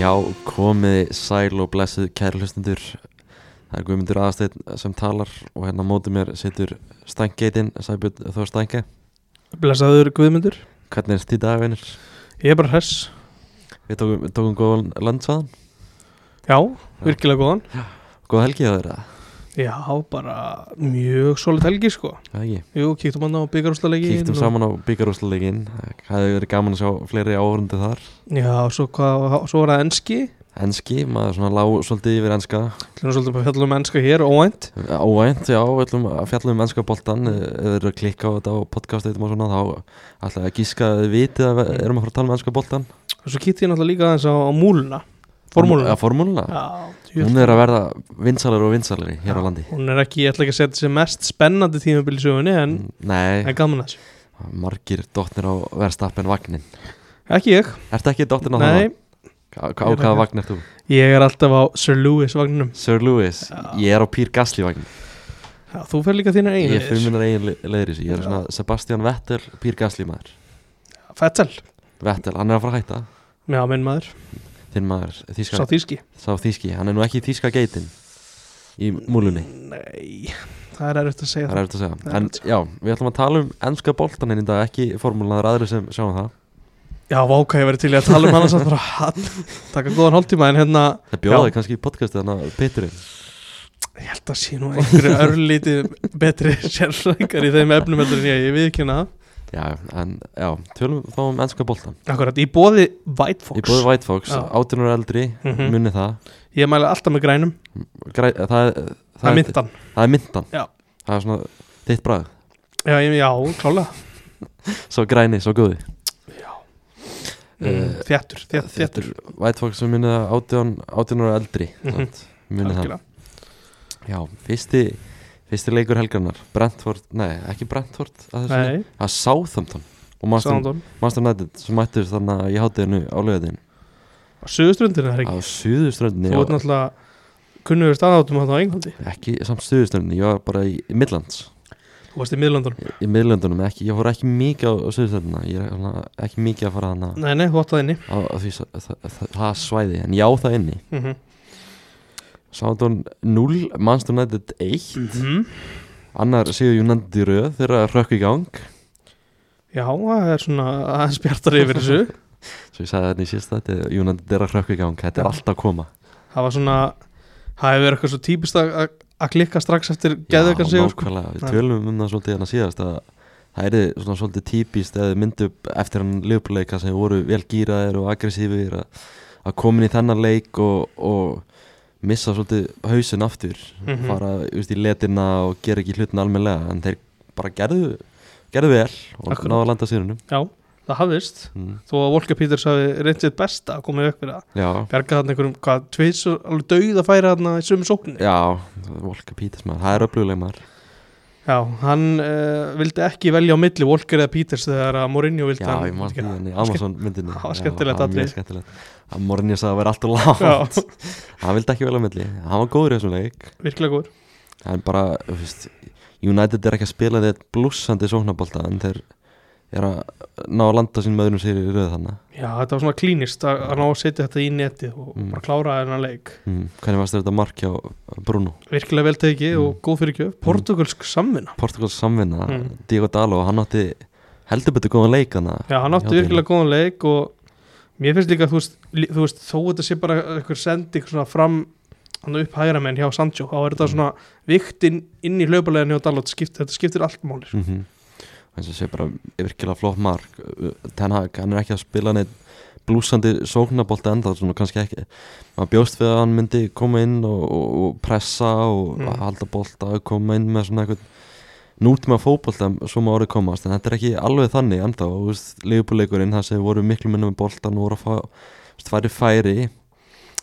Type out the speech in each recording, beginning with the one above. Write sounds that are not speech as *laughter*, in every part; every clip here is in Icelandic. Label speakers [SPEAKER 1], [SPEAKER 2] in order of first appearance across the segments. [SPEAKER 1] Já, komið sæl og blessuð kæri hlustendur Það er Guðmundur aðasteinn sem talar og hérna á móti mér situr Stængeitinn, Sæbjörn Þór Stænge
[SPEAKER 2] Blesaður Guðmundur
[SPEAKER 1] Hvernig er stíð dagvinnir?
[SPEAKER 2] Ég er bara hress
[SPEAKER 1] Við tókum, tókum góðan landsaðan
[SPEAKER 2] Já, virkilega góðan
[SPEAKER 1] Góð helgi á þeirra,
[SPEAKER 2] Já, bara mjög solid helgi sko
[SPEAKER 1] það ekki?
[SPEAKER 2] Jú, kíktum hann á byggarústalegin
[SPEAKER 1] Kíktum saman á byggarúsleikinn Það hefði verið gaman að sjá fleiri áhörundu þar
[SPEAKER 2] Já, svo, hvað, svo var það enski
[SPEAKER 1] Enski, maður svona lág svolítið yfir enska
[SPEAKER 2] Þannig svolítið að fjalla um enska hér, óænt
[SPEAKER 1] Óvænt, já, við ætlum að fjalla um enska boltan Ef þið eru að klikka á þetta á podcasteitum og svona Þá ætlaði að gíska að þið vitið að við erum að fara að tala um enska boltan
[SPEAKER 2] Og svo kíkti ég náttúrulega líka aðeins á, á múluna Formúluna
[SPEAKER 1] ja, formúluna.
[SPEAKER 2] Já,
[SPEAKER 1] Hún er að verða vinsalari og vinsalari hér á landi
[SPEAKER 2] Hún er ekki, ég ætla ekki að setja sér mest spennandi tímabil í sögunni En,
[SPEAKER 1] Nei,
[SPEAKER 2] en gaman að þessu
[SPEAKER 1] margir dóttir á verðstappen vagnin
[SPEAKER 2] Ekki ég,
[SPEAKER 1] Ertu ekki dóttin á það?
[SPEAKER 2] nei
[SPEAKER 1] Á
[SPEAKER 2] Ég
[SPEAKER 1] hvaða
[SPEAKER 2] er ekki.
[SPEAKER 1] vagn ert þú?
[SPEAKER 2] Ég er alltaf á Sir Lewis vagninum
[SPEAKER 1] Sir Lewis, ég er á Pír Gasly vagn
[SPEAKER 2] Já, þú fer líka þínar
[SPEAKER 1] Ég
[SPEAKER 2] eigin
[SPEAKER 1] er fyrir minnar eigin le- leiðris Ég er
[SPEAKER 2] Já.
[SPEAKER 1] svona Sebastian Vettel, Pír Gasly maður
[SPEAKER 2] Fettel,
[SPEAKER 1] Vettel, hann er að fara að hætta
[SPEAKER 2] já, minn maður,
[SPEAKER 1] Þinn maður,
[SPEAKER 2] sá
[SPEAKER 1] þíska,
[SPEAKER 2] þýski
[SPEAKER 1] sá þíski Hann er nú ekki í þíska geitin Í múlunni,
[SPEAKER 2] Nei, það er erfitt að segja
[SPEAKER 1] það
[SPEAKER 2] það
[SPEAKER 1] er eftir að
[SPEAKER 2] Það
[SPEAKER 1] segja
[SPEAKER 2] er
[SPEAKER 1] En
[SPEAKER 2] rétt.
[SPEAKER 1] já, við ætlum að tala um ennska boltaninn í dag Ekki formúlanar aðri sem sjáum það
[SPEAKER 2] Já, váka, ég verið til í að tala um hann samt bara hann, taka góðan hálftíma en hérna,
[SPEAKER 1] Það bjóði
[SPEAKER 2] Já.
[SPEAKER 1] kannski í podcastið hann að Peturinn
[SPEAKER 2] ég held að sé nú *laughs* einhverju örlítið betri sérfræðingar í þeim efnum heldur en ég, ég viðkynna það
[SPEAKER 1] Já, en já, tölum þá um ennska boltan
[SPEAKER 2] Akkurat, í bóði White
[SPEAKER 1] Ég
[SPEAKER 2] Fox
[SPEAKER 1] búið White Fox,
[SPEAKER 2] Já.
[SPEAKER 1] 18 ára eldri mm
[SPEAKER 2] Mhm.
[SPEAKER 1] Munni það
[SPEAKER 2] Ég mæla alltaf með grænum,
[SPEAKER 1] Græ, Það, er-
[SPEAKER 2] það er
[SPEAKER 1] er-
[SPEAKER 2] myndan
[SPEAKER 1] Það er myndan
[SPEAKER 2] Já.
[SPEAKER 1] Það er svona þitt bragð
[SPEAKER 2] Já, ég, já, klálega
[SPEAKER 1] Svo græni, svo góði
[SPEAKER 2] mm,
[SPEAKER 1] Eh,
[SPEAKER 2] Þjættur, þjættur,
[SPEAKER 1] Þetta er White Fox sem munni það 18, 18 ára eldri
[SPEAKER 2] Mhm.
[SPEAKER 1] mm Munni það
[SPEAKER 2] algjörlega
[SPEAKER 1] Já, fyrsti, fyrsti leikur helgarnar Brentford, nei, ekki Brentford að þessu sinni.
[SPEAKER 2] Nei,
[SPEAKER 1] Það er Southampton og Master
[SPEAKER 2] Sándón
[SPEAKER 1] Master United sem mættur þannig að ég hátti hennu á lögadinn
[SPEAKER 2] Á Suðuströndinu, það er
[SPEAKER 1] á
[SPEAKER 2] ekki
[SPEAKER 1] suðuströndinni
[SPEAKER 2] Þú ert
[SPEAKER 1] á-
[SPEAKER 2] náttúrulega kunnugur staðáttum hann á Englandi
[SPEAKER 1] ekki samt suðuströndinni, ég var bara í Midlands
[SPEAKER 2] Þú varst í Miðlandunum
[SPEAKER 1] í miðlöndunum, ekki, ég fór ekki mikið á Suðurlandina, ég er svona ekki mikið að fara hana
[SPEAKER 2] Nei, nei, þú átt það inni
[SPEAKER 1] á, á því, sa- það, það, það svæði, en já það inni
[SPEAKER 2] mm -hmm.
[SPEAKER 1] Sándón 0, Manchester United 1
[SPEAKER 2] Mm. Mhm.
[SPEAKER 1] annar séu United í röð þegar að rökk í gang
[SPEAKER 2] Já, það er svona aðeins bjartar yfir þessu
[SPEAKER 1] *laughs* svo ég sagði þetta í síðast þetta, United er að rökk í gang þetta er
[SPEAKER 2] Já.
[SPEAKER 1] alltaf að koma
[SPEAKER 2] Það var svona, það hefur verið eitthvað svo típist að, að- að klikka strax eftir geðveikan
[SPEAKER 1] Já,
[SPEAKER 2] sigur sko.
[SPEAKER 1] nákvæmlega, við
[SPEAKER 2] Já.
[SPEAKER 1] tölum um það svolítið hérna síðast að það er svona svolítið típist eða myndu eftir hann liðbúleika sem voru vel gýraðir og aggressífir að, að komin í þennan leik og, og missa svolítið hausin aftur
[SPEAKER 2] Mhm.
[SPEAKER 1] fara þú veist, í letina og gera ekki hlutin almennilega en þeir bara gerðu, gerðu vel og
[SPEAKER 2] Akkurat.
[SPEAKER 1] náðu að landa sérunum
[SPEAKER 2] Já, það hafðist
[SPEAKER 1] mm.
[SPEAKER 2] Þó að Volker Peters hafi reynt sitt besta að koma upp fyrir að
[SPEAKER 1] Já,
[SPEAKER 2] bjarga þarna einhverjum, hvað, tveis og alveg dauð að færa þarna í sömu sóknir
[SPEAKER 1] já, Volka Pítis maður, það er öflugleg maður
[SPEAKER 2] Já, hann uh, vildi ekki velja á milli Volker eða Peters þegar að Mourinho vildi
[SPEAKER 1] Já,
[SPEAKER 2] hann
[SPEAKER 1] ég man því henni,
[SPEAKER 2] Skemmt-
[SPEAKER 1] Amazon
[SPEAKER 2] *laughs*
[SPEAKER 1] myndinni
[SPEAKER 2] það var
[SPEAKER 1] Já,
[SPEAKER 2] skemmtilegt
[SPEAKER 1] það var mjög
[SPEAKER 2] atriði.
[SPEAKER 1] skemmtilegt Að Mornja sagði að vera alltaf lágt
[SPEAKER 2] Já,
[SPEAKER 1] Hann vildi ekki vel á milli, hann var góður í þessum leik
[SPEAKER 2] *laughs* virkilega góður
[SPEAKER 1] En bara, þú veist United er ekki að spila þetta blúsandi sóknabolta En þeir eru að ná að landa sín möðunum sér í röðu þannig
[SPEAKER 2] Já, þetta var svona klínist að, að ná að setja þetta í netið og
[SPEAKER 1] Mm.
[SPEAKER 2] bara klára þennan leik
[SPEAKER 1] mm, Hvernig varst þetta mark hjá Bruno?
[SPEAKER 2] Virkilega vel tekið
[SPEAKER 1] Mm.
[SPEAKER 2] og góð fyrir gjöf Portugalsk samvinna
[SPEAKER 1] Portugals samvinna,
[SPEAKER 2] Mm.
[SPEAKER 1] Diego Dalo Hann átti heldur betur góðan leik hana
[SPEAKER 2] Já, hann átti virkilega góðan leik og mér finnst líka, þú veist, lí- þú veist þó þetta sé bara einhver sending svona fram hann upp hægra menn hjá Sancho þá er þetta
[SPEAKER 1] Mm.
[SPEAKER 2] svona viktin inn í hlaupalegin hjá Dalot, skipt, þetta skiptir allt máli sko.
[SPEAKER 1] mm -hmm. þess að sé bara virkilega flott mark Ten Hag, hann er ekki að spila neitt blúsandi sóknabólta enda svona kannski ekki, maður bjóst við að hann myndi koma inn og, og, og pressa og
[SPEAKER 2] Mm.
[SPEAKER 1] halda bólta, koma inn með svona eitthvað nútíma fótbolta um svo maður orðið komast, en þetta er ekki alveg þannig ennþá, þú veist, leifbúleikurinn það sem voru miklu minna með bóltan og voru að fá þú veist, færi færi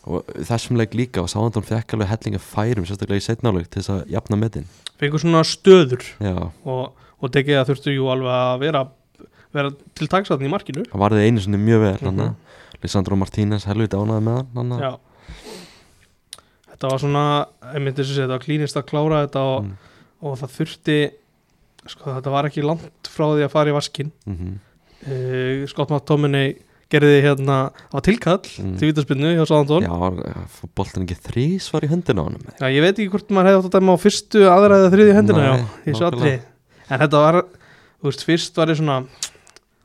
[SPEAKER 1] og þessum leik líka og sáðan fekk alveg hellinga færum, sérstaklega í setnáleik til þess að jafna metin,
[SPEAKER 2] fengur svona stöður
[SPEAKER 1] já
[SPEAKER 2] og, og tekið að þurftu jú alveg að vera, vera til taksatn í markinu
[SPEAKER 1] hann varði einu sinni mjög vel mm
[SPEAKER 2] Mhm.
[SPEAKER 1] Lissandro Martínez helviti ánaði með hann hana.
[SPEAKER 2] Já. Þetta var svona, einmitt þess að segja, þetta var klínist að klára þetta og,
[SPEAKER 1] Mm.
[SPEAKER 2] og það þurfti, sko þetta var ekki langt frá því að fara í vaskinn
[SPEAKER 1] Mhm.
[SPEAKER 2] uh, Scott McTominay gerði hérna á tilkall
[SPEAKER 1] Mm.
[SPEAKER 2] til vítaspinnu hjá Sáðantón
[SPEAKER 1] Já, boltan ekki þrís var í höndina á honum
[SPEAKER 2] Já, ég veit ekki hvort maður hefði átt að dæma á fyrstu, aðra eða þriðju hendina,
[SPEAKER 1] Nei,
[SPEAKER 2] já, ég svo
[SPEAKER 1] nákvæmlega.
[SPEAKER 2] allri. En þetta var, þú veist, fyrst var ég svona,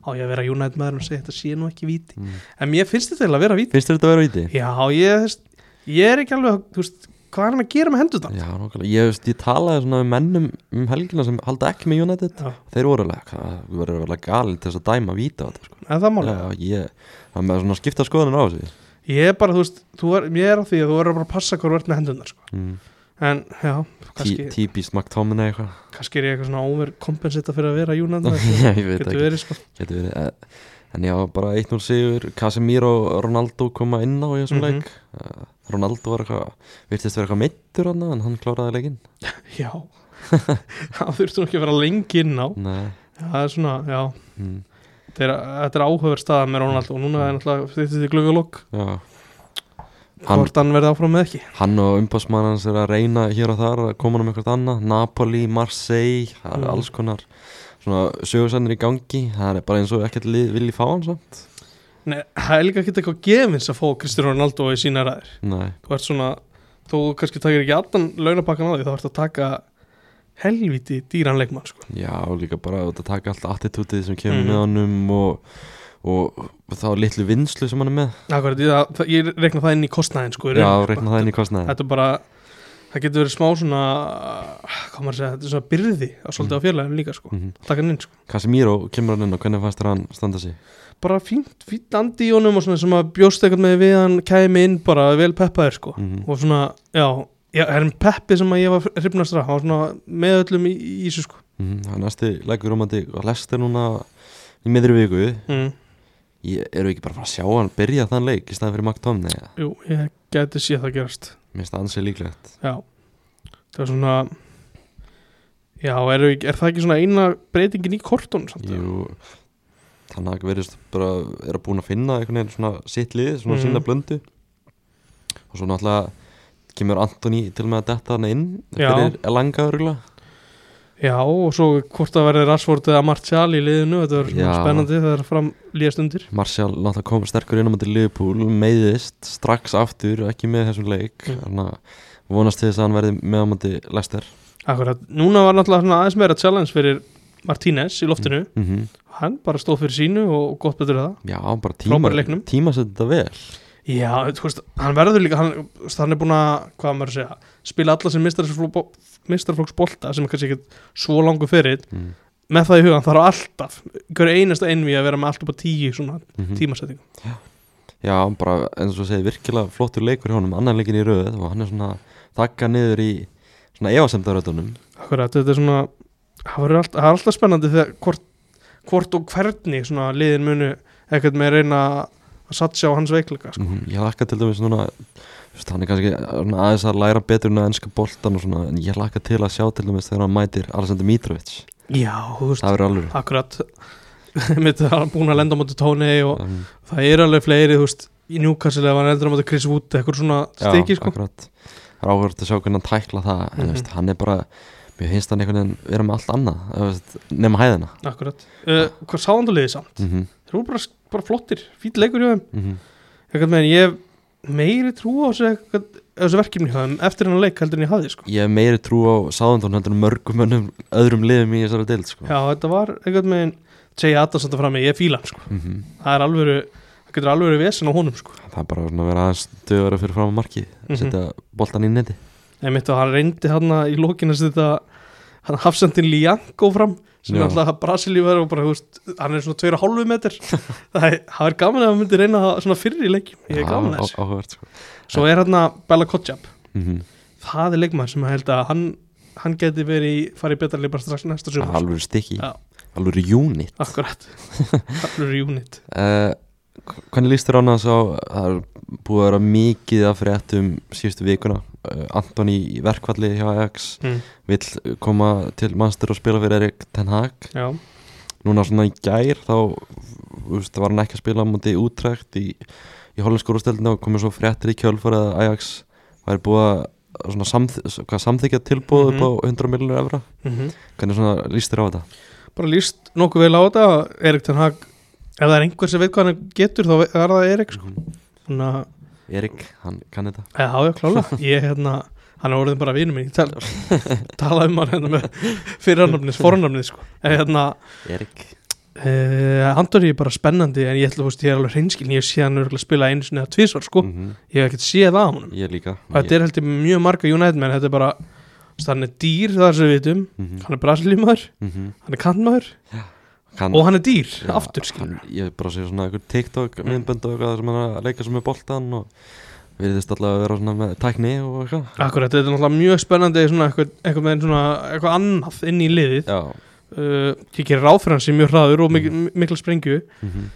[SPEAKER 2] á ég að vera United maður og segja þetta sé nú ekki víti.
[SPEAKER 1] Mm.
[SPEAKER 2] En mér finnst þetta eiginlega að vera víti.
[SPEAKER 1] Finnst þér þetta að vera víti?
[SPEAKER 2] Já, ég, þú veist, ég er ekki alveg, þú veist, hvað er hann að gera með hendutan?
[SPEAKER 1] Já, nokkulega Ég, veist, ég talaði svona um mennum um helgina sem halda ekki með United
[SPEAKER 2] Já,
[SPEAKER 1] Þeir voru alveg, hvað, við verðum alveg galið til þess að dæma víta á þetta sko.
[SPEAKER 2] en það máli.
[SPEAKER 1] Já, ég, það með svona skipta skoðanir á þessu
[SPEAKER 2] Ég er bara, þú veist, þú er, mér er á því að þú verður bara að passa hvað þú ert með hendunar, sko.
[SPEAKER 1] mm.
[SPEAKER 2] En, já, kannski,
[SPEAKER 1] Tí- Típist McTominay eitthvað *laughs*
[SPEAKER 2] kannski er ég eitthvað svona overkompensita fyrir að vera United maður, sko.
[SPEAKER 1] Já, *laughs* ég veit
[SPEAKER 2] Getur
[SPEAKER 1] ekki
[SPEAKER 2] verið, sko.
[SPEAKER 1] Getur verið eh, En já, bara 1-0 sigur Casemiro og Ronaldo koma inn á í þessum
[SPEAKER 2] Mhm.
[SPEAKER 1] leik uh, Ronaldo var eitthvað virtist vera eitthvað meittur hann en hann kláraði leikinn
[SPEAKER 2] Já, *laughs* það þurftur ekki að vera lengi inn á.
[SPEAKER 1] Nei
[SPEAKER 2] Það er svona, já,
[SPEAKER 1] mm,
[SPEAKER 2] Þetta er, þetta er áhugaverð staða með Ronald og núna er náttúrulega þetta til glöggjulokk
[SPEAKER 1] Já Hann-
[SPEAKER 2] hvort hann verði áfram með ekki
[SPEAKER 1] Hann og umbásmann hans er að reyna hér og þar að koma hann um eitthvað annað Napoli, Marseille, það er
[SPEAKER 2] Mm.
[SPEAKER 1] alls konar svona sögursannir í gangi það er bara eins og ekkert lið vilji fá hann samt
[SPEAKER 2] Nei, það er líka ekki eitthvað gefins að fá Kristján Ronaldo í sína ræðir
[SPEAKER 1] Nei,
[SPEAKER 2] þú ert svona, þú kannski takir ekki allan launapakkan á því, þá ert að taka helviti dýran leikmann sko.
[SPEAKER 1] já og líka bara þetta taka alltaf attitútið sem kemur
[SPEAKER 2] Mhm.
[SPEAKER 1] með honum og, og þá litlu vinslu sem hann er með
[SPEAKER 2] Akkurat, ég, það, ég reikna það inn í kostnæðin sko, í
[SPEAKER 1] Já,
[SPEAKER 2] rauninni, sko.
[SPEAKER 1] reikna það inn í kostnaði
[SPEAKER 2] þetta er bara það getur verið smá svona hvað maður að segja, þetta er svona byrði að svolítið á félagum líka sko,
[SPEAKER 1] Mhm.
[SPEAKER 2] að taka hann inn sko.
[SPEAKER 1] Casemiro kemur hann inn og hvernig fannst þér hann standa sig?
[SPEAKER 2] bara fínt, fínt andi í honum og svona sem að bjóst eitthvað með við að hann kæmi inn bara vel peppaðir sko
[SPEAKER 1] Mm
[SPEAKER 2] og svona, já, já það er um peppi sem að ég var hrifnast af, hann var svona með öllum í, í þessu sko
[SPEAKER 1] -hmm. Það er næsti leikur um að þið lesta núna í miðri viku
[SPEAKER 2] mm.
[SPEAKER 1] Ég eru ekki bara að fara að sjá hann byrja þann leik í staðan fyrir Mark Tomney Mér
[SPEAKER 2] Jú, ég geti séð það gerast
[SPEAKER 1] finnst það ansið líklegt
[SPEAKER 2] Já, það er svona Já, er, er það ekki svona eina breytingin í kortun samt?
[SPEAKER 1] Jú, þannig að verðist bara er að búin að finna einhvern veginn svona sitt lið, svona
[SPEAKER 2] Mhm.
[SPEAKER 1] sína blöndu og svo náttúrulega kemur Antoni til með að detta hann inn
[SPEAKER 2] Já.
[SPEAKER 1] fyrir langa örgulega
[SPEAKER 2] Já, og svo hvort það verði Rashford eða Martial í liðinu, þetta verður svona
[SPEAKER 1] Já.
[SPEAKER 2] spennandi þegar fram líðast undir
[SPEAKER 1] Marcial náttúrulega kom sterkur inn á mæti Liverpool, meiðist strax aftur ekki með þessum leik
[SPEAKER 2] Mm.
[SPEAKER 1] þannig að vonast til þess að hann verði með á mæti Lester
[SPEAKER 2] Akkurat, núna var náttúrulega svona aðeins meira challenge fyrir Martínez í loftinu
[SPEAKER 1] mm
[SPEAKER 2] hann bara stóð fyrir sínu og gott betur það
[SPEAKER 1] Já, bara
[SPEAKER 2] Frábær í
[SPEAKER 1] tíma,
[SPEAKER 2] leiknum.
[SPEAKER 1] tíma setja þetta vel
[SPEAKER 2] Já, þú veist, hann verður líka hann, þú veist, hann er búin að, hvað maður að segja spila alla sem mistarflóks bolta sem er kannski ekki svo langur fyrir
[SPEAKER 1] mm
[SPEAKER 2] með það í hugan þarf alltaf hver einasta einvi að vera með allt upp á tíu svona
[SPEAKER 1] -hmm.
[SPEAKER 2] tímasettingum
[SPEAKER 1] Já, bara eins og segir virkilega flottur leikur hjá honum, annan leikin í röð og hann er svona þakka niður í svona efasemdaröðunum
[SPEAKER 2] Akkurat, þetta er svona það verður alltaf, það er alltaf spennandi þegar hvort, hvort og hvernig svona liðin munu ekkert með reyna að satsa á hans veikleika sko.
[SPEAKER 1] mm -hmm. Ég lakka til dæmis núna þú veist, hann er kannski svona aðeins að læra betur en að enska boltan og svona en ég lakka til að sjá til dæmis þegar hann mætir Alexander Mitrovic
[SPEAKER 2] Já, þú veist,
[SPEAKER 1] Það verður alveg
[SPEAKER 2] akkurat *laughs* mitt það er búin að lenda á móti tóni og
[SPEAKER 1] um,
[SPEAKER 2] það er alveg fleiri, þú veist í Newcastle eða var hann eldur á móti Chris Wood eitthvað svona
[SPEAKER 1] Já,
[SPEAKER 2] stiki sko Mhm.
[SPEAKER 1] akkurat. Það er áhverjum að sjá hvernig hann tækla það en þú veist, hann er bara, mér finnst hann einhvern veginn vera með allt annað, þú veist, nema hæðina
[SPEAKER 2] akkurat, uh, hvað sáðandulegði samt
[SPEAKER 1] mm -hmm.
[SPEAKER 2] þeir eru bara, bara flottir, fýtt leikur hjá þeim
[SPEAKER 1] Mm -hmm.
[SPEAKER 2] eitthvað meðan ég hef meiri trú á þessu, eitthvað, þessu verkefni hjá þeim eftir hann leik heldur en ég hafði sko
[SPEAKER 1] Ég hef meiri trú á Sáðundón heldur en mörgum önnum öðrum liðum í þessari deild sko.
[SPEAKER 2] já, þetta var eitthvað meðan J.A. Adams þetta fram með ég fíla hann sko
[SPEAKER 1] Mhm.
[SPEAKER 2] það er alvöru, það getur alvöru vesen á honum sko
[SPEAKER 1] Það er bara svona að vera aðeins döðara fyrir fram á markið
[SPEAKER 2] Mhm.
[SPEAKER 1] setja boltan í neti
[SPEAKER 2] en mitt og hann reyndi hann í lókinu að setja hann hafsendin Liango fram sem
[SPEAKER 1] Já.
[SPEAKER 2] er alltaf Brasilíu verður og bara, þú veist, hann er svona 2,5 metr það er, það er gaman að hann myndi reyna það svona fyrir í leikjum ég er gaman að
[SPEAKER 1] Já,
[SPEAKER 2] þessu
[SPEAKER 1] á- áhugavert sko.
[SPEAKER 2] svo er hann að Bella Kotjab
[SPEAKER 1] mm -hmm.
[SPEAKER 2] það er leikmaður sem ég held að hann hann geti verið í, farið í betra leik bara strax næsta sömur
[SPEAKER 1] Alvöru stikki,
[SPEAKER 2] Já.
[SPEAKER 1] alvöru unit
[SPEAKER 2] akkurat, allur í unit
[SPEAKER 1] uh, Hvernig líst þér án að sá það er búið að vera mikið af fréttum síðustu vikuna uh, Antoni í verkvalli hjá Ajax
[SPEAKER 2] mm.
[SPEAKER 1] vill koma til mannstur og spila fyrir Erik Ten Hag
[SPEAKER 2] já,
[SPEAKER 1] núna svona í gær þá þú veist, var hann ekki að spila á múti útrekt í, í hollenskurústeldinu og komið svo fréttir í kjölfur að Ajax væri búið að svona samþ, hvað, samþykja tilbúð
[SPEAKER 2] Mhm.
[SPEAKER 1] upp á 100 miljonur evra
[SPEAKER 2] mhm
[SPEAKER 1] hvernig svona líst þér á þetta?
[SPEAKER 2] bara líst nokkuð vel á þetta Erik Ten Hag ef það er einhver sem veit hvað hann getur þá er það Erik sko. Þannig að,
[SPEAKER 1] Erik, hann kann þetta
[SPEAKER 2] já, já,
[SPEAKER 1] *laughs*
[SPEAKER 2] klálega Ég, hérna, hann er orðin bara vinur minn Ég tel, tala um hann hérna með
[SPEAKER 1] *laughs*
[SPEAKER 2] fyrirnafnis, fornafnis sko. En hérna,
[SPEAKER 1] Erik,
[SPEAKER 2] uh, Andor er bara spennandi En ég ætla, þú veist, ég er alveg hreinskilin Ég sé hann örugglega spila einu sinni eða tvisvar sko.
[SPEAKER 1] mhm,
[SPEAKER 2] Ég hef ekkert séð að honum
[SPEAKER 1] ég líka
[SPEAKER 2] Og þetta er heldur mjög marga United menn Þetta er bara, þú veist, hann er dýr þar sem við vitum
[SPEAKER 1] Mhm,
[SPEAKER 2] Hann er brasiljumæður, hann er kantmaður
[SPEAKER 1] Kann,
[SPEAKER 2] Og hann er dýr,
[SPEAKER 1] Já,
[SPEAKER 2] aftur skilur
[SPEAKER 1] hann- Ég bara sé svona einhver TikTok myndbönd og eitthvað sem hann er að leika sem er boltan og við þist allavega að vera svona með tækni og eitthvað
[SPEAKER 2] Akkurat, þetta er náttúrulega mjög spennandi svona eitthvað, eitthvað, með svona, eitthvað annað inn í liðið
[SPEAKER 1] Já, Mm.
[SPEAKER 2] uh, Ég gerir ráð fyrir hann sem mjög hraður og mik mikla sprengju
[SPEAKER 1] mhm,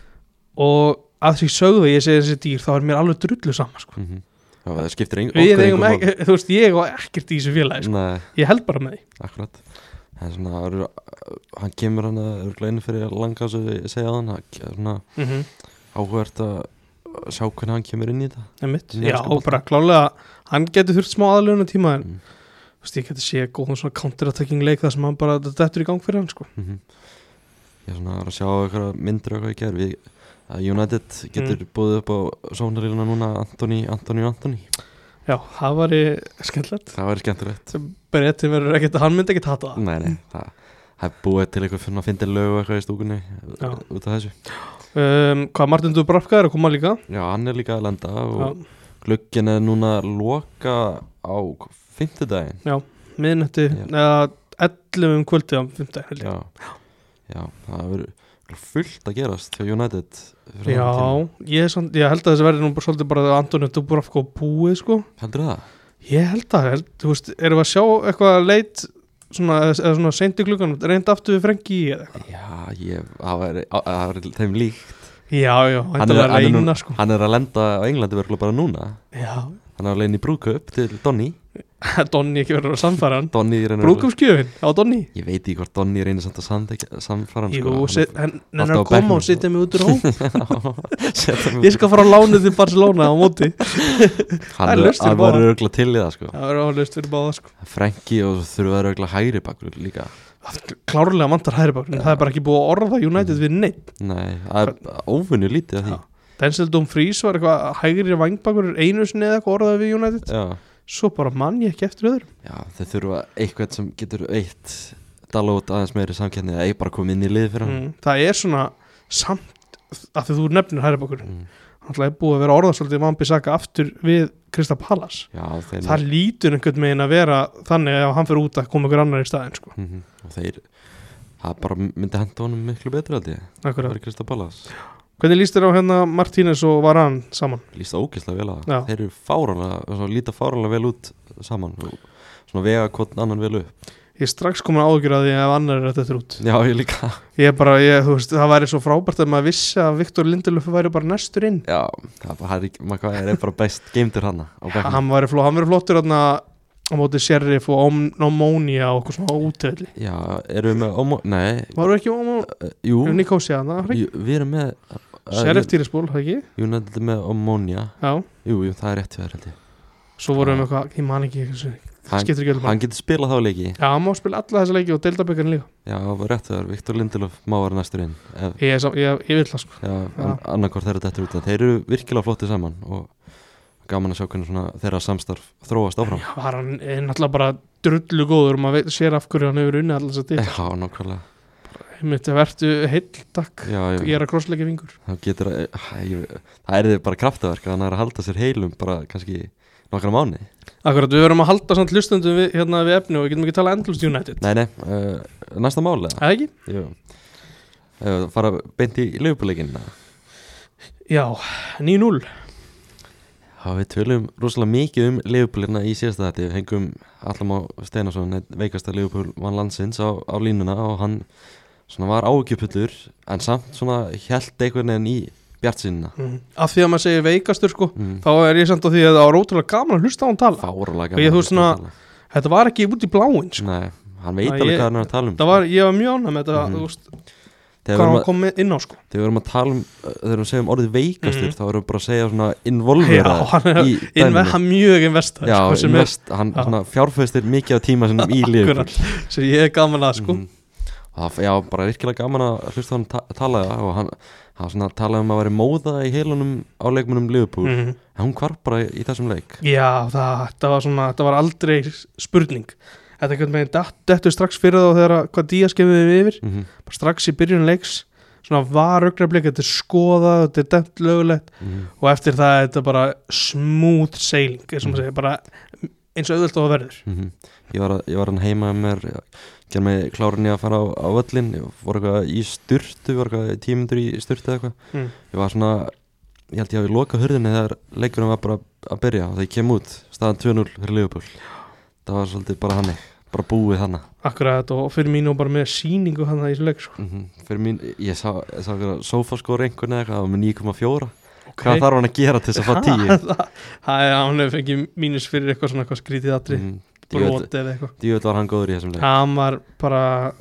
[SPEAKER 2] og að því sögðu að ég segi þessi dýr þá er mér alveg drullu saman sko.
[SPEAKER 1] mhm Já, það skiptir ein,
[SPEAKER 2] Við
[SPEAKER 1] okkur
[SPEAKER 2] eigum
[SPEAKER 1] engu
[SPEAKER 2] ekki, þú veist, ég og ekkert í þessu félagi sko.
[SPEAKER 1] Nei,
[SPEAKER 2] Ég held bara með því
[SPEAKER 1] akkurat Það er svona, það eru- hann kemur hann að örgleinu fyrir langa sem ég segja að hann það er svona
[SPEAKER 2] mm -hmm.
[SPEAKER 1] áhugert að sjá hvernig hann kemur inn í þetta Ég
[SPEAKER 2] Já,
[SPEAKER 1] elska bolta.
[SPEAKER 2] bara klálega hann getur þurft smá aðlöfuna tíma en
[SPEAKER 1] Mm.
[SPEAKER 2] þú veist, ég getur sé góðum svona counter-attacking leik þar sem hann bara þetta dettur í gang fyrir hann sko.
[SPEAKER 1] Mhm. Ég er svona var að sjá eitthvað myndir og eitthvað í gerð Við að United getur mm. búið upp á sónaríluna núna Antoni, Antoni, Antoni
[SPEAKER 2] Já, það var í skemmtilegt
[SPEAKER 1] Það væri skemmtilegt
[SPEAKER 2] Bretin verður ekkert, hann myndi ekkert hata það
[SPEAKER 1] Nei, nei, það það er búið til eitthvað fyrir að finna lög og eitthvað í stúkunni
[SPEAKER 2] Já.
[SPEAKER 1] út af þessu Mm.
[SPEAKER 2] um, Hvað Martin Dubrafka er að koma líka
[SPEAKER 1] Já, hann er líka að lenda og
[SPEAKER 2] Já,
[SPEAKER 1] glugginn er núna að loka á fimmtudaginn
[SPEAKER 2] miðnætti
[SPEAKER 1] Já.
[SPEAKER 2] eða 11 um kvöldið á 15 held ég.
[SPEAKER 1] Já, Já það verður fullt að gerast hjá United fyrir
[SPEAKER 2] Já,
[SPEAKER 1] þennan tíma.
[SPEAKER 2] ég, er samt, ég held að þessi verði nú bara svolítið bara Antoni Dubravko búið sko
[SPEAKER 1] Heldurðu það?
[SPEAKER 2] Ég held að, held, þú veist, erum við að sjá eitthvað leit svona, eða eða svona seint í klukkan reynd aftur við frengi í eða eitthvað
[SPEAKER 1] Já, ég, það væri- það væri þeim lík
[SPEAKER 2] Já, já,
[SPEAKER 1] Hann
[SPEAKER 2] hann
[SPEAKER 1] er
[SPEAKER 2] er að reyna
[SPEAKER 1] nú-
[SPEAKER 2] sko
[SPEAKER 1] Hann er að lenda á Englandi verður bara núna
[SPEAKER 2] *laughs* Já,
[SPEAKER 1] Hann er að leiðin í brúköp til Donny
[SPEAKER 2] Donni ekki verður að samfæra hann
[SPEAKER 1] Donny reynir
[SPEAKER 2] Brúkumskjöfin á Donni
[SPEAKER 1] Ég veit ekki hvort Donny reynir samt að samþekja- samfara hann
[SPEAKER 2] Jú,
[SPEAKER 1] sko. *laughs*
[SPEAKER 2] set- hann hann er
[SPEAKER 1] alltaf
[SPEAKER 2] að
[SPEAKER 1] á
[SPEAKER 2] koma
[SPEAKER 1] bekknum, sko.
[SPEAKER 2] og setja mig út úr
[SPEAKER 1] *laughs*
[SPEAKER 2] hó *laughs*
[SPEAKER 1] Settum
[SPEAKER 2] Ég skal fara að lána til Barcelona á móti
[SPEAKER 1] *laughs* Hann
[SPEAKER 2] Það er
[SPEAKER 1] er
[SPEAKER 2] laust fyrir
[SPEAKER 1] hann
[SPEAKER 2] báða.
[SPEAKER 1] var örgla til í það sko
[SPEAKER 2] Það verður áhlaust fyrir báða sko
[SPEAKER 1] Frenki og svo þurfa að örgla hægri bakur líka
[SPEAKER 2] klárlega vantar hægri bakgrunn það er bara ekki búið að orða United við neitt
[SPEAKER 1] Nei, það er ófunni lítið af því
[SPEAKER 2] Denzel Dumfries var eitthvað hægri vangbakgrunn einu sinni eða eitthvað orðað við United
[SPEAKER 1] Já,
[SPEAKER 2] svo bara mann ég ekki eftir öðrum
[SPEAKER 1] Já þeir þurfa eitthvað sem getur eitt Dalót aðeins meiri samkenni eða ég bara komið inn í lið fyrir hann
[SPEAKER 2] mm, það er svona samt af því þú nefnir hægri bakgrunn
[SPEAKER 1] mm.
[SPEAKER 2] það er búið að vera orðað svolítið Van Bissaka aftur við Krista Pallas
[SPEAKER 1] Já, þeir
[SPEAKER 2] það lítur einhvern megin að vera þannig að ef hann fyrir út að koma ykkur annar í staðin sko.
[SPEAKER 1] mm Og þeir Það bara myndi henda honum miklu betur held ég Það
[SPEAKER 2] Akkurat.
[SPEAKER 1] er Krista Ballas
[SPEAKER 2] hvernig líst þér á hérna Martínez og Varan saman
[SPEAKER 1] Lýst það ógeðslega vel á
[SPEAKER 2] Já.
[SPEAKER 1] það Þeir eru fáranlega, svona, líta fáranlega vel út saman og Svona vega hvort annan vel upp
[SPEAKER 2] ég er strax komin ágjur að því ef annar er þetta út
[SPEAKER 1] Já, ég líka
[SPEAKER 2] Ég er bara, ég, þú veist, það væri svo frábært að maður vissi að Viktor Lindelöf væri bara næstur inn
[SPEAKER 1] Já, það er bara, það er ekki- maður hvað er bara best geimtur hana á bekknum
[SPEAKER 2] Hann væri, fló, hann væri flottur þarna á móti Sheriff og Om- Omonia og okkur svona útöðli
[SPEAKER 1] Já, erum við með ómó... Nei,
[SPEAKER 2] Varu ekki Omonia,
[SPEAKER 1] uh, jú,
[SPEAKER 2] um Nikósi hana
[SPEAKER 1] jú, við erum með
[SPEAKER 2] Sheriff Týrisból, það ekki?
[SPEAKER 1] United er með Omonia
[SPEAKER 2] Já,
[SPEAKER 1] Jú, jú, það er rétt hjá þér held ég
[SPEAKER 2] svo voru við með eitthvað, ég man ekki þessu,
[SPEAKER 1] Hann-
[SPEAKER 2] skiptir ekki öllum
[SPEAKER 1] Hann getur spilað þá leiki
[SPEAKER 2] Já, hann má spila alla þessa leiki og deildabökkarni líka
[SPEAKER 1] Já, það var rétt hjá þér, Viktor Lindelöf má vera næstur inn Ef,
[SPEAKER 2] Ég, ég, ég, ég vil það sko
[SPEAKER 1] Já, an, annarkvort þeirra þetta út en Þeir eru virkilega flotti saman og gaman að sjá hvernig svona þeirra samstarf þróast áfram
[SPEAKER 2] Var hann er náttúrulega bara drullu góður og maður veit, sér af hverju hann hefur unnið alltaf þess að
[SPEAKER 1] Já,
[SPEAKER 2] ditt
[SPEAKER 1] nákvæmlega
[SPEAKER 2] Einmitt, vertu heill, takk
[SPEAKER 1] Eh. Já,
[SPEAKER 2] Ég er að krossleika vingur
[SPEAKER 1] þá getur að, æ, ég, það er þið bara kraftaverk þannig að það er að halda sér heilum bara kannski nokkra mánu
[SPEAKER 2] Akkurat, við verðum að halda samt hlustundum við, hérna við efni og við getum ekki að tala endlust United
[SPEAKER 1] Nei, nei, uh, næsta máli
[SPEAKER 2] Eða ekki?
[SPEAKER 1] Jú uh, fara beint í lögubuleikin
[SPEAKER 2] Já, 9-0
[SPEAKER 1] Já, við tölum rosalega mikið um lögubuleina í síðasta þetta við hengum allam á Steinarsson einn veikasta lögubul vann landsins á, á línuna og hann svona var ágjöpullur en samt svona held einhvern veginn í bjart sinna
[SPEAKER 2] mm. Af því að maður segir veikastur sko
[SPEAKER 1] mm.
[SPEAKER 2] Þá er ég samt á því að það var ótrúlega gaman að hlusta á hann tala
[SPEAKER 1] Fáralega
[SPEAKER 2] Og ég þú svona- Þetta var ekki út í bláin sko.
[SPEAKER 1] Nei, hann veit
[SPEAKER 2] Nei,
[SPEAKER 1] alveg
[SPEAKER 2] ég-
[SPEAKER 1] hvað hann er að tala um
[SPEAKER 2] Það var, ég var mjög ánægð með þetta
[SPEAKER 1] Mhm.
[SPEAKER 2] þú veist,
[SPEAKER 1] Þegar
[SPEAKER 2] Hvað
[SPEAKER 1] við erum
[SPEAKER 2] hann
[SPEAKER 1] að-
[SPEAKER 2] kom með inn á sko
[SPEAKER 1] þegar við erum að tala um uh, þegar við segjum orðið veikastur
[SPEAKER 2] Mhm.
[SPEAKER 1] þá erum við bara að segja svona
[SPEAKER 2] Já,
[SPEAKER 1] involvera
[SPEAKER 2] hann er
[SPEAKER 1] í
[SPEAKER 2] Inve, hann mjög investa
[SPEAKER 1] já,
[SPEAKER 2] sko, sem,
[SPEAKER 1] invest, hann
[SPEAKER 2] já.
[SPEAKER 1] svona, fjárfæstir mikið af tíma sem í
[SPEAKER 2] er,
[SPEAKER 1] liður Mhm,
[SPEAKER 2] akkurat, sem ég er gaman að sko
[SPEAKER 1] það, já, bara virkilega gaman að hlusta á hann ta tala og hann, hann svona, talaði um að vera móða í heilunum á leikmunum Liverpool mm.
[SPEAKER 2] Mhm.
[SPEAKER 1] hún hvarf bara í þessum leik
[SPEAKER 2] Já, það, það var svona, þetta var aldrei spurning Þetta er einhvern veginn datt- dettur strax fyrir þá þegar að- hvað Díaz kemur við yfir
[SPEAKER 1] mm -hmm.
[SPEAKER 2] bara strax í byrjun leiks svona var augnablik, þetta er skoðað þetta er dæmt lögulegt
[SPEAKER 1] Mhm.
[SPEAKER 2] og eftir það er þetta bara smooth sailing eins og maður segir, bara eins og auðvöld og það verður
[SPEAKER 1] Mm ég, var, að- ég var hann heima með mér gerði mig klárin í að fara á, á völlin ég voru eitthvað í styrtu var eitthvað tímundur í styrtu eða eitthvað
[SPEAKER 2] Mm.
[SPEAKER 1] ég var svona, ég held ég hafi lokað hurðinni þegar leikurinn var bara að byrja og það ég kem út, staðan 2-0 fyrir Liverpool það var svolítið bara hannig bara búið þannig
[SPEAKER 2] akkurat og fyrir mínu og bara með síningu hann það í þessu leik sko.
[SPEAKER 1] mm fyrir mín, ég sá, ég sá sofaskóra einhvern sko eða eitthvað, það var með 9,4
[SPEAKER 2] Ok.
[SPEAKER 1] hvað þarf hann að gera til þess að fá 10
[SPEAKER 2] það það er að hann hefur fengið mínus fyrir eitthvað svona eitthvað skrítið atri mm.
[SPEAKER 1] mm, djúvöld,
[SPEAKER 2] brot eða eitthvað
[SPEAKER 1] djúvöld var hann góður í þessum leik
[SPEAKER 2] hann var bara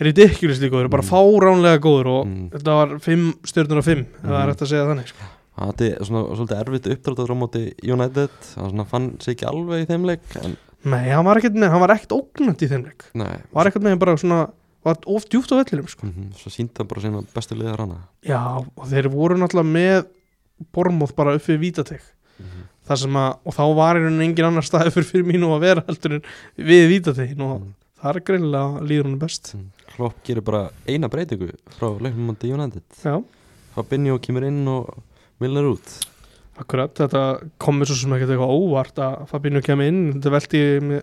[SPEAKER 2] ridiculously góður, bara
[SPEAKER 1] Mm.
[SPEAKER 2] fáránlega góður og
[SPEAKER 1] Mm.
[SPEAKER 2] þetta var 5 stjórnur og 5 ef það
[SPEAKER 1] Mhm.
[SPEAKER 2] er eftir að segja þannig sko.
[SPEAKER 1] Það átti svona svolítið erfitt uppdráttur á móti United hann svona fann sig ekki alveg í þeim leik en
[SPEAKER 2] nei, hann var ekkert, með- hann var ekkert ógnandi í þeim leik
[SPEAKER 1] nei,
[SPEAKER 2] var ekkert með bara svona var of djúft á vellinum sko.
[SPEAKER 1] mm svo síndi hann bara sína bestu liðar hana
[SPEAKER 2] já, og þeir voru náttúrulega með bormóð bara upp við vítateg þar sem að, og þá var einhvern engin annar staði fyrir fyrir mínu að vera heldur en við vítategin og
[SPEAKER 1] Mhm.
[SPEAKER 2] það er greinilega líður hún best
[SPEAKER 1] Klopp gerir bara eina breytingu frá leiknum móti United
[SPEAKER 2] já,
[SPEAKER 1] Fabinho kemur inn og Milner út
[SPEAKER 2] akkurat, þetta komið svo sem ekkert eitthvað óvart að Fabinho kemur inn þetta velti ég mér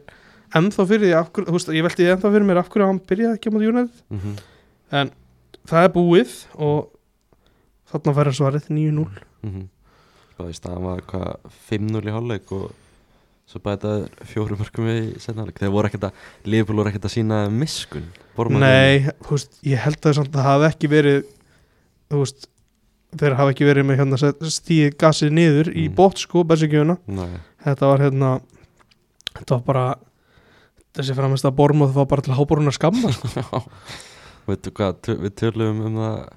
[SPEAKER 2] ennþá fyrir því, af hverju- þú veist, ég velti ennþá fyrir mér af hverju hann byrjaði ekki á móti United
[SPEAKER 1] mm -hmm.
[SPEAKER 2] það er búið og þarna færa svarið 9-0
[SPEAKER 1] mm -hmm. það í staðan var hvað 5-0 í hálfleik og svo bæta fjórum mörgum við í senarleik þeir voru ekkert að Liverpool voru ekkert að sína miskun Bormann-
[SPEAKER 2] Nei, þú veist, ég held að samt að það hafi ekki verið þú veist, þeir hafi ekki verið með hérna set- stíið gasið niður í
[SPEAKER 1] Mm.
[SPEAKER 2] bótt sko, bersikjöfuna
[SPEAKER 1] nei
[SPEAKER 2] þetta var hérna, þetta var bara þessi framist að borma það var bara til háboruna skamma sko.
[SPEAKER 1] Já, veitu hvað, tö- við tölum um það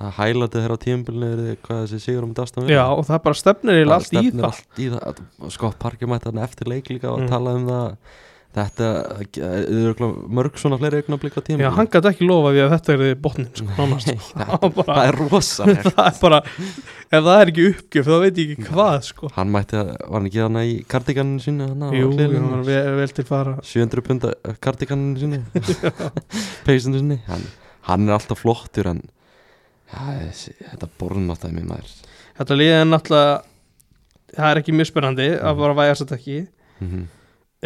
[SPEAKER 1] að hælatið þeirra á tímbilinu er hvað þessi sigur um dastan
[SPEAKER 2] Já, og það bara stefnir eiginlega allt í það
[SPEAKER 1] allt í það að- Scott Parker mætti hann eftir leik líka og
[SPEAKER 2] Mm.
[SPEAKER 1] talaði um það þetta, þau eru mörg svona fleiri augnablík á
[SPEAKER 2] Já,
[SPEAKER 1] tímbilinu
[SPEAKER 2] hann gæti ekki lofa því að þetta er botnin sko, nánast
[SPEAKER 1] *laughs* Nei, það,
[SPEAKER 2] Það var bara-
[SPEAKER 1] það er rosalegt
[SPEAKER 2] *laughs* það er bara, ef það er ekki uppgjöf þá veit ég ekki hvað sko
[SPEAKER 1] hann mætti, að, var hann ekki þarna í kardiganinu sínu hann
[SPEAKER 2] Jú, hann var vel, vel til fara
[SPEAKER 1] 700 punda kardiganinu
[SPEAKER 2] *laughs*
[SPEAKER 1] sínu peysinu sínu hann, hann er alltaf flottur en ja, þessi, þetta borðmáttæmi maður
[SPEAKER 2] Þetta liðið er náttúrulega það er ekki mjög spennandi að bara vægast þetta ekki
[SPEAKER 1] mm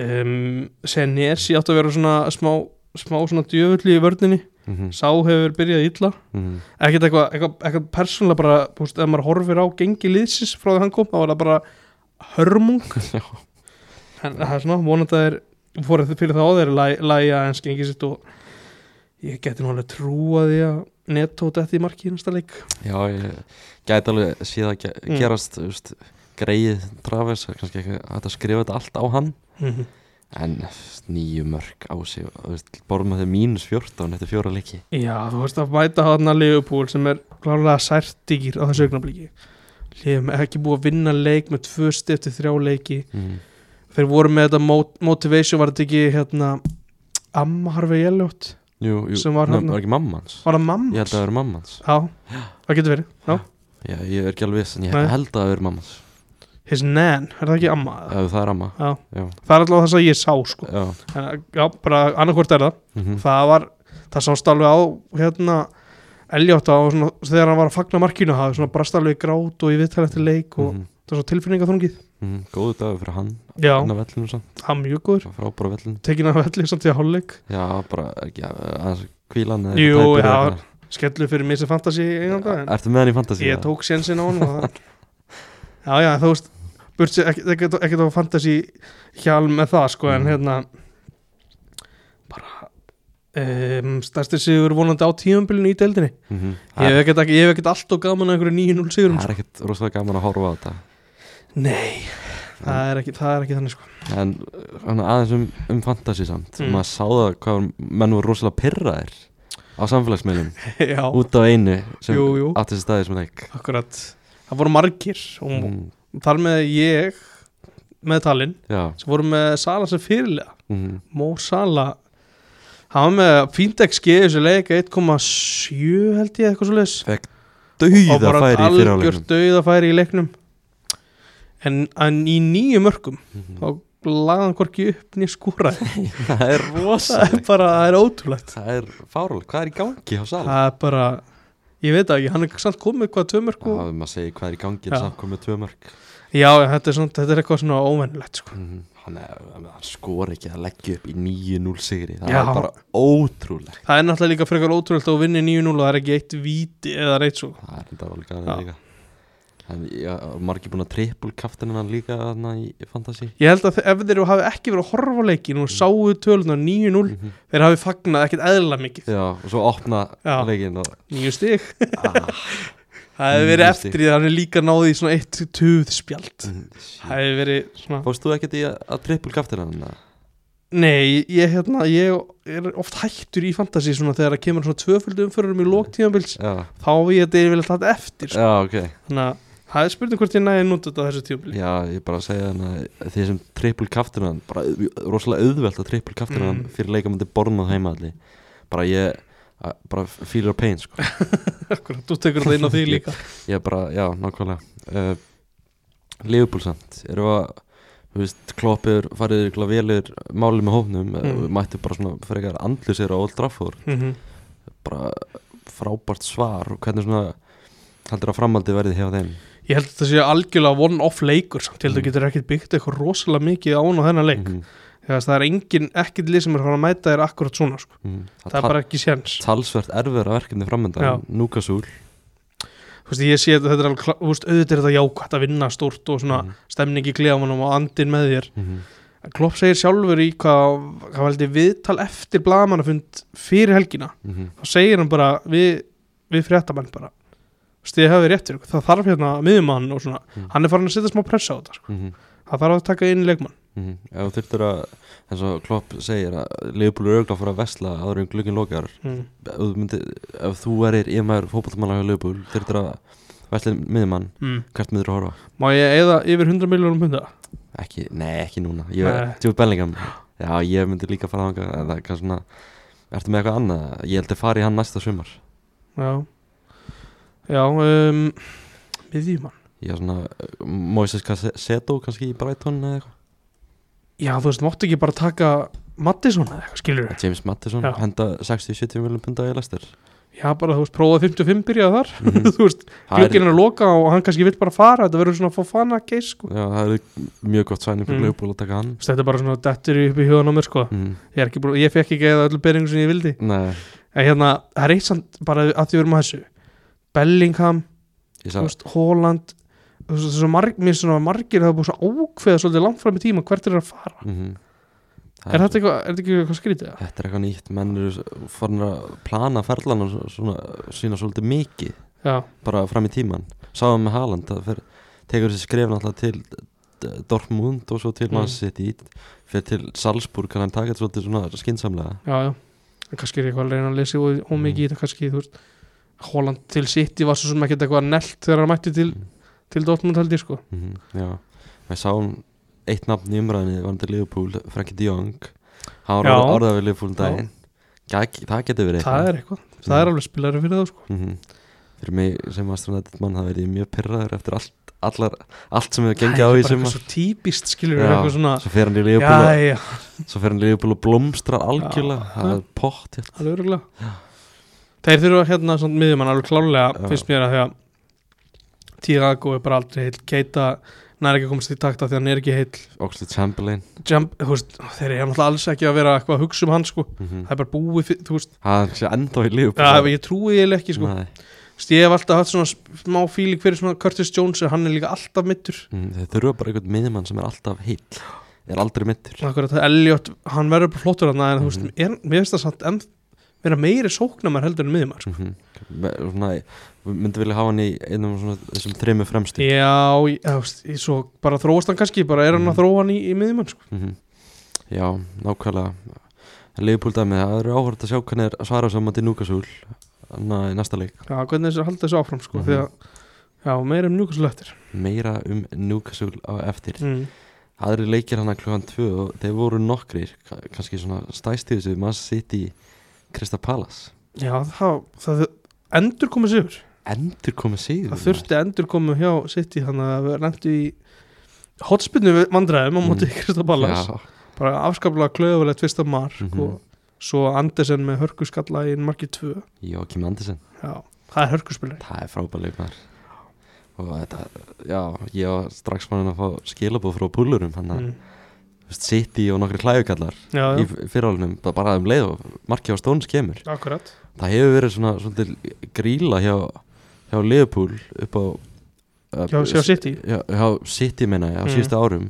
[SPEAKER 2] um, Senesi átt að vera svona smá, smá svona djöfulli í vörninni
[SPEAKER 1] Mhm,
[SPEAKER 2] Sá hefur byrjað illa
[SPEAKER 1] mhm,
[SPEAKER 2] ekkert eitthvað eitthva, eitthva persónulega bara búst, ef maður horfir á gengi liðsins frá því hann kom þá var það bara hörmung
[SPEAKER 1] Já.
[SPEAKER 2] en það er svona vonandi að þeir fórið fyrir það á þeir læ- lægja eins gengi sitt og ég geti nú alveg trúa því að netto detti í marki í næsta leik
[SPEAKER 1] Já, ég gæti alveg síða að ge-
[SPEAKER 2] Mm.
[SPEAKER 1] gerast mm. veist, greið Travis, það er kannski ekki hægt að skrifa þetta allt á hann en nýju mörg á sig og, veist, borum að þau mínus 14 eftir fjóra leiki
[SPEAKER 2] Já, þú veist að mæta hann að Leopold sem er klárlega særtigir á þessu augnablíki Leifum ekki búið að vinna leik með tvö stifti þrjá leiki
[SPEAKER 1] mm.
[SPEAKER 2] Þeir voru með þetta mot- motivation var þetta ekki hérna Amma Harvey Elliot
[SPEAKER 1] Jú, jú,
[SPEAKER 2] Sem var
[SPEAKER 1] nefn,
[SPEAKER 2] þarna.
[SPEAKER 1] var ekki mammans
[SPEAKER 2] Var það mamma?
[SPEAKER 1] Ég held að það eru mammans
[SPEAKER 2] Já, það getur verið Já.
[SPEAKER 1] Já, ég er ekki alveg viss en ég
[SPEAKER 2] Nei.
[SPEAKER 1] held að það eru mammans
[SPEAKER 2] His nan, er það ekki amma?
[SPEAKER 1] Já, það er amma
[SPEAKER 2] Já.
[SPEAKER 1] Já,
[SPEAKER 2] Það er alltaf það sem ég sá sko
[SPEAKER 1] já.
[SPEAKER 2] en, Já, bara annarkvort er það
[SPEAKER 1] mhm,
[SPEAKER 2] Það var, það sást alveg á hérna Elliot á svona, þegar hann var að fagna markinu það svona brast alveg í grát og í viðtæl eftir leik og
[SPEAKER 1] mhm,
[SPEAKER 2] það var svo tilfinninga
[SPEAKER 1] mhm. Góðu dagur fyrir hann
[SPEAKER 2] Já,
[SPEAKER 1] hann að vellinu samt,
[SPEAKER 2] hann mjög góður
[SPEAKER 1] frábæra vellinu
[SPEAKER 2] tekin af velli samt í að hálfleik
[SPEAKER 1] Já, bara, ekki, aðeins kvílan eða
[SPEAKER 2] Jú,
[SPEAKER 1] tæpur eða
[SPEAKER 2] já,
[SPEAKER 1] eitthvað.
[SPEAKER 2] skellu fyrir mér sem fantasi eiganda en
[SPEAKER 1] Ertu með hann í fantasy?
[SPEAKER 2] ég
[SPEAKER 1] eða?
[SPEAKER 2] tók sénsinn á hann og það já já þú veist burt sér ekkert- ekkert ekkert á fantasi hjálm með það sko en
[SPEAKER 1] Mhm.
[SPEAKER 2] hérna bara um, stærsti sigur vonandi á tíumbilinu í deildinni
[SPEAKER 1] Mhm.
[SPEAKER 2] ég hef ekkert, ég hef ekkert allt og gaman að einhverju 9-0 sigurum
[SPEAKER 1] Það
[SPEAKER 2] sko.
[SPEAKER 1] er ekkert rosalega gaman að horfa á þetta
[SPEAKER 2] nei það er ekki, það er ekki
[SPEAKER 1] *laughs*
[SPEAKER 2] þannig sko
[SPEAKER 1] En hann, aðeins um, um fantasy samt
[SPEAKER 2] Mm.
[SPEAKER 1] Maður sá það hvað menn voru rosalega pirraðir Á samfélagsmiðlum
[SPEAKER 2] já
[SPEAKER 1] Út af einu sem
[SPEAKER 2] Jú, jú.
[SPEAKER 1] átti þessi staði sem leik
[SPEAKER 2] akkurat það voru margir og
[SPEAKER 1] mm,
[SPEAKER 2] þar með ég með talinn
[SPEAKER 1] Já Mhm.
[SPEAKER 2] sem voru með Sala sem fyrirlega
[SPEAKER 1] mm,
[SPEAKER 2] Mó Sala hann var með fínt XG í þessu leik 1,7 held ég eitthvað svo leis
[SPEAKER 1] fekk dauða
[SPEAKER 2] bara
[SPEAKER 1] færi í
[SPEAKER 2] algjör
[SPEAKER 1] fyrirháleiknum
[SPEAKER 2] dauðafæri í leiknum en, en í nýju mörgum
[SPEAKER 1] Mhm.
[SPEAKER 2] þá lagði hann hvorki upp nýja skúraði
[SPEAKER 1] það er
[SPEAKER 2] það er *laughs*
[SPEAKER 1] rosalegt
[SPEAKER 2] bara, það er ótrúlegt
[SPEAKER 1] það er fárulegt, hvað er í gangi á sala?
[SPEAKER 2] það er bara, ég veit það ekki hann er samt komið hvað tvö mörg og
[SPEAKER 1] það er maður að segja hvað er í gangi
[SPEAKER 2] Já.
[SPEAKER 1] en samt komið tvö mörg
[SPEAKER 2] já, já, þetta er, svona, þetta er eitthvað svona óvennilegt sko.
[SPEAKER 1] Mhm. hann, er, hann skor ekki að leggja upp í 9-0 sigri það
[SPEAKER 2] Já.
[SPEAKER 1] er bara ótrúlegt
[SPEAKER 2] það er náttúrulega líka frekar ótrúlegt að þú vinni 9-0 og það er ekki eitt víti eða sko. reitt svo
[SPEAKER 1] það er þetta alveg
[SPEAKER 2] Já.
[SPEAKER 1] gæðið líka hann, já, margir búin að trippul kaftinina líka þarna í Fantasí
[SPEAKER 2] ég held að þe- ef þeir hafi ekki verið að horfa á leikin og sáu tölunar 9-0
[SPEAKER 1] Mhm.
[SPEAKER 2] þeir hafi fagnað ekkert eðla mikið
[SPEAKER 1] já, og svo opna
[SPEAKER 2] Já.
[SPEAKER 1] leikinn
[SPEAKER 2] *laughs*
[SPEAKER 1] og
[SPEAKER 2] nýju stig
[SPEAKER 1] ah,
[SPEAKER 2] það hefði verið
[SPEAKER 1] Níu stig. Mhm.
[SPEAKER 2] eftir því að hann er líka náði í svona eitt tuð spjald það
[SPEAKER 1] shit.
[SPEAKER 2] hefði verið svona
[SPEAKER 1] fórst þú ekkert í að, að trippul kaftinina
[SPEAKER 2] nei, ég, hérna, ég er oft hættur í fantasy svona þegar það kemur svona tvöföldu umförurum í lóktíðanbils
[SPEAKER 1] já,
[SPEAKER 2] þá hef ég þetta yfirlega tætt eftir sko.
[SPEAKER 1] já, ok
[SPEAKER 2] þannig að það er spurning hvort ég næði að nota þetta á þessu tíðanbili
[SPEAKER 1] já, ég bara að segja hann að því sem trippul kaftinan bara au- rosalega auðvelt að trippul kaftinan
[SPEAKER 2] Mm.
[SPEAKER 1] fyrir leikamöndi bornað heimalli bara ég að- bara feel your pain sko
[SPEAKER 2] *laughs* Akkurat, þú tekur þetta inn á því
[SPEAKER 1] *laughs*
[SPEAKER 2] líka
[SPEAKER 1] Ég bara, já, nákvæmlega uh, Liverpool samt Erum við að, þú veist, kloppur farið ykkur velir málið með hófnum mm.
[SPEAKER 2] Mm.
[SPEAKER 1] mættu bara svona frekar andlu sér á Old Trafford
[SPEAKER 2] Mhm.
[SPEAKER 1] bara frábært svar og hvernig svona heldur að framhaldi verði hjá þeim
[SPEAKER 2] ég held að þetta sé algjörlega one-off leikur samt, ég held að þú
[SPEAKER 1] Mm.
[SPEAKER 2] getur ekkert byggt eitthvað rosalega mikið án á þennan leik
[SPEAKER 1] Mhm,
[SPEAKER 2] þegar það er engin, ekkert lið sem er að fara að mæta þér akkurat svona, sko.
[SPEAKER 1] mhm.
[SPEAKER 2] það,
[SPEAKER 1] Það
[SPEAKER 2] er
[SPEAKER 1] bara
[SPEAKER 2] bara ekki séns
[SPEAKER 1] talsvert erfiðra verkefni
[SPEAKER 2] Já.
[SPEAKER 1] framöndan Núkasúl
[SPEAKER 2] þú veist, ég sé að þetta er alveg, kla- þú veist, auðvitað er þetta jákvætt að vinna stórt
[SPEAKER 1] Mm.
[SPEAKER 2] og
[SPEAKER 1] Mhm.
[SPEAKER 2] svona stemning í klefanum og andin með þér Klopp segir sjálfur í hvað, hvað heldur viðtal eftir blagamannafund fyrir helgina,
[SPEAKER 1] mhm,
[SPEAKER 2] þá segir hann bara við, við fréttamenn bara þú veist, ég hafi rétt fyrir ykkur, það þarf hérna miðumann og svona,
[SPEAKER 1] Mm.
[SPEAKER 2] hann er farin að setja smá pressa á þetta, sko. það þarf að taka inn leikmann
[SPEAKER 1] mhm, Ef þú þurftur að, eins og Klopp segir að Liverpool er auðvitað að fara að vesla áður en glukkin lokar
[SPEAKER 2] mm.
[SPEAKER 1] ef, þú myndi, ef þú erir ég maður fótballmann á Liverpool þurftur að verðslega miðjumann
[SPEAKER 2] Mm.
[SPEAKER 1] hvert miður að horfa á?
[SPEAKER 2] Má ég eða yfir 100 miljónum punda?
[SPEAKER 1] ekki, nei ekki núna ég er
[SPEAKER 2] Nei.
[SPEAKER 1] tjóð Bellingham já ég myndi líka fara þangað en það er kannski svona ertu með eitthvað annað ég held að fara í hann næsta sumar
[SPEAKER 2] Já Já, um miðjumann
[SPEAKER 1] ég er svona uh, Moises Caseto kannski í Brighton eða eitthvað
[SPEAKER 2] Já, þú veist, máttu ekki bara taka Mattisson eða eitthvað, skilur við
[SPEAKER 1] James Mattison
[SPEAKER 2] Já.
[SPEAKER 1] henda 60-70 miljón punda í
[SPEAKER 2] *laughs*
[SPEAKER 1] Leicester
[SPEAKER 2] Já, bara, þú veist, prófaði 55 byrjaði þar *laughs*
[SPEAKER 1] Mhm.
[SPEAKER 2] Þú veist,
[SPEAKER 1] Það er-
[SPEAKER 2] glugginn er að loka og hann kannski vill bara fara Þetta verður svona fofana case, sko
[SPEAKER 1] já, það er mjög gott sæning fyrir
[SPEAKER 2] Mm.
[SPEAKER 1] mm. Liverpool að taka hann
[SPEAKER 2] Þú veist, Þetta er bara svona dettur upp í hugan á mér, sko
[SPEAKER 1] mm.
[SPEAKER 2] Ég, er ekki, búin- ég fekk ekki eða öllu byrjingu sem ég vildi
[SPEAKER 1] nei
[SPEAKER 2] En hérna, það er eitt samt bara að því við erum að þessu Bellingham,
[SPEAKER 1] ég
[SPEAKER 2] þú
[SPEAKER 1] sagði
[SPEAKER 2] veist, Holland Þú veist, þessu marg, mér svona margir hafa búið svona ókveða svolítið langt fram í tíma hvert er að fara
[SPEAKER 1] mm.
[SPEAKER 2] Er þetta eitthvað, er þetta ekki eitthvað skrítið? eða?
[SPEAKER 1] Þetta er eitthvað nýtt, menn eru farin að plana ferlana svo- svona, sína svolítið mikið
[SPEAKER 2] Já,
[SPEAKER 1] bara fram í tíman sáum með Haaland, það fer, tekur þessi skref náttúrulega til D- Dortmund og svo til
[SPEAKER 2] Mm.
[SPEAKER 1] mann sitt í fyrir til Salzburg, kann hann taka þetta svolítið svona skinsamlega
[SPEAKER 2] já, já En Kannski er ég eitthvað að reyna að lesa og,
[SPEAKER 1] Mm.
[SPEAKER 2] og mikið í þetta kannski, þú veist Holland til City var svo sem ekkert eitthvað nelt þegar hann mætti til,
[SPEAKER 1] Mm.
[SPEAKER 2] til Dortmund held ég sko
[SPEAKER 1] mm Já, við sáum eitt nafn í umræðinni var til Liverpool, Frankie de Jong hann var
[SPEAKER 2] Já.
[SPEAKER 1] orð- orðað við Liverpool um
[SPEAKER 2] Já.
[SPEAKER 1] daginn Gæk, það getur verið
[SPEAKER 2] Það er eitthvað, það er alveg spilari fyrir það sko
[SPEAKER 1] mm fyrir mig sem astronautit mann það verið ég mjög pyrraður eftir allt, allar, allt sem hefur gengið á
[SPEAKER 2] Það
[SPEAKER 1] í
[SPEAKER 2] er bara
[SPEAKER 1] sumar
[SPEAKER 2] eitthvað svo típist skilur
[SPEAKER 1] Já,
[SPEAKER 2] eitthvað svona
[SPEAKER 1] svo fer hann í
[SPEAKER 2] Já,
[SPEAKER 1] Leopold
[SPEAKER 2] já,
[SPEAKER 1] svo fer hann í Leopold og blómstrar algjörlega
[SPEAKER 2] Já.
[SPEAKER 1] það er pott hérna.
[SPEAKER 2] alveg örgulega Þeir þurfa hérna svona miðjumann alveg
[SPEAKER 1] Já.
[SPEAKER 2] klálega finnst mér að því að Tiago er bara aldrei heill Keita nær ekki að komast í takta því að hann er ekki heill
[SPEAKER 1] Oxlade Chamberlain
[SPEAKER 2] Jump, þú veist, þeir eru náttúrulega alls ekki að vera eitthvað að hugsa um hann sko
[SPEAKER 1] mm -hmm.
[SPEAKER 2] það er bara búið, fyrir- þú veist,
[SPEAKER 1] hann sé enda í
[SPEAKER 2] ja,
[SPEAKER 1] Leopold
[SPEAKER 2] ég trúi eiginlega ekki sko.
[SPEAKER 1] Nei.
[SPEAKER 2] Þú veist, ég hef alltaf haft svona smá fíling fyrir svona Curtis Jones en hann er líka alltaf mittur
[SPEAKER 1] Mm, þeir þurfa bara einhvern miðjumann sem er alltaf heill er aldrei mittur
[SPEAKER 2] Akkurat, Elliot, hann verður bara flottur hann en þú veist,
[SPEAKER 1] Mhm.
[SPEAKER 2] er, mér finnst það samt en, vera meiri sóknamar heldur en miðumar sko.
[SPEAKER 1] mm -hmm. svona, ég myndi vilja hafa hann í einum svona, þessum þremur fremstu yeah.
[SPEAKER 2] já, ég, þú veist, ég, svo bara þróast hann kannski bara er hann að
[SPEAKER 1] Mhm.
[SPEAKER 2] þróa hann í, í miðumann sko.
[SPEAKER 1] já, nákvæmlega Leopold dæmið, það eru áhverjum að sjá hvernig er svara saman til Núkasúl í næsta leik
[SPEAKER 2] já, hvernig þessi halda þessu áfram sko,
[SPEAKER 1] Mhm.
[SPEAKER 2] því að, já, meira um njúkast löttir
[SPEAKER 1] meira um Núkasúl á eftir
[SPEAKER 2] mm.
[SPEAKER 1] aðri leikir hann að klukkan 2 og þeir voru nokkrir ka- kannski svona stæstíðu sem mann sitt í Krista Palas
[SPEAKER 2] Já, það, það endur komið sigur
[SPEAKER 1] endur komið síður
[SPEAKER 2] Það þurfti endur komið hjá City þannig að við lendu í hotspinnu vandræðum á móti mm. Kristaballas bara afskaplega klöfulegt fyrsta mark
[SPEAKER 1] Mhm.
[SPEAKER 2] og svo Andersen með hörkuskalla í marki 2
[SPEAKER 1] Jókim Andersen,
[SPEAKER 2] Já, það er hörkuspilari
[SPEAKER 1] það er frábæðleik maður og þetta, já, ég var strax mann að fá skilabóð frá púlurum hann að
[SPEAKER 2] mm.
[SPEAKER 1] sitt í og nokkri klæðukallar
[SPEAKER 2] Já,
[SPEAKER 1] í
[SPEAKER 2] já,
[SPEAKER 1] fyrirálunum, bara um leið og marki á stóns kemur
[SPEAKER 2] akkurat
[SPEAKER 1] það hefur verið svona, svona gríla hjá, hjá Leopold upp á uh,
[SPEAKER 2] Já, sjá City
[SPEAKER 1] já, hjá City meina ég á
[SPEAKER 2] Mm.
[SPEAKER 1] síðustu árum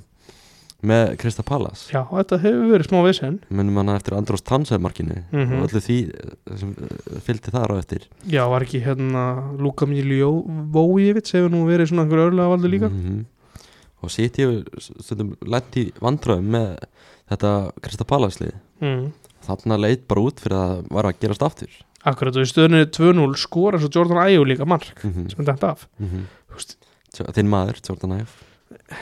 [SPEAKER 1] með Krista Pallas
[SPEAKER 2] Já, þetta hefur verið smá vissinn
[SPEAKER 1] munum hana eftir Andrós Tansæðmarkinu
[SPEAKER 2] Mhm.
[SPEAKER 1] og öllu því eh, sem eh, fylgdi þar á eftir
[SPEAKER 2] Já, var ekki hérna Luka Miljó Vójevits hefur nú verið svona einhver örlega valdi líka
[SPEAKER 1] -hmm. og City hefur stundum lent í vandröðum með þetta Krista Pallas-lið Mhm.
[SPEAKER 2] mm.
[SPEAKER 1] þarna leit bara út fyrir að það var að gerast aftur
[SPEAKER 2] Akkurat og í stöðunni 2-0 skora svo Jordan Ayew líka mark
[SPEAKER 1] mm -hmm.
[SPEAKER 2] sem er þetta af
[SPEAKER 1] Mm -hmm.
[SPEAKER 2] Þú veist,
[SPEAKER 1] þinn maður, Jordan Æf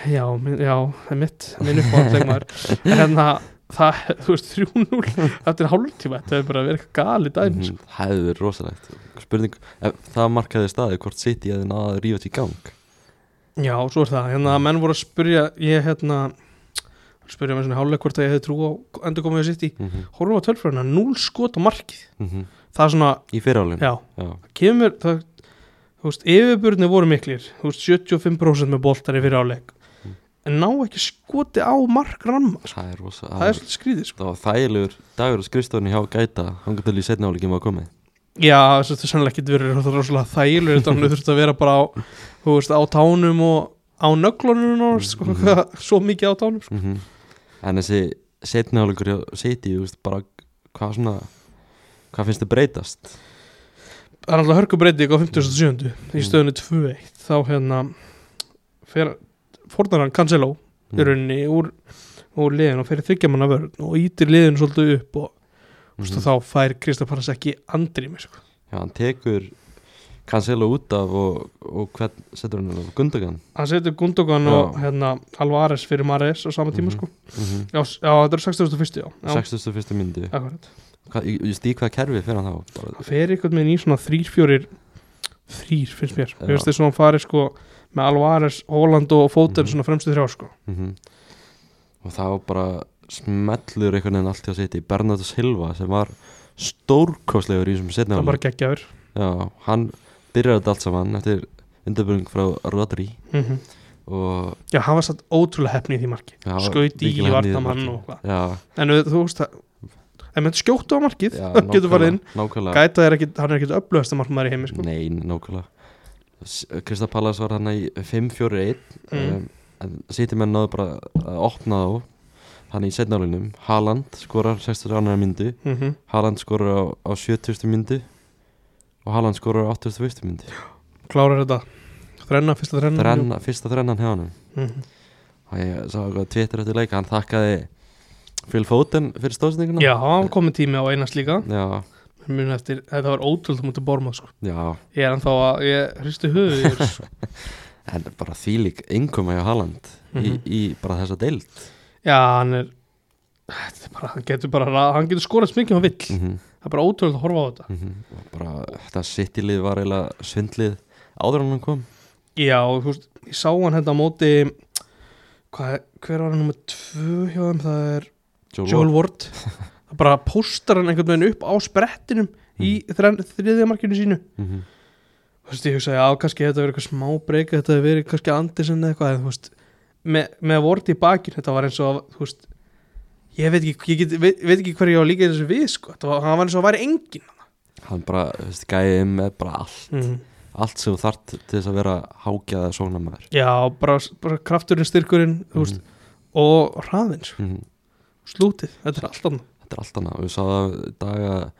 [SPEAKER 2] Já, minn- já, það er mitt minn
[SPEAKER 1] *laughs*
[SPEAKER 2] uppáhaldsleikmaður en það, það, þú veist, 3-0 eftir hálftíma, þetta er bara verið eitthvað gali dæmi mm.
[SPEAKER 1] það hefði verið Mhm. rosalegt spurning, ef, það markaði staði hvort City hefði náða að rífa þetta í gang
[SPEAKER 2] Já, svo er það, hérna menn voru að spyrja ég hérna spyrja mér svona hálfleik hvort að ég hefði trú á endur komið að sitt í,
[SPEAKER 1] mm -hmm.
[SPEAKER 2] horfum á tölfræðina 0 skot á markið, það er svona
[SPEAKER 1] Mhm. í fyrirálinu
[SPEAKER 2] já, kemur það, þú veist, yfirburðinni voru miklir þú veist, 75% með boltar í fyrir áleik
[SPEAKER 1] Mm.
[SPEAKER 2] en ná ekki skoti á mark ramma, sko.
[SPEAKER 1] það er rosa
[SPEAKER 2] það er svolítið skrýðið sko.
[SPEAKER 1] það var þægilegur dagur á skrifstofunni hjá gæta hann til í setna áleikin var komið
[SPEAKER 2] já, þess að það er sannlega ekki verið það er rosalega þægilegur, þetta hann þurfti að vera bara á, þú veist, á tánum og á nöglunum og sko,
[SPEAKER 1] Mhm.
[SPEAKER 2] *laughs* svo mikið á tánum sko.
[SPEAKER 1] mm en þessi setna áleikur hjá City þú veist, bara hvað svona hvað finnst þið breytast
[SPEAKER 2] það er alltaf hörku breyting á 57.
[SPEAKER 1] Mm.
[SPEAKER 2] í stöðunni 2-1 þá hérna fer, fornar hann Cancelo í
[SPEAKER 1] Mm. Mhm.
[SPEAKER 2] rauninni úr, úr liðin og fyrir þryggjamanna vörn og ítir liðin svolítið upp og
[SPEAKER 1] mm
[SPEAKER 2] mm. þá fær Kristaf Pallas ekki andrými sko.
[SPEAKER 1] já, hann tekur Cancelo út af og, og hvern setur hann á Gundogan
[SPEAKER 2] hann setur Gundogan
[SPEAKER 1] Já.
[SPEAKER 2] og hérna, Alvarez fyrir Mares á sama tíma
[SPEAKER 1] Mhm.
[SPEAKER 2] sko.
[SPEAKER 1] mm -hmm.
[SPEAKER 2] já, s- já, þetta er 61. já, já
[SPEAKER 1] 61. myndi
[SPEAKER 2] akkurat.
[SPEAKER 1] ég stík hvað kerfi fyrir hann þá bara,
[SPEAKER 2] hann fer eitthvað með í svona þrýr fjórir þrýr finnst mér
[SPEAKER 1] Já.
[SPEAKER 2] mér finnst þess að hann fari sko með Alvarez, Holland og Foden
[SPEAKER 1] Mhm.
[SPEAKER 2] svona fremstu þrjá sko
[SPEAKER 1] -hmm. og þá bara smellur einhvern veginn allt hjá sitt í Bernardo Silva sem var stórkostlegur í þessum setna
[SPEAKER 2] það er bara geggjaður
[SPEAKER 1] Já, hann byrjar þetta allt saman eftir undirbyrjum frá Rodri
[SPEAKER 2] mm
[SPEAKER 1] og
[SPEAKER 2] já, hann var satt ótrúlega hefni í því marki
[SPEAKER 1] já,
[SPEAKER 2] skaut í
[SPEAKER 1] líkilega hann niður
[SPEAKER 2] vartamann
[SPEAKER 1] markið.
[SPEAKER 2] og hvað
[SPEAKER 1] Já,
[SPEAKER 2] en auðvitað, þú veist að ef maður skjóttu á markið,
[SPEAKER 1] já
[SPEAKER 2] *laughs* getur farið inn
[SPEAKER 1] nákvæmlega- Nákvæmlega,
[SPEAKER 2] gæta er ekkit, hann er ekkit upplöðasta markmaður í heimi sko.
[SPEAKER 1] nei, nákvæmlega S- Krista Pallas var hann í 5-4-1
[SPEAKER 2] Mm.
[SPEAKER 1] um, en City menn náðu bara að opna þá hann í setnálunum, Haaland skorar 60 annar myndu
[SPEAKER 2] mm -hmm.
[SPEAKER 1] Haaland skorur á, á 70. myndu og Haaland skorur á 81. myndu
[SPEAKER 2] klárar þetta þrenna, fyrsta þrenna
[SPEAKER 1] Þrenna, fyrsta þrennan hjá hann
[SPEAKER 2] Mhm.
[SPEAKER 1] og ég sá eitthvað tvittir eftir leika hann þakkaði Phil Foden fyrir stóðsendinguna
[SPEAKER 2] já, hann komið tími á einast líka
[SPEAKER 1] já,
[SPEAKER 2] mjög eftir, þetta var ótrúld þú mútið bormað sko.
[SPEAKER 1] já,
[SPEAKER 2] ég er ennþá að, ég hristi höfu
[SPEAKER 1] *laughs*
[SPEAKER 2] yfir, þessu. sko.
[SPEAKER 1] en bara þýlík yngkoma hjá Haaland
[SPEAKER 2] Mhm.
[SPEAKER 1] í, í bara þessa deild
[SPEAKER 2] já, hann er þetta er bara, hann getur bara ra- hann getur skorað smikið hann vill,
[SPEAKER 1] mm -hmm.
[SPEAKER 2] það er bara ótrúld að horfa á þetta
[SPEAKER 1] og bara þetta sittilið var eiginlega svindlið áður en hann kom
[SPEAKER 2] já, þú veist, ég sá hann hérna á móti hvað, hver var hann nummer tvö hjá þeim, það er
[SPEAKER 1] Joel
[SPEAKER 2] Joel Ward það bara póstar hann einhvern veginn upp á sprettinum í þrenn, þriðja markinu sínu
[SPEAKER 1] mm -hmm.
[SPEAKER 2] þú veist, ég hugsaði, já, kannski þetta verið eitthvað smá breyka, þetta hefur verið kannski Andersen eða eitthvað, en þú veist, með, með vort í bakinn, þetta var eins og, þú veist, ég veit ekki, ég get, veit, veit ekki hverju ég á líka þessu við, sko, það var, hann var eins og að væri engin.
[SPEAKER 1] hann bara þú veist, gæði með bara allt allt sem þú þart til þess að vera hágjaða sónamaður
[SPEAKER 2] Já, bara, bara krafturinn, styrkurinn, þú veist, og hraðins,
[SPEAKER 1] mm -hmm.
[SPEAKER 2] slútið, þetta er allt annað.
[SPEAKER 1] þetta er allt annað við sáðum í dag að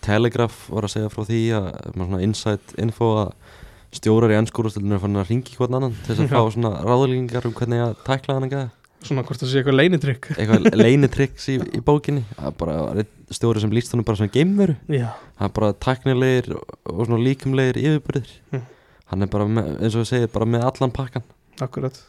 [SPEAKER 1] Telegraph var að segja frá því að maður svona insight info að stjórar í ennskúrastöldinu er fann að ringi hvern annan til þess að
[SPEAKER 2] Já.
[SPEAKER 1] fá svona ráðlíkingar um hvernig að tækla hann eitthvað,
[SPEAKER 2] Svona hvort það sé eitthvað leinitrykk.
[SPEAKER 1] eitthvað leinitryggs í, í bókinni að bara var einn stjóri sem líst honum bara sem geimveru,
[SPEAKER 2] Já,
[SPEAKER 1] hann er bara tæknilegir og, og svona líkumlegir yfirbyrðir
[SPEAKER 2] Mhm.
[SPEAKER 1] hann er bara með, eins og við segir bara með allan pakkan
[SPEAKER 2] akkurat.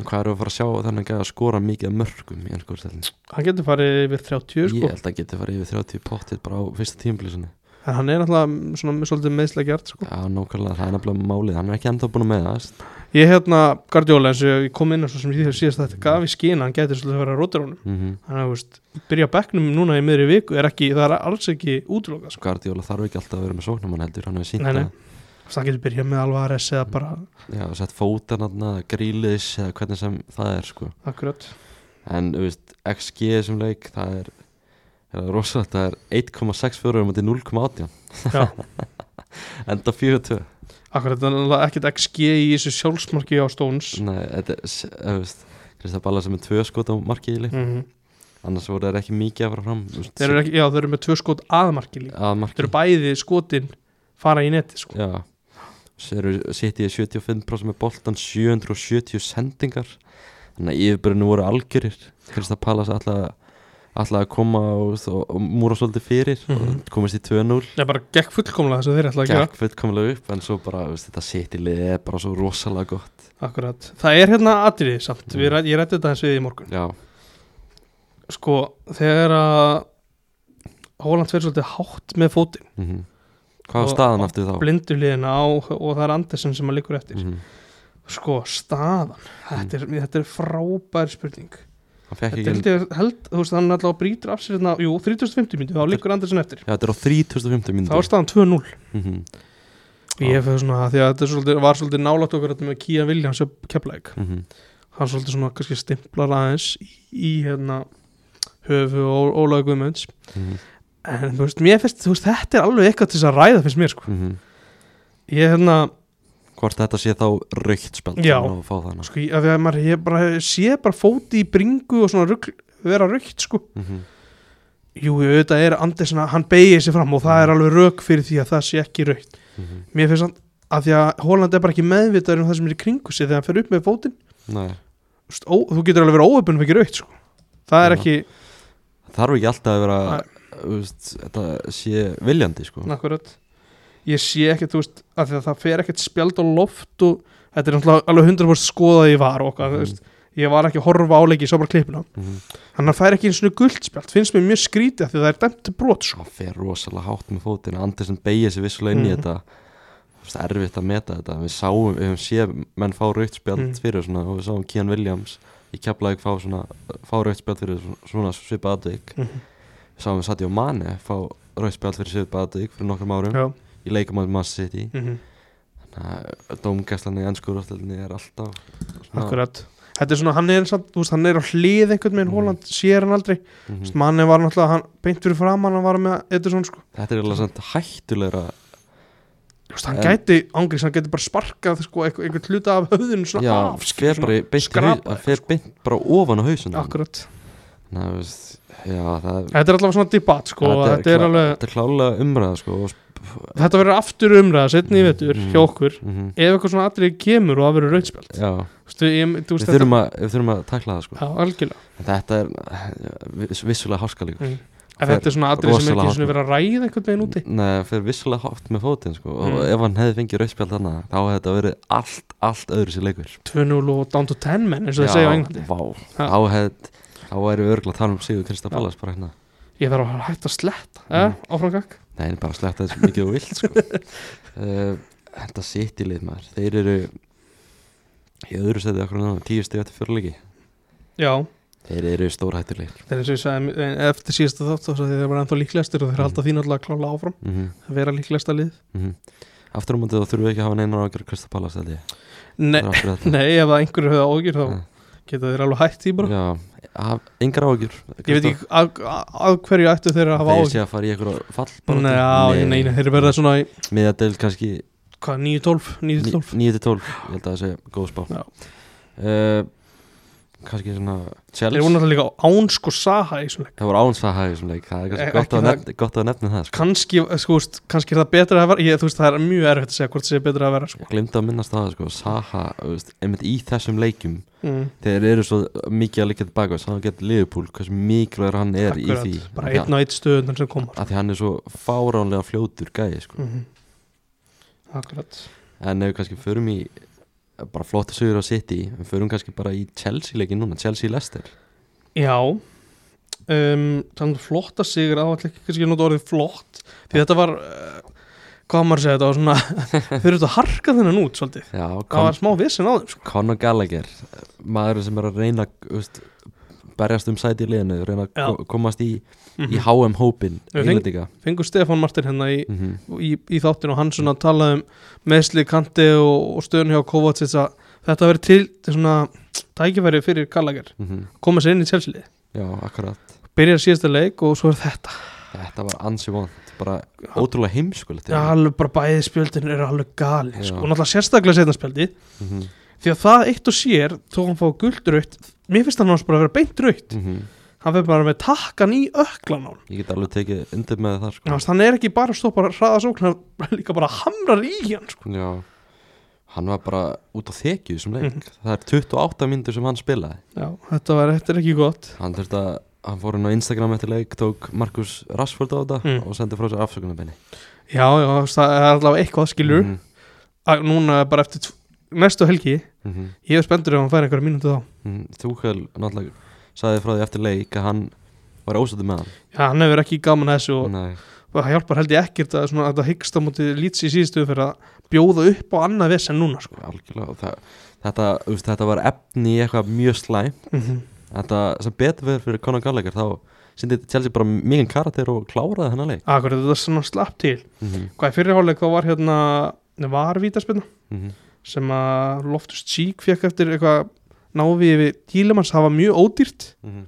[SPEAKER 1] En Hvað eru að fara að sjá þannig að skora mikið af mörgum í ennsku úrstæðinni?
[SPEAKER 2] hann getur farið yfir 30 sko
[SPEAKER 1] Ég held að geti farið yfir 30 pottir bara á fyrsta tímblisinni
[SPEAKER 2] en hann er náttúrulega svona svolítið meðslegjart sko.
[SPEAKER 1] Já, nákvæmlega, það er nefnilega málið Hann er ekki enda búin að með það
[SPEAKER 2] ég hérna Guardiola eins og ég kom inn á svo sem ég síðast þetta gaf í skina, hann getur svolítið að vera rótur honum
[SPEAKER 1] mm -hmm.
[SPEAKER 2] hann er, veist, byrja á bekknum núna í miðri viku er ekki, það er alls ekki útlokað sko.
[SPEAKER 1] Guardiola þarf ekki alltaf að vera með sóknumann heldur Hann hefur
[SPEAKER 2] Nei,
[SPEAKER 1] sínt
[SPEAKER 2] nei.
[SPEAKER 1] að
[SPEAKER 2] Þess að hann getur byrjað með Alvarez eða bara
[SPEAKER 1] Já, sett fótanarna, grílis eða hvernig sem það er sko
[SPEAKER 2] akkurat
[SPEAKER 1] En, þú veist, XG sem leik það er, það er rosalegt Það er 1,64 mútið 0,18
[SPEAKER 2] Já.
[SPEAKER 1] Enda 42
[SPEAKER 2] akkurat, það er náttúrulega ekkert XG í þessu sjálfsmarki á Stones
[SPEAKER 1] Nei, þetta er, s- þú veist Krista Balla sem er tvö skot á markið í leik
[SPEAKER 2] mm
[SPEAKER 1] Annars voru þeir ekki mikið að fara fram þú veist,
[SPEAKER 2] þeir eru ekki, já, þeir eru með tvö skot aðmarki líka
[SPEAKER 1] Að
[SPEAKER 2] þeir
[SPEAKER 1] markið
[SPEAKER 2] eru bæði skotin fara í neti sko.
[SPEAKER 1] Já Sér sitt ég 75% með boltan 770 sendingar Þannig að yfirbyrjunni voru algjörir Krista Pallas alltaf alltaf að koma og, og, og múra svolítið fyrir
[SPEAKER 2] Mhm.
[SPEAKER 1] og komist í 2-0
[SPEAKER 2] það bara gekk fullkomlega þess að þeir ætla að gera
[SPEAKER 1] gekk fullkomlega upp en svo bara, þú veist, þetta sitt í liði er bara svo rosalega gott
[SPEAKER 2] akkurat, það er hérna atriði samt
[SPEAKER 1] Mm.
[SPEAKER 2] mm. ræ, ég rætti þetta hans við í morgun
[SPEAKER 1] Já,
[SPEAKER 2] sko, þegar að Holland verður svolítið hátt með fótinn,
[SPEAKER 1] mm hvað var
[SPEAKER 2] Og-
[SPEAKER 1] staðan aftur þá?
[SPEAKER 2] blindu liðina á og það er Andersen sem að liggur eftir
[SPEAKER 1] Mhm.
[SPEAKER 2] sko, staðan, þetta er, þetta er frábær spurning
[SPEAKER 1] Hann fekk
[SPEAKER 2] Þetta
[SPEAKER 1] ekki
[SPEAKER 2] held ég held, þú veist, hann allavega brýtur af sér hérna, jú, 3050 myndi, þá liggur Andersen eftir
[SPEAKER 1] Já, þetta er á 3050
[SPEAKER 2] þá er
[SPEAKER 1] myndu
[SPEAKER 2] staðan 2-0
[SPEAKER 1] Mhm.
[SPEAKER 2] og ég fyrir svona, því að þetta er svolítið, var svolítið nálægt okkur þetta með Kían Williams og Keflæk
[SPEAKER 1] Mhm.
[SPEAKER 2] hann svolítið svona, kannski stimplar aðeins í, í hérna höfu og Ólaug Guðmunds
[SPEAKER 1] Mhm.
[SPEAKER 2] en þú veist, mér finnst, þú veist, þetta er alveg eitthvað til þess að ræða finnst mér, sko
[SPEAKER 1] Mhm.
[SPEAKER 2] ég hérna,
[SPEAKER 1] Hvort þetta sé þá raukt spjald
[SPEAKER 2] Já.
[SPEAKER 1] og fá það
[SPEAKER 2] sko, ég, af því að maður ég bara sé bara fóti í bringu og svona rugl, vera raukt, sko
[SPEAKER 1] mm -hmm.
[SPEAKER 2] jú, auðvitað er Andersen, að- hann beigir sér fram og það er alveg rauk fyrir því að það sé ekki raukt
[SPEAKER 1] Mhm.
[SPEAKER 2] Mér finnst hann að því að Holland er bara ekki meðvitaður um það sem er í kringu sig þegar hann fer upp með fótinn
[SPEAKER 1] Nei
[SPEAKER 2] Þú veist, ó- þú getur alveg verið óöpun fyrir raukt sko. það er
[SPEAKER 1] Já.
[SPEAKER 2] ekki
[SPEAKER 1] Það þarf ekki alltaf að vera
[SPEAKER 2] Nei.
[SPEAKER 1] þú veist, þetta sé viljandi sko
[SPEAKER 2] akkurat. ég sé ekkert þú veist, að því að það fer ekkert spjald á loft og þetta er náttúrulega alveg 100% skoðað ég var okkar, mm.
[SPEAKER 1] Mhm.
[SPEAKER 2] veist, ég var ekki að horfa áleiki svo bara klippina,
[SPEAKER 1] Mhm.
[SPEAKER 2] hann fær ekki einu svona gult spjald, finnst mér mjög skrítið af því að það er dæmt til brot sko.
[SPEAKER 1] hann fer rosalega hátt með fótina Andersen beigja sér vissulega inn í
[SPEAKER 2] Mhm.
[SPEAKER 1] þetta þú veist, erfitt að meta þetta við sáum, við höfum séð menn fá raukt spjald
[SPEAKER 2] Mhm.
[SPEAKER 1] fyrir svona og við sáum Kian Williams í keflaðið fá svona fá raukt spjald fyrir svona, svona svipað aðvík
[SPEAKER 2] Mhm.
[SPEAKER 1] við sáum Sati og Mane fá raukt spjald fyrir svipað aðvík fyrir nokkrum árum
[SPEAKER 2] Já,
[SPEAKER 1] í leikum að Man City
[SPEAKER 2] mm
[SPEAKER 1] dómgæslan í ennskurústöldinni er alltaf svona,
[SPEAKER 2] akkurat Þetta er svona, hann er, samt, þú veist, hann er á hlið einhvern veginn
[SPEAKER 1] Mhm.
[SPEAKER 2] Holland, sér hann aldrei
[SPEAKER 1] Mhm.
[SPEAKER 2] mm. manni var náttúrulega, hann beint fyrir framann hann var með Edison sko
[SPEAKER 1] þetta er alveg samt hættulegra
[SPEAKER 2] Þú veist, hann
[SPEAKER 1] En-
[SPEAKER 2] gæti, ángriðs, hann gæti bara sparkað sko, einhver, einhvern hluta af höfðinu svona
[SPEAKER 1] Já,
[SPEAKER 2] af, sko,
[SPEAKER 1] fer bara í- beint, í haus-
[SPEAKER 2] skrapa,
[SPEAKER 1] að fer beint bara ofan á hausun
[SPEAKER 2] svona, akkurat
[SPEAKER 1] Ná, veist, já, það
[SPEAKER 2] Þetta er allavega svona debat sko, þetta, þetta er
[SPEAKER 1] klá-
[SPEAKER 2] alveg
[SPEAKER 1] Þetta er klálega umræða sko, og,
[SPEAKER 2] þetta verður aftur umræða, setni í vetur
[SPEAKER 1] Mm.
[SPEAKER 2] hjá okkur,
[SPEAKER 1] mm
[SPEAKER 2] ef eitthvað svona atrið kemur og það verður rautspjald
[SPEAKER 1] Já,
[SPEAKER 2] Þú veist, ég, þú
[SPEAKER 1] við
[SPEAKER 2] veist þetta,
[SPEAKER 1] þurfum, að, við þurfum að takla það sko.
[SPEAKER 2] já, algjörlega
[SPEAKER 1] En Þetta er eh, viss- vissulega háskalíkur
[SPEAKER 2] Mm.
[SPEAKER 1] Fer
[SPEAKER 2] en þetta er svona atrið sem er
[SPEAKER 1] rosalega
[SPEAKER 2] ekki svona
[SPEAKER 1] hátt.
[SPEAKER 2] verið að ræða einhvern veginn úti
[SPEAKER 1] Nei, það fyrir vissulega hátt með fótinn sko. og
[SPEAKER 2] Mm.
[SPEAKER 1] ef hann hefði fengið rauðspjald þarna þá hefði þetta verið allt, allt öðru sér leikur
[SPEAKER 2] 2-0 og down to 10 menn eins og það segja á Englandi
[SPEAKER 1] vá,
[SPEAKER 2] Ha.
[SPEAKER 1] þá hefði þá erum við örgulega að tala um Sigur Krista
[SPEAKER 2] Já.
[SPEAKER 1] Ballas bara hérna
[SPEAKER 2] ég þarf að hætta að sletta, eh, áfram gakk
[SPEAKER 1] Nei, það er bara sletta þessu mikið og vilt
[SPEAKER 2] *laughs*
[SPEAKER 1] sko. uh, Þetta City lið maður Þeir eru í öðru seti okkur náðum tíu stið eftir fjöruleiki
[SPEAKER 2] já,
[SPEAKER 1] Þeir eru stórhættulegir
[SPEAKER 2] Það er eins og ég sagði eh, eftir síðasta þátt þá sagði ég, þeir eru ennþá líklegastir og þeir halda því náttúrulega að klála áfram
[SPEAKER 1] mm -hmm.
[SPEAKER 2] að vera líklegasta lið
[SPEAKER 1] mm Aftur á móti þá þurfum við ekki að hafa neinar ágjör Krista Pallas held ég
[SPEAKER 2] Nei, *laughs*
[SPEAKER 1] Nei,
[SPEAKER 2] nei ef það einhverju höfða ágjur þá
[SPEAKER 1] Ja.
[SPEAKER 2] geta þeir alveg hætt því bara
[SPEAKER 1] Mm. Já, haf, engar ágjör
[SPEAKER 2] Ég veit ekki af, af- af hverju ættu þeir að hafa
[SPEAKER 1] Þeir
[SPEAKER 2] ágjur
[SPEAKER 1] sé að fara í eitthvað fall
[SPEAKER 2] Nei, já, nei, nei, þeir verða svona í
[SPEAKER 1] Miða deil kannski
[SPEAKER 2] hvað, 9-12, 9-12
[SPEAKER 1] 9-12 Ég held að það sé góð spá
[SPEAKER 2] Já.
[SPEAKER 1] uh, Kannski svona
[SPEAKER 2] Þeir
[SPEAKER 1] Chelsea
[SPEAKER 2] voru náttúrulega líka án sko Saha í svona leik.
[SPEAKER 1] Það voru áns það hægir sem leik Það er
[SPEAKER 2] Eh,
[SPEAKER 1] kannski gott
[SPEAKER 2] ekki
[SPEAKER 1] að,
[SPEAKER 2] það-
[SPEAKER 1] nefna, gott að nefna það sko.
[SPEAKER 2] kannski, eh, sko, veist, kannski er það betra að vera ég, þú veist, það er mjög erfitt að segja hvort það sé betra að vera sko.
[SPEAKER 1] Ég glemdi að minnast á það sko, Saha, þú veist, einmitt í þessum leikjum
[SPEAKER 2] mm,
[SPEAKER 1] þeir eru svo mikið að liggja tilbaka þannig að geta liðupúl, hversu mikilvægur hann er
[SPEAKER 2] akkurat.
[SPEAKER 1] í því
[SPEAKER 2] bara
[SPEAKER 1] Af því að-
[SPEAKER 2] einn og einn stöðunar sem koma
[SPEAKER 1] af því hann er svo fáránlega fljótur gæði sko.
[SPEAKER 2] mm -hmm. Akkurat
[SPEAKER 1] en ef við kannski förum í eh, bara flott að sögur á City en förum kannski bara í Chelsea leikin núna Chelsea Leicester
[SPEAKER 2] Já um, Þannig flott að sigur Það var ekki kannski að nota orðið flott Því þetta var uh, Hvað á maður að segja þetta var svona *laughs* Þau eru þetta að harka þennan út svolítið
[SPEAKER 1] Já,
[SPEAKER 2] Það
[SPEAKER 1] Con
[SPEAKER 2] var smá vissin á þeim sko.
[SPEAKER 1] Conor Gallagher maður sem er að reyna veist, berjast um sæti í liðinu reyna að
[SPEAKER 2] Já.
[SPEAKER 1] ko- komast í,
[SPEAKER 2] mm
[SPEAKER 1] í HM hópin
[SPEAKER 2] Við feng-
[SPEAKER 1] Englendinga
[SPEAKER 2] Fengur Stefán Martin hérna í,
[SPEAKER 1] mm -hmm.
[SPEAKER 2] í, í þáttinu Og hann svona talaði um meðsli kanti og, og stöðun hjá Kovacic að Þetta verið til til svona Tækifæri fyrir Gallagher Koma sér inn í Chelsea
[SPEAKER 1] mhm. Já, akkurat
[SPEAKER 2] Byrjar síðasta leik og svo er þetta
[SPEAKER 1] Þetta var ansi vond bara ótrúlega heimskulegt
[SPEAKER 2] Já, alveg bara bæði spjöldin eru alveg gali
[SPEAKER 1] Já.
[SPEAKER 2] sko. Og náttúrulega sérstaklega setna spjöldi
[SPEAKER 1] Mhm,
[SPEAKER 2] því að það eitt og sér þó hann fá guld raut mér finnst hann hans bara að vera beint raut
[SPEAKER 1] mhm.
[SPEAKER 2] hann verður bara með takkan í öklan á hann
[SPEAKER 1] Ég get alveg tekið undir með það sko.
[SPEAKER 2] Þannig að hann er ekki bara að stoppa að hraða sókn hann líka bara hamrar í hann sko.
[SPEAKER 1] Já Hann var bara út á þekju sem
[SPEAKER 2] Mhm.
[SPEAKER 1] leik Það er 28 myndur sem hann spilaði
[SPEAKER 2] já, þetta var þetta er ekki gott
[SPEAKER 1] Hann þurfti að Hann fór inn á Instagram eftir leik Tók Markus Rashford á þetta
[SPEAKER 2] Mm.
[SPEAKER 1] Og sendi frá sér afsökunarbeini
[SPEAKER 2] já, já, það er allavega eitthvað skilur mm.
[SPEAKER 1] Mhm,
[SPEAKER 2] núna er bara eftir tv- næstu helgi
[SPEAKER 1] mhm,
[SPEAKER 2] ég er spenntur ef hann fær einhverja mínútu þá
[SPEAKER 1] mhm. Tuchel náttúrulega Saði frá því eftir leik Að hann var ósættu með hann
[SPEAKER 2] já, hann hefur ekki gaman að þessu og,
[SPEAKER 1] Nei,
[SPEAKER 2] og það hjálpar held ég ekkert að, svona, að það hyggst á móti lýts í síðustu fyrir að bjóða upp á annað vesen núna sko.
[SPEAKER 1] algjörlega Og það, þetta, þú veist, þetta var efni í eitthvað mjög slæm
[SPEAKER 2] mm
[SPEAKER 1] Þetta sem betur verður fyrir Conor Gallagher Þá sindi Chelsea bara mikið karakter Og kláraði hennar leik
[SPEAKER 2] akkurat þetta er svona slapp til
[SPEAKER 1] mhm,
[SPEAKER 2] hvað í fyrirháleik þá var hérna var vítaspilna
[SPEAKER 1] mhm,
[SPEAKER 2] sem að Loftus Cheek fekk eftir eitthvað návi yfir Tílemanns það var mjög ódýrt
[SPEAKER 1] mhm.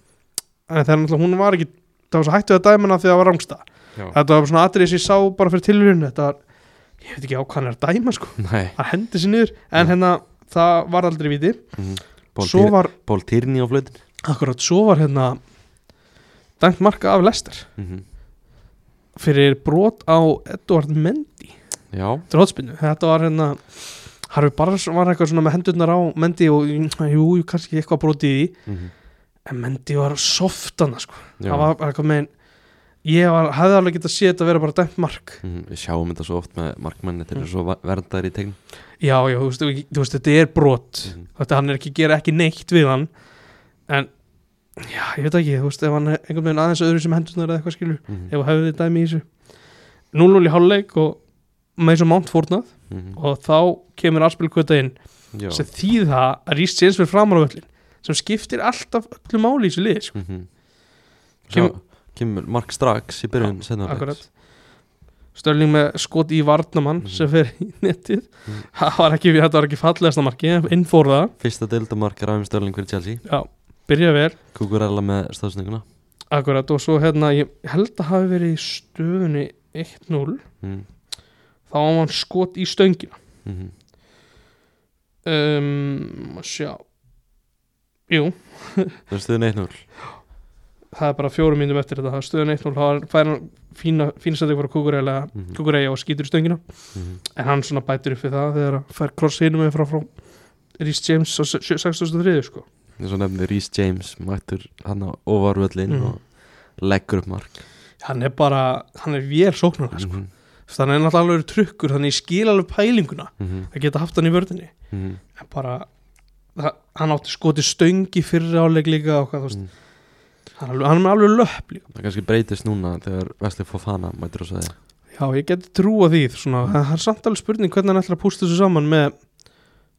[SPEAKER 2] en þegar náttúrulega hún var ekki það var svo hættu að dæmana því að það var rángsta
[SPEAKER 1] Já.
[SPEAKER 2] þetta var svona atrið sem ég sá bara fyrir tilhörun þetta var, ég veit ekki á hvað hann er að dæma sko
[SPEAKER 1] Nei
[SPEAKER 2] hann hendi sér niður en
[SPEAKER 1] Já.
[SPEAKER 2] hérna það var aldrei viti
[SPEAKER 1] mhm. Paul
[SPEAKER 2] svo
[SPEAKER 1] Tyr-
[SPEAKER 2] var,
[SPEAKER 1] Paul Tierney á flöðin
[SPEAKER 2] akkurat, svo var hérna dæmt marka af Lester
[SPEAKER 1] mm
[SPEAKER 2] fyrir brot á Edvard Mendy
[SPEAKER 1] Já
[SPEAKER 2] eftir hotspinnu þetta var hérna Harfi Barnes var eitthvað svona með hendurnar á Mendy og jú, jú, kannski eitthvað brotið í því.
[SPEAKER 1] mm
[SPEAKER 2] en Mendy var softana sko.
[SPEAKER 1] Já
[SPEAKER 2] það var eitthvað með ég var, hefði alveg getað séð þetta vera bara dæmt mark
[SPEAKER 1] Mhm, Við sjáum þetta svo oft með markmanni þeir
[SPEAKER 2] Mm.
[SPEAKER 1] eru svo va- verndaðir í tegn
[SPEAKER 2] já, já, þú veist, þú- þú veist þetta er brot
[SPEAKER 1] Mhm.
[SPEAKER 2] þetta hann er ekki að gera ekki neitt við hann en já, ég veit ekki, þú veist, ef hann er einhvern veginn aðeins öðru sem hendurnar eða eitthvað skilur
[SPEAKER 1] mm
[SPEAKER 2] ef hann hefði dæmi í þessu 0-0 í hálfleik og með þessu mánt fórnað og þá kemur Aspilkvöta inn
[SPEAKER 1] Mhm. Já
[SPEAKER 2] sem þýða að Rhys James fyrir framar á völlin sem skiptir alltaf öllu máli í þessu lið sko.
[SPEAKER 1] Mhm. Sjá,
[SPEAKER 2] Kemur-
[SPEAKER 1] Kemur mark strax í byrjun seinna leiks.
[SPEAKER 2] akkurat Störling með skot í varnamann
[SPEAKER 1] Mhm.
[SPEAKER 2] sem fer í netið
[SPEAKER 1] Mhm.
[SPEAKER 2] það var ekki, þetta var ekki fallegasta marki innfórða,
[SPEAKER 1] Fyrsta deildamark er aðeins störling fyrir Chelsea
[SPEAKER 2] já, byrja vel
[SPEAKER 1] Kukurella með stafsninguna
[SPEAKER 2] akkurat og svo hérna, ég held að hafi verið í stöðunni 1-0
[SPEAKER 1] mm
[SPEAKER 2] þá var hann skot í stöngina
[SPEAKER 1] -hmm.
[SPEAKER 2] um, að sjá jú,
[SPEAKER 1] Það er stuðin 1-0
[SPEAKER 2] það er bara fjórum myndum eftir þetta það er stöðun 1-0, þá fær hann fína, fínstætti fyrir kukureyja
[SPEAKER 1] Mhm.
[SPEAKER 2] kukureyja og skýtur í stöngina
[SPEAKER 1] Mhm.
[SPEAKER 2] en hann svona bætir upp við það þegar að fær kross hinum með frá frá Rhys James á s- sjö- 63 sko.
[SPEAKER 1] Eins og nefnir Rhys James mættur hann á ofarvöllin
[SPEAKER 2] Mhm.
[SPEAKER 1] og leggur upp mark
[SPEAKER 2] hann er bara, hann er vél sóknar sko.
[SPEAKER 1] mm
[SPEAKER 2] þannig er náttúrulega alveg trukkur þannig ég skil alveg pælinguna
[SPEAKER 1] Mhm.
[SPEAKER 2] að geta haft hann í vördinni
[SPEAKER 1] -hmm.
[SPEAKER 2] en bara, það, hann átti skoti stöngi fyrir áleik líka og hvað þú veist
[SPEAKER 1] Mm.
[SPEAKER 2] hann, er alveg, hann er alveg löpp líka
[SPEAKER 1] Það kannski breytist núna þegar Vesli Fofana mættur á sæði
[SPEAKER 2] já, ég geti trúa því svona, það er samt alveg spurning hvernig hann ætlar að pústa þessu saman með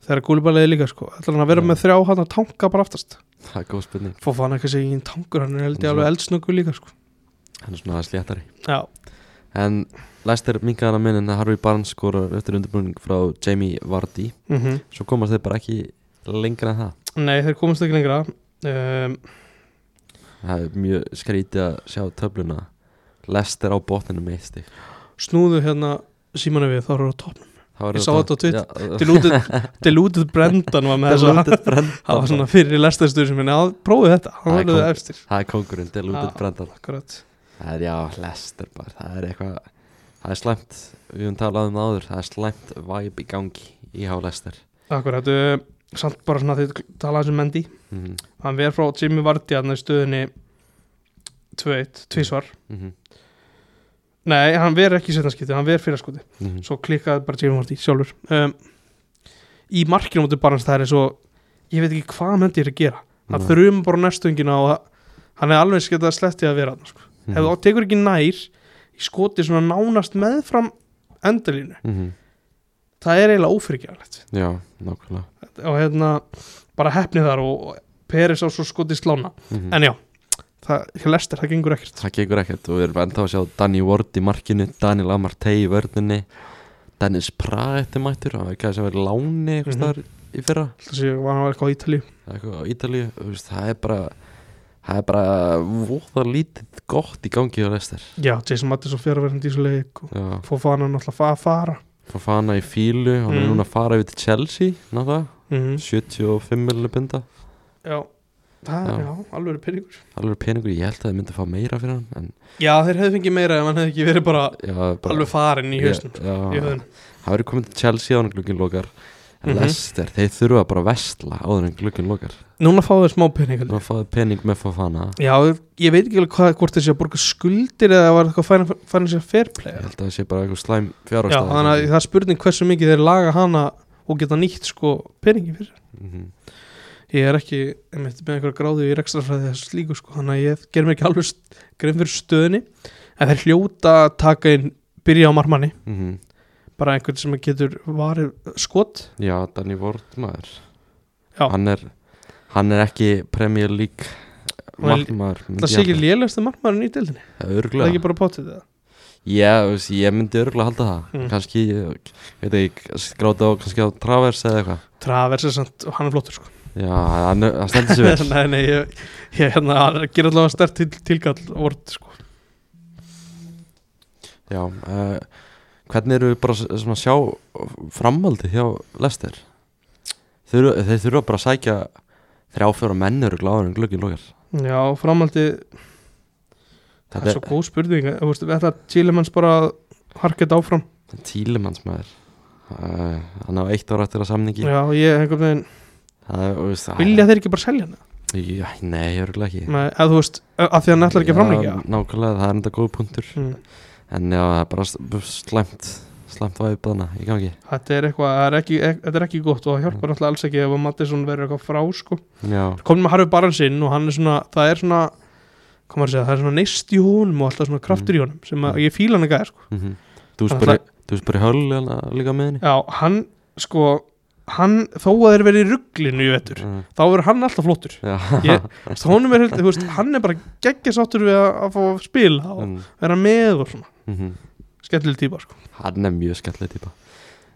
[SPEAKER 2] þegar gúlibaliði líka sko. ætlar hann að vera
[SPEAKER 1] Já.
[SPEAKER 2] með þrjá hann að tanka bara aftast
[SPEAKER 1] Það er góð spurning
[SPEAKER 2] fór fann ekki að segja ekki tankur hann er held ég
[SPEAKER 1] Hann er
[SPEAKER 2] alveg eldsnöku líka sko.
[SPEAKER 1] Hann er svona aðeins léttari
[SPEAKER 2] já,
[SPEAKER 1] En Leicester minkaðan að minn en Harvey Barnes skorar eftir undirbúning frá Jamie Vardy
[SPEAKER 2] mhm
[SPEAKER 1] Svo komast þeir bara ekki lengra en það
[SPEAKER 2] Nei, þeir komast ekki lengra um,
[SPEAKER 1] Það er mjög skrítið að sjá töfluna Leicester á botninu með eitt stig
[SPEAKER 2] Snúðu hérna símanu við, þá eru á topp
[SPEAKER 1] Það var
[SPEAKER 2] Ég sá
[SPEAKER 1] auðvitað-
[SPEAKER 2] þetta á Twitter.
[SPEAKER 1] Já,
[SPEAKER 2] *laughs* Deluded, Deluded Brendan var með þess að
[SPEAKER 1] *laughs* Deluded Brendan
[SPEAKER 2] *laughs* Það var svona fyrir lestastuður sem minna að prófið þetta,
[SPEAKER 1] Það
[SPEAKER 2] hann
[SPEAKER 1] er
[SPEAKER 2] verður
[SPEAKER 1] kom-
[SPEAKER 2] efstir
[SPEAKER 1] Það er kongurinn, Deluded
[SPEAKER 2] Já.
[SPEAKER 1] Brendan
[SPEAKER 2] Akkurat
[SPEAKER 1] Það er já, Leicester bara Það er eitthvað Það er slæmt Við höfum talað um það áður Það er slæmt væp í gangi í há Leicester
[SPEAKER 2] Akkurat, um, samt bara svona þegar talaði sem um Mendy
[SPEAKER 1] Mhm,
[SPEAKER 2] Hann verður frá Jimmy Vardy hann í stöðunni 2-1, tvísvar
[SPEAKER 1] mhm,
[SPEAKER 2] Nei, hann verður ekki í setna skipti, hann verður fyrir skoti
[SPEAKER 1] mhm.
[SPEAKER 2] Svo klikkaði bara Jimmy Vardy sjálfur um, í markinu mútið barans það er eins og ég veit ekki hvað myndi ég er að gera það
[SPEAKER 1] Nei.
[SPEAKER 2] þrjum bara næstungina og það- hann er alveg skett að sletti að vera þarna, sko. mm. ef það tekur ekki nær í skoti svona nánast meðfram endalínu,
[SPEAKER 1] Mhm.
[SPEAKER 2] það er eiginlega ófyrirgjaflegt
[SPEAKER 1] Já, nákvæmlega
[SPEAKER 2] og hérna bara hefni þar og og Peris á svo skoti slána
[SPEAKER 1] Mhm.
[SPEAKER 2] en já, það, hjá Lester það gengur ekkert
[SPEAKER 1] Það gengur ekkert og við erum ennþá að sjá Danny Ward í markinu, Daniel Amartey í vörninni Dennis Praga eftir mættur hann var ekki að sem verið láni eitthvað
[SPEAKER 2] Mhm.
[SPEAKER 1] staðar í fyrra
[SPEAKER 2] þess að ég var hann eitthvað á Ítalíu
[SPEAKER 1] eða eitthvað á Ítalíu þú veist, það er bara það er bara voða lítið gott í gangi á lestir
[SPEAKER 2] já, Jason Mattis og fjaraverðandi í svo leik og
[SPEAKER 1] Já,
[SPEAKER 2] fór fann hann alltaf að fara
[SPEAKER 1] fór fana í fílu hann er
[SPEAKER 2] Mm.
[SPEAKER 1] núna að fara yfir til Chelsea ná það,
[SPEAKER 2] mm.
[SPEAKER 1] 75 miljonir binda
[SPEAKER 2] já, það
[SPEAKER 1] Já.
[SPEAKER 2] er já, alveg peningur
[SPEAKER 1] alveg peningur, ég held að þið myndi að fá meira fyrir hann en
[SPEAKER 2] já, þeir hefðu fengið meira ef hann hefði ekki verið bara,
[SPEAKER 1] já, bara,
[SPEAKER 2] alveg farin í hausnum
[SPEAKER 1] já,
[SPEAKER 2] í höfðun
[SPEAKER 1] það verður komið til Chelsea áður en glugginn lokar en
[SPEAKER 2] Mhm.
[SPEAKER 1] Leicester, þeir þurfa bara að vestla áður en glugginn lokar
[SPEAKER 2] núna fá þeir smá pening held ég.
[SPEAKER 1] Nú fáðu pening með Fofana
[SPEAKER 2] já, ég veit ekki alveg hvað, hvort þessi að borga skuldir eða var eitthvað fæna sér fair play
[SPEAKER 1] Ég
[SPEAKER 2] eða?
[SPEAKER 1] held að það sé bara eitthvað slæm
[SPEAKER 2] já,
[SPEAKER 1] fjárhagstæða
[SPEAKER 2] þannig að það er spurning hversu mikið þeir laga hana og geta nýtt sko peningi fyrir
[SPEAKER 1] Mhm,
[SPEAKER 2] ég er ekki einmitt, með einhver gráðu í rekstrafræði þessu slíku sko, þannig að ég ger mér ekki alveg st- grein fyrir stöðinni en þeir hljóta að taka inn byrja á marmanni,
[SPEAKER 1] mhm.
[SPEAKER 2] bara einhvern sem getur varið skot
[SPEAKER 1] Já, Danny Ward maður
[SPEAKER 2] Já.
[SPEAKER 1] hann er, hann er ekki Premier League
[SPEAKER 2] Hann er-
[SPEAKER 1] markmaður myndi
[SPEAKER 2] það sé
[SPEAKER 1] ég
[SPEAKER 2] ekki
[SPEAKER 1] halda.
[SPEAKER 2] lélegasti marmann í deildinni,
[SPEAKER 1] Það
[SPEAKER 2] það er
[SPEAKER 1] Örgulega
[SPEAKER 2] ekki bara potið það
[SPEAKER 1] Já, þú veist, ég myndi örgulega halda það
[SPEAKER 2] Mm.
[SPEAKER 1] Kannski, ég veit ekki, gráta á kannski á Travers eða eitthvað
[SPEAKER 2] Travers er samt, hann er flottur sko
[SPEAKER 1] Já, hann, er- hann stendur
[SPEAKER 2] *laughs*
[SPEAKER 1] sér vel
[SPEAKER 2] nei, nei, ég, ég hérna, hann ger allavega stert til, tilgall vort sko
[SPEAKER 1] Já, uh, hvernig eru við bara s- svona að sjá framhaldi hjá Lester? Þeir, þeir þurfa bara að sækja þrjá fjóra mennur og gláður en glöggin lókar
[SPEAKER 2] já, framhaldi, það
[SPEAKER 1] Þetta
[SPEAKER 2] er svo góð spurning þú veist, þetta Tílemanns bara harkið áfram,
[SPEAKER 1] er tílimanns maður uh, Hann á eitt ára eftir að samningi
[SPEAKER 2] já, ég einhvern veginn
[SPEAKER 1] Það er, og veist,
[SPEAKER 2] vilja þeir ekki bara selja hana
[SPEAKER 1] Já, nei, ég eru ekki
[SPEAKER 2] Nei, að þú veist, að því að hann ætlar ekki að framlíkja
[SPEAKER 1] Já, Nákvæmlega, það er enda góð punktur
[SPEAKER 2] mm.
[SPEAKER 1] En já, það er bara s- slæmt slæmt væðið bæðna í gangi
[SPEAKER 2] Þetta er eitthvað, það er ekki, ek, þetta er ekki gott og það hjálpar náttúrulega alls ekki ef að Mattisson verður eitthvað frá sko.
[SPEAKER 1] Já,
[SPEAKER 2] komin með Harfi Baransinn og hann er svona það er svona, hvað maður að segja, það er svona neist í honum og alltaf svona kraftur í honum sem að ég fíla hann ekki að sko.
[SPEAKER 1] mm -hmm. þú
[SPEAKER 2] Hann
[SPEAKER 1] spyrir Þú spyrir höll hérna líka með henni
[SPEAKER 2] Já, hann, sko hann, þó að þeir verið í rugglinu í vetur
[SPEAKER 1] Uh,
[SPEAKER 2] þá verður hann alltaf flottur
[SPEAKER 1] Já, *laughs*
[SPEAKER 2] Ég- Þú veist, honum er, þú veist, hann er bara geggjasáttur við að, að fá að spila og
[SPEAKER 1] mm
[SPEAKER 2] vera með og svona,
[SPEAKER 1] -hmm.
[SPEAKER 2] skemmtileg típa sko.
[SPEAKER 1] Hann er mjög skemmtileg típa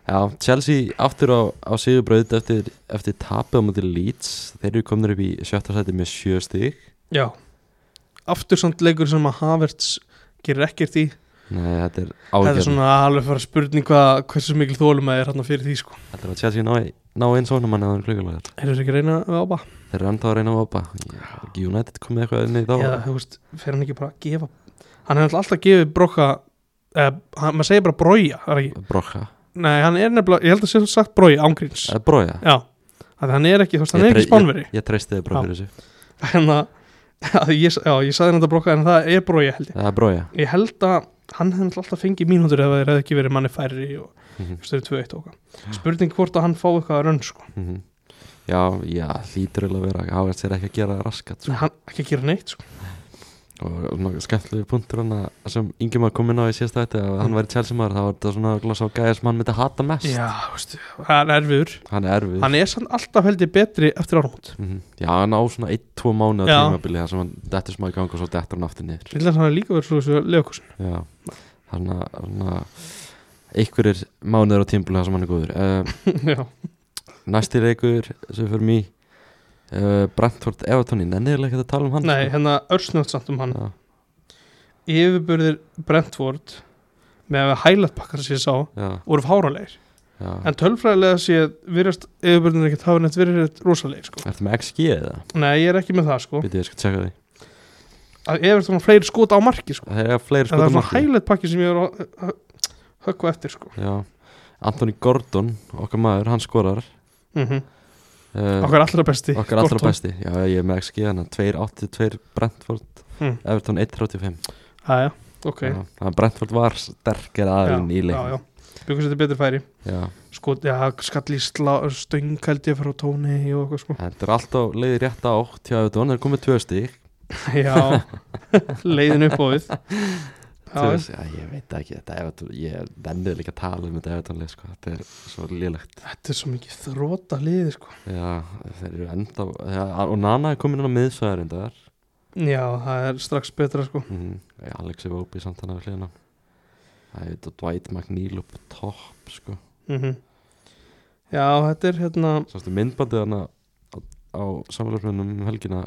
[SPEAKER 1] Já, Chelsea aftur á, á sigurbröð eftir, eftir tapið á mútið Leeds Þeir eru komnir upp í sjötta sæti með sjö stig
[SPEAKER 2] Já, aftur samt leikur sem að Havertz gerir ekkert í
[SPEAKER 1] Nei, þetta er
[SPEAKER 2] Þetta er
[SPEAKER 1] ágjörn
[SPEAKER 2] svona alveg fara spurning hvað, hversu mikil þólum að er hann fyrir því sko
[SPEAKER 1] Þetta er að Chelsea ná, ná einn sónum hann eða klugulega
[SPEAKER 2] Þeir eru ekki að reyna við ába
[SPEAKER 1] Þeir eru enda að reyna að opa United komið eitthvað inn í þá
[SPEAKER 2] Eða þú veist, fer hann ekki bara að gefa Hann er náttúrulega alltaf að gefa brokka eh, hann, maður segir bara brója ekki.
[SPEAKER 1] Brokka
[SPEAKER 2] Nei, hann er nefnilega, ég held að sé sagt brója ángríns
[SPEAKER 1] Eða brója
[SPEAKER 2] Já, að hann er ekki, þú veist, hann
[SPEAKER 1] Ég
[SPEAKER 2] er ekki
[SPEAKER 1] trey-
[SPEAKER 2] spánveri
[SPEAKER 1] Ég treysti þið
[SPEAKER 2] Já.
[SPEAKER 1] brója fyrir þessu
[SPEAKER 2] *laughs* En að, að ég, já, ég saði þetta brokka en það er brója held ég
[SPEAKER 1] Eða brója
[SPEAKER 2] Ég held að hann hefði náttúrulega alltaf fengið mínútur ef það er ekki verið manni færri og
[SPEAKER 1] Mhm.
[SPEAKER 2] þú veist, þeir eru 2-1 og eitthvað. Spurning hvort að hann fá eitthvað að raun sko.
[SPEAKER 1] Mhm. Já, já, hlýtur eiginlega að vera Hágast sér ekki að gera það raskat
[SPEAKER 2] Nei,
[SPEAKER 1] sko.
[SPEAKER 2] hann ekki að gera neitt sko.
[SPEAKER 1] og svona skemmtilegu punktur hann að sem yngjum að koma inn á í síðasta þetta að hann
[SPEAKER 2] Mm.
[SPEAKER 1] væri Chelsea-maður þá var þetta svona gloss á gæja sem hann myndi hata mest
[SPEAKER 2] Já, veistu, hann er erfiður
[SPEAKER 1] hann er erfið
[SPEAKER 2] Hann er samt alltaf held ég betri eftir áramót
[SPEAKER 1] Mhm. já hann á svona 1-2 mánuða
[SPEAKER 2] Já.
[SPEAKER 1] tímabili þar sem hann dettur smá í gang og svo dettur hann aftur niður
[SPEAKER 2] Lillans hann er líka verið svo þessu leikusin
[SPEAKER 1] já þannig að þannig að einhverjir mánuður á tímabili þar sem hann er góður uh,
[SPEAKER 2] *laughs* Já,
[SPEAKER 1] næsti leikur sem fyrir mig uh, Brentford Evertoni nennið er ekkert að tala um hann
[SPEAKER 2] nei,
[SPEAKER 1] sko.
[SPEAKER 2] hérna örsnögt samt um hann
[SPEAKER 1] já,
[SPEAKER 2] Yfirburðir Brentford með að highlight pakkar sem ég sá
[SPEAKER 1] já,
[SPEAKER 2] voru fáralegir
[SPEAKER 1] já.
[SPEAKER 2] En tölfræðilega sé virðast yfirburðin ekkert hafa neitt verið rétt rosalegir sko.
[SPEAKER 1] ertu með XG eða?
[SPEAKER 2] Nei, ég er ekki með það sko
[SPEAKER 1] Býtu, ég skal tjekka því
[SPEAKER 2] að Everton hafa fleiri skot á marki sko.
[SPEAKER 1] það er fleiri
[SPEAKER 2] En það er
[SPEAKER 1] skotum
[SPEAKER 2] svona highlight pakki sem ég er að að- höggva eftir sko.
[SPEAKER 1] Já, Anthony Gordon, okkar maður, hann skorar
[SPEAKER 2] mm
[SPEAKER 1] uh,
[SPEAKER 2] Okkar allra besti
[SPEAKER 1] Okkar allra
[SPEAKER 2] Gordon.
[SPEAKER 1] besti Já, ég er með XG, hann er 2.82 Brentford,
[SPEAKER 2] Mm.
[SPEAKER 1] Everton 1.35
[SPEAKER 2] Jæja, ok
[SPEAKER 1] Já, þannig að Brentford var sterkir aðeins í
[SPEAKER 2] já, já.
[SPEAKER 1] leikin
[SPEAKER 2] byggum sér þetta betur færi
[SPEAKER 1] já,
[SPEAKER 2] sko, já, skall í slá, stöng held ég frá tóni og eitthvað sko
[SPEAKER 1] þetta er alltaf leiði rétt átt hjá þetta, hann er komið tvö stík
[SPEAKER 2] já, *laughs* leiðin upp á við
[SPEAKER 1] já,
[SPEAKER 2] já,
[SPEAKER 1] ég veit ekki, þetta er Everton ég vennið líka að tala um þetta Everton leið, sko. þetta er svo lélegt
[SPEAKER 2] þetta er svo mikið þróta leiði sko
[SPEAKER 1] já, þeir eru enda já, og Nana er komin inn á miðsvæðar endar
[SPEAKER 2] já, það er strax betra sko
[SPEAKER 1] mm -hmm. Alex er ópið samt hann að hlýna það er þetta Dwight McNeil upp á topp sko.
[SPEAKER 2] mm já, þetta er hérna
[SPEAKER 1] sástu myndbandið hann á, á samfélagsmyndum um helgina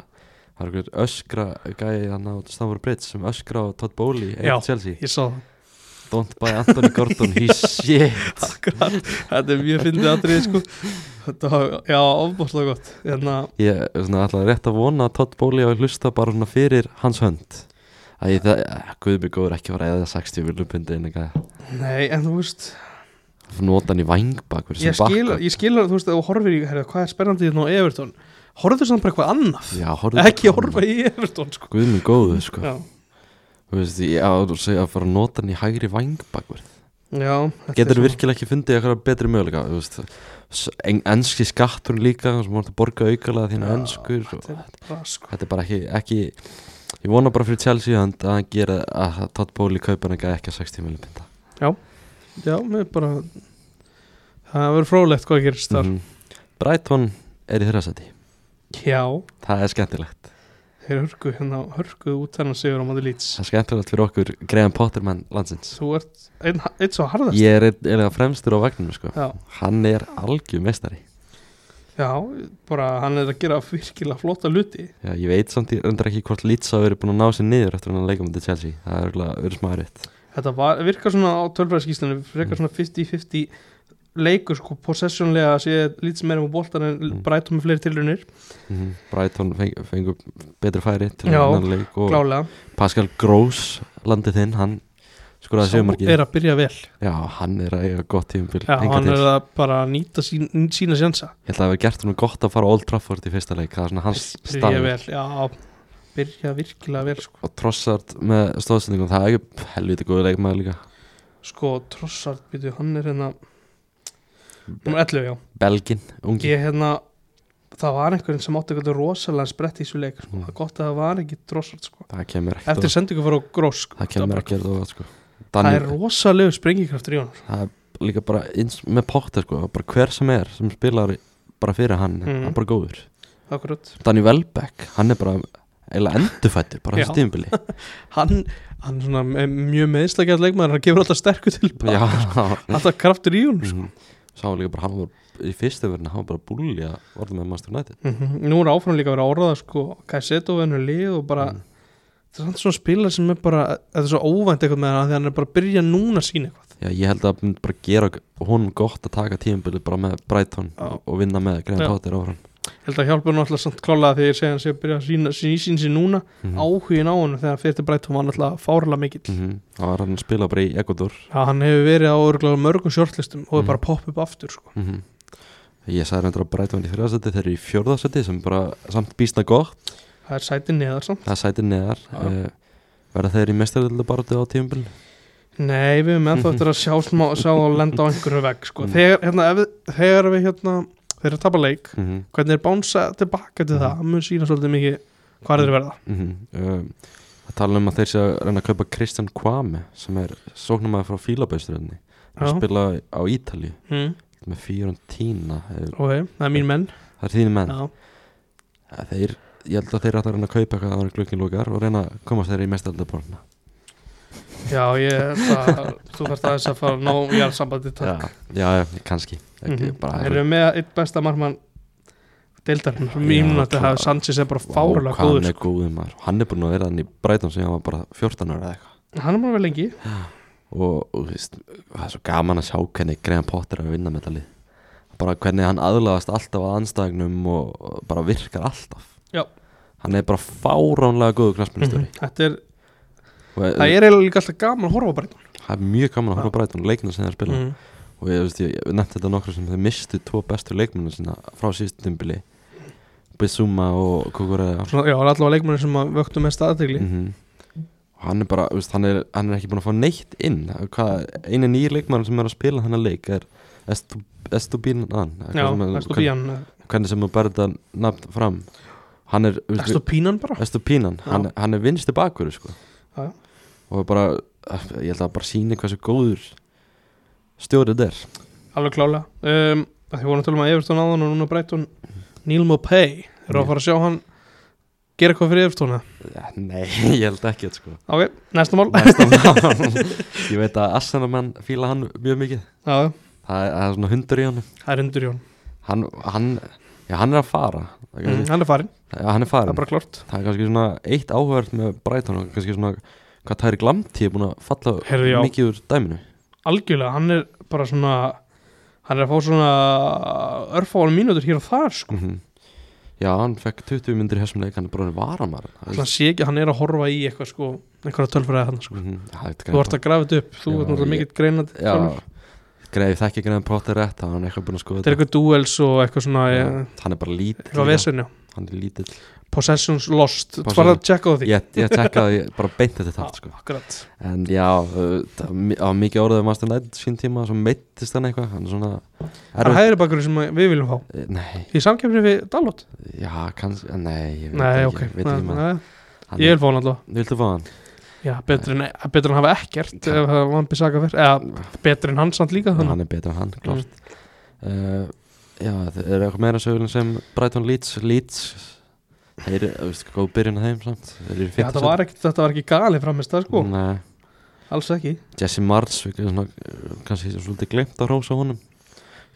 [SPEAKER 1] það er einhver öskra gæði hann á Stamford Bridge sem öskra á Todd Bowley
[SPEAKER 2] Já.
[SPEAKER 1] eitt Chelsea,
[SPEAKER 2] ég sá það
[SPEAKER 1] don't buy Anthony Gordon
[SPEAKER 2] *laughs*
[SPEAKER 1] he's shit
[SPEAKER 2] Akkurat, þetta er mjög fyndið aðrið sko Þetta var, já, ofbúrslega gott Hérna, Þannig að,
[SPEAKER 1] ég er svona alltaf rétt að vona að Todd Bowley á að hlusta bara svona fyrir hans hönd að ég það, guðbjörg góður ekki að vera eða 60 viljubundi en eitthvað
[SPEAKER 2] nei, en þú veist
[SPEAKER 1] nota hann í vangbakur
[SPEAKER 2] Ég skil, ég skil, að, þú veist, ef þú horfir í, herrðu, hvað er spennandi þetta á Everton Horfðu samt bara eitthvað annað
[SPEAKER 1] Já, horfðu-
[SPEAKER 2] Ekki horfa í Everton sko
[SPEAKER 1] Guðmund góðu sko
[SPEAKER 2] Já,
[SPEAKER 1] Þú veist, ég á að segja að fara að nota hann í hægri vangbakverð
[SPEAKER 2] já þetta
[SPEAKER 1] Getur
[SPEAKER 2] er
[SPEAKER 1] þú
[SPEAKER 2] svona-
[SPEAKER 1] virkilega ekki fundið eitthvað betri möguleika Þú veist, s- en, enski skatturinn líka sem þú mátt að borga aukalega þínu
[SPEAKER 2] Já,
[SPEAKER 1] enskur og,
[SPEAKER 2] Þetta er bara, sko
[SPEAKER 1] Þetta er bara ekki, ekki Ég vona bara fyrir Chelsea hönd að hann gera að að Todd Bowley kaupa hann ekki að 60 miljum pinda
[SPEAKER 2] Já, mér bara Það verður frólægt hvað gerist þar
[SPEAKER 1] -hmm. Brighton er í þeirra seti
[SPEAKER 2] Já,
[SPEAKER 1] Það er skemmtilegt
[SPEAKER 2] þeir hörku hérna, hörku út hennar sigur á maður lýts
[SPEAKER 1] Það er skemmtilegt fyrir okkur Graham Potterman landsins
[SPEAKER 2] Þú ert einn einn sá harðast
[SPEAKER 1] Ég er eða fremstur á vagninu sko
[SPEAKER 2] Já.
[SPEAKER 1] Hann er algjör mestari
[SPEAKER 2] Já, bara hann er að gera virkilega flotta luti
[SPEAKER 1] Já, ég veit samt í undra ekki hvort Leeds hafa verið búin að ná sér niður eftir hann að leika mútið Chelsea það er örgulega verið smá erfitt
[SPEAKER 2] Þetta var, virkar svona á tölfræðskíslunum frekar svona 50-50 leikur sko possessionlega sé lítið meira um bóltan en
[SPEAKER 1] Mm.
[SPEAKER 2] Brighton með fleiri tilrunir
[SPEAKER 1] Brighton feng, fengur betri færi til
[SPEAKER 2] Já,
[SPEAKER 1] annan leik og
[SPEAKER 2] klálega,
[SPEAKER 1] Pascal Gross landið þinn, hann skoraði
[SPEAKER 2] Sá
[SPEAKER 1] sjömarkið
[SPEAKER 2] er að byrja vel
[SPEAKER 1] Já, hann er að eiga gott tíumbil
[SPEAKER 2] Já, hann er
[SPEAKER 1] til.
[SPEAKER 2] að bara nýta sín, sína sjansa
[SPEAKER 1] Ég held að það hafi gert honum gott að fara á Old Trafford í fyrsta leik það er svona hans
[SPEAKER 2] byrja
[SPEAKER 1] stað
[SPEAKER 2] vel, já, byrja virkilega vel sko,
[SPEAKER 1] og Trossard með stóðsendingum það er ekki helviti góðu leikmaður líka
[SPEAKER 2] sko Trossard, býtu, hann er hérna nummer 11, já,
[SPEAKER 1] Belgin, ungi
[SPEAKER 2] ég hérna það var einhverjum sem átti eitthvað rosalega sprett í þessu leik, sko,
[SPEAKER 1] Mm.
[SPEAKER 2] það er gott að það var ekki Trossard, sko,
[SPEAKER 1] það kemur ekkert
[SPEAKER 2] eftir
[SPEAKER 1] á-
[SPEAKER 2] sendingu fyrir á grós, sko,
[SPEAKER 1] það kemur
[SPEAKER 2] bara-
[SPEAKER 1] ekkert og sko.
[SPEAKER 2] það
[SPEAKER 1] Daniel-
[SPEAKER 2] er rosalegu sprengikraftur í honum
[SPEAKER 1] það er líka bara eins með Potter sko, bara hver sem er sem spilar bara fyrir hann,
[SPEAKER 2] Mhm.
[SPEAKER 1] hann er bara góður
[SPEAKER 2] Akkurat.
[SPEAKER 1] Danny Welbeck, hann er bara eiginlega endurfættur, bara hans
[SPEAKER 2] Já.
[SPEAKER 1] tímubili
[SPEAKER 2] *laughs* Hann, hann svona er mjög meðslagjað leikmaður, hann gefur alltaf sterku til
[SPEAKER 1] Já,
[SPEAKER 2] bara. alltaf kraftur í hún mm.
[SPEAKER 1] Mhm. sá líka bara hann var í fyrstu verðin, hann var bara búlja varðum með Master United
[SPEAKER 2] Mhm. Nú er áfram líka að vera orðað sko, Kaiseto vennu lið og bara
[SPEAKER 1] Mhm.
[SPEAKER 2] það er samt svona spilar sem er bara þetta er svo óvænt eitthvað með hann, því hann er bara að byrja núna að sína eitthvað.
[SPEAKER 1] Já, ég held að það myndi bara gera honum gott að taka tímubili bara með Brighton
[SPEAKER 2] Já.
[SPEAKER 1] og vinna með
[SPEAKER 2] Já.
[SPEAKER 1] Graham Potter áfram
[SPEAKER 2] Ég Held að hjálpa hann alltaf samt klálega þegar ég segja hann sé að byrja að sína sín, sín, sín núna,
[SPEAKER 1] Mhm.
[SPEAKER 2] áhugin á hann þegar hann fyrir til Brighton var hann alltaf fárlega mikill
[SPEAKER 1] Mhm. Það var hann að spila bara í Ecuador
[SPEAKER 2] Já, hann hefur verið á örgulega mörgum sjortlistum og er
[SPEAKER 1] Mhm.
[SPEAKER 2] bara að poppa upp aftur sko.
[SPEAKER 1] Mhm. Ég sagði reyndar að Brighton í þriðarsæti, þeir eru í fjórðarsæti sem bara samt býstna gott
[SPEAKER 2] það er sætið neðar samt
[SPEAKER 1] Það er sætið neðar
[SPEAKER 2] Já.
[SPEAKER 1] uh, Verða þeir í mestaröldu barðu á tíumbil?
[SPEAKER 2] Nei, við höfum ennþá eftir að sjá, smá, sjá og lenda á einhverju vegg sko.
[SPEAKER 1] Mm.
[SPEAKER 2] þegar, hérna, ef, við- þegar við hérna, þegar að tapa leik
[SPEAKER 1] Mm -hmm.
[SPEAKER 2] hvernig er bánsa tilbaka til það það mun sína svolítið mikið hvað þeir verða
[SPEAKER 1] mm
[SPEAKER 2] eh,
[SPEAKER 1] Það tala um að þeir sé að reyna að kaupa Kristján Kvame sem er sóknumæður frá Fílabæsturöldinni
[SPEAKER 2] Já.
[SPEAKER 1] og spila á Ítalju
[SPEAKER 2] mm.
[SPEAKER 1] með Fiorentina eh,
[SPEAKER 2] ok, það er mín menn
[SPEAKER 1] Það er þínu menn
[SPEAKER 2] Já.
[SPEAKER 1] Eh, Þeir, ég held að þeir ætla að reyna að kaupa eitthvað áður glöggin lókar og reyna að komast þeir í mestaröldu barðuna
[SPEAKER 2] já, ég það, þú þarft aðeins að fara að ná ég er sambandi takk
[SPEAKER 1] Já, já, já, kannski
[SPEAKER 2] mm
[SPEAKER 1] ekki, bara,
[SPEAKER 2] þeir eru með eitt besta marmann deildarinn,
[SPEAKER 1] Já,
[SPEAKER 2] mín að
[SPEAKER 1] klá-
[SPEAKER 2] það Sanchez er bara
[SPEAKER 1] Vá,
[SPEAKER 2] fárlega
[SPEAKER 1] hvað
[SPEAKER 2] góður sko.
[SPEAKER 1] hann er góður maður Hann er búin að vera hann í Breiton sem hann var bara 14 ára eða eitthvað
[SPEAKER 2] sko. hann er bara vel lengi
[SPEAKER 1] og, og þú veist, það er svo gaman að sjá hvernig Graham Potter er að vinna með þetta lið bara hvernig hann aðlagast alltaf að anstæðingnum og og bara virkar alltaf
[SPEAKER 2] Já.
[SPEAKER 1] hann er bara fáránlega góðu knastmyndstöri
[SPEAKER 2] Mhm. þetta er,
[SPEAKER 1] mm
[SPEAKER 2] það er eiginlega líka alltaf gaman að horfa bara
[SPEAKER 1] það er mjög gaman að horfa bræðin og leikna sem þeir spila
[SPEAKER 2] mm.
[SPEAKER 1] og ég, þú veist, ég, ég nefndi þetta nokkru sem þeir mistu tvo bestu leikmennu sinna frá síðustu tímbili Bissuma og Kukureða Mhm.
[SPEAKER 2] Svona- já, allavega leikmennir sem að vöktu mest aðtegli
[SPEAKER 1] -hmm. og hann er bara, þú veist, hann, er, hann er ekki búin að fá neitt inn hvað, einu nýjir leikmann sem er að spila hann að leik er Estupinan
[SPEAKER 2] Já, Estopían
[SPEAKER 1] hvernig sem þú bæri þetta nafn fram hann er þú veist,
[SPEAKER 2] Estopínan bara
[SPEAKER 1] Estupinan,
[SPEAKER 2] Já.
[SPEAKER 1] hann, hann er vinstu bakur sko.
[SPEAKER 2] Já, já.
[SPEAKER 1] og bara ég held að bara síni hversu góður stjórið er
[SPEAKER 2] Alveg klálega um, að Því vorum að tala um að Evertón áðan og núna breytun Neil Mopay Þeir eru að fara að sjá hann gera eitthvað fyrir Evertóna
[SPEAKER 1] Ja, Eh, Nei, *laughs* ég held ekki sko.
[SPEAKER 2] *laughs* Ok, næsta mál
[SPEAKER 1] Næsta mál. Ég veit að Arsenalmann fíla hann mjög mikið
[SPEAKER 2] Já,
[SPEAKER 1] Það er, það er svona hundur í hann
[SPEAKER 2] það er undur í honum
[SPEAKER 1] Hann, hann, já, hann er að fara Það er
[SPEAKER 2] mm,
[SPEAKER 1] kannski,
[SPEAKER 2] Hann er farin,
[SPEAKER 1] já, Hann er
[SPEAKER 2] það er
[SPEAKER 1] farin
[SPEAKER 2] bara klart
[SPEAKER 1] Það er kannski svona eitt áhverð með Brighton og Kannski svona hvað það er glamti er búin að falla
[SPEAKER 2] Heyrðu, já.
[SPEAKER 1] mikið úr dæminu
[SPEAKER 2] Algjörlega, hann er bara svona Hann er að fá svona örfáan mínútur hér og þar sko
[SPEAKER 1] mm *laughs* Já, hann fekk 20 myndir í þessum leik Hann er bara varamar
[SPEAKER 2] Þannig að sé ekki, að hann er að horfa í eitthvað sko einhverja tölfræði hann sko Þú ert að grafa þetta upp, þú
[SPEAKER 1] Já,
[SPEAKER 2] ert náttúrulega
[SPEAKER 1] ég-
[SPEAKER 2] mikill greinat
[SPEAKER 1] Já, greið þekki ekki nefn Potter rétt Það hann eitthvað búin að skoða
[SPEAKER 2] Þetta er eitthvað duels og eitthvað svona
[SPEAKER 1] Já,
[SPEAKER 2] ja,
[SPEAKER 1] Hann er bara lítill
[SPEAKER 2] eitthvað
[SPEAKER 1] líka.
[SPEAKER 2] vesinn, já
[SPEAKER 1] Hann er lítill
[SPEAKER 2] Possessions lost,
[SPEAKER 1] Possessions-
[SPEAKER 2] þú var að tjekka á því
[SPEAKER 1] Ég, ég tekkaði bara beint þetta talt sko.
[SPEAKER 2] Akkurat
[SPEAKER 1] En já, uh, það var mi- það var mikið orðið um Aston United sín tíma Svo meittist hann eitthvað Hann er svona
[SPEAKER 2] Það er
[SPEAKER 1] erfitt-
[SPEAKER 2] hægri bakkur sem við viljum fá
[SPEAKER 1] Eh, Nei,
[SPEAKER 2] Í samkefni við Dalot
[SPEAKER 1] já, kannski Nei, ég veit
[SPEAKER 2] Nei,
[SPEAKER 1] ekki,
[SPEAKER 2] ok,
[SPEAKER 1] veit ekki
[SPEAKER 2] Nei,
[SPEAKER 1] maður.
[SPEAKER 2] nei,
[SPEAKER 1] Hann
[SPEAKER 2] ég
[SPEAKER 1] er-
[SPEAKER 2] vil fá hann alltaf
[SPEAKER 1] Viltu fá hann?
[SPEAKER 2] Já, betur en, betur en hafa ekkert ef það var hann bisaka fyrr eða betur en hann Mm. samt líka
[SPEAKER 1] Já,
[SPEAKER 2] þannig
[SPEAKER 1] Hann er betur en hann, klart uh, Já, það er eitthvað meira sögulegum sem Brighton Leeds Leeds Þeir eru, þú veist, góð byrjun að þeim samt Þeir eru í
[SPEAKER 2] Já,
[SPEAKER 1] fimmta
[SPEAKER 2] þetta
[SPEAKER 1] sæti.
[SPEAKER 2] var ekki, þetta var ekki gali framist það sko,
[SPEAKER 1] Nei,
[SPEAKER 2] alls ekki
[SPEAKER 1] Jesse Mars við getum svona, uh, kannski svolítið glemt að rósa honum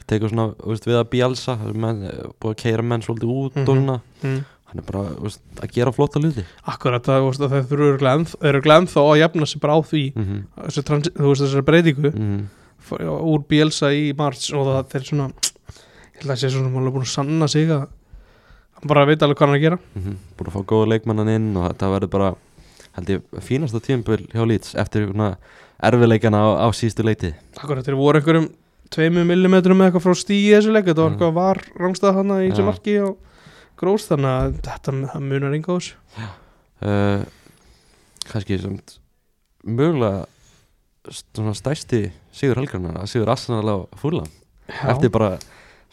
[SPEAKER 1] tekur svona, þú veist, við að Bielsa það er menn, uh, búið að keira menn svolítið út
[SPEAKER 2] Mhm.
[SPEAKER 1] og svona,
[SPEAKER 2] mm.
[SPEAKER 1] hann er bara þú veist, að gera flotta luti
[SPEAKER 2] Akkurat, það, þú veist, að þau eru glenn þá að jafna sig bara á því
[SPEAKER 1] mm -hmm.
[SPEAKER 2] þessu, trans, þú veist þessari breytingu
[SPEAKER 1] mm
[SPEAKER 2] f- úr Bielsa í March og það þeir svona ég held að sé svona málega búin að sanna sig að hann bara veit alveg hvað hann er að gera
[SPEAKER 1] búið Mhm. að fá góða leikmannan inn og þetta verður bara held ég, fínasta tímpil hjá Leeds eftir svona erfiðleikana á, á síðustu leiti
[SPEAKER 2] Akkurat, þeir voru einhverjum tveimur millimetrum eða eitthvað frá stíi í þessu leik þetta var
[SPEAKER 1] Mm.
[SPEAKER 2] eitthvað var rangstað hana í þessu
[SPEAKER 1] Já.
[SPEAKER 2] marki og grós þannig að þetta það munar enga á þessu
[SPEAKER 1] uh, kannski samt mögulega svona stæsti Sigur Helgarnar Sigur Arsenal á fúla eftir bara,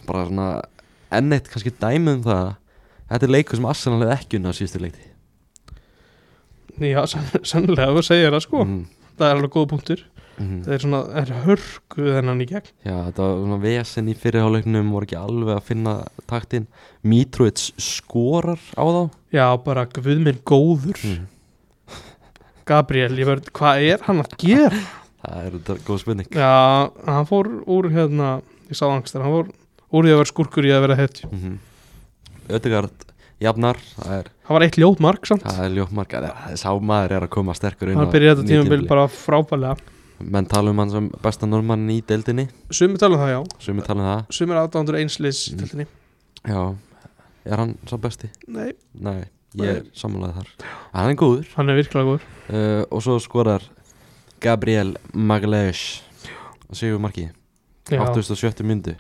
[SPEAKER 1] bara svona enn eitt kannski dæmi um það þetta er leikur sem Arsenal hefði ekki unna á síðustu leikti
[SPEAKER 2] Já, sann, sannlega þú segir það sko
[SPEAKER 1] mm,
[SPEAKER 2] það er alveg góð punktur
[SPEAKER 1] mm,
[SPEAKER 2] það er svona, það er hörku þennan í gegn
[SPEAKER 1] já, þetta var svona vesen í fyrirháleiknum voru ekki alveg að finna taktin Mitrovic skorar á þá
[SPEAKER 2] Já, bara guð minn góður
[SPEAKER 1] Mm.
[SPEAKER 2] Gabriel, ég verð, hvað er hann að
[SPEAKER 1] *laughs*
[SPEAKER 2] gera?
[SPEAKER 1] það er þetta góð spurning
[SPEAKER 2] Já, hann fór úr hérna, ég sá angstir, hann fór úr því að vera skurkur í að vera hetju
[SPEAKER 1] mm -hmm. Ödegard jafnar, það er,
[SPEAKER 2] Það var eitt ljót mark samt,
[SPEAKER 1] það er ljótmark það er- sá maður er að koma sterkur inn
[SPEAKER 2] hann
[SPEAKER 1] á
[SPEAKER 2] byrjaði þetta
[SPEAKER 1] nýju
[SPEAKER 2] tímabil
[SPEAKER 1] tímabili.
[SPEAKER 2] bara frábælega
[SPEAKER 1] menn tala um hann sem besta normann í deildinni
[SPEAKER 2] Sumi tala um það, já,
[SPEAKER 1] sumi tala um það
[SPEAKER 2] sumir aðdándur einslis
[SPEAKER 1] Mm.
[SPEAKER 2] í tildinni
[SPEAKER 1] já, er hann sá besti?
[SPEAKER 2] Nei,
[SPEAKER 1] Nei, ég er samanlega þar En Hann er góður
[SPEAKER 2] hann er virkilega góður
[SPEAKER 1] uh, Og svo skorar Gabriel Magleus Sigur Marki,
[SPEAKER 2] Já,
[SPEAKER 1] 87. myndu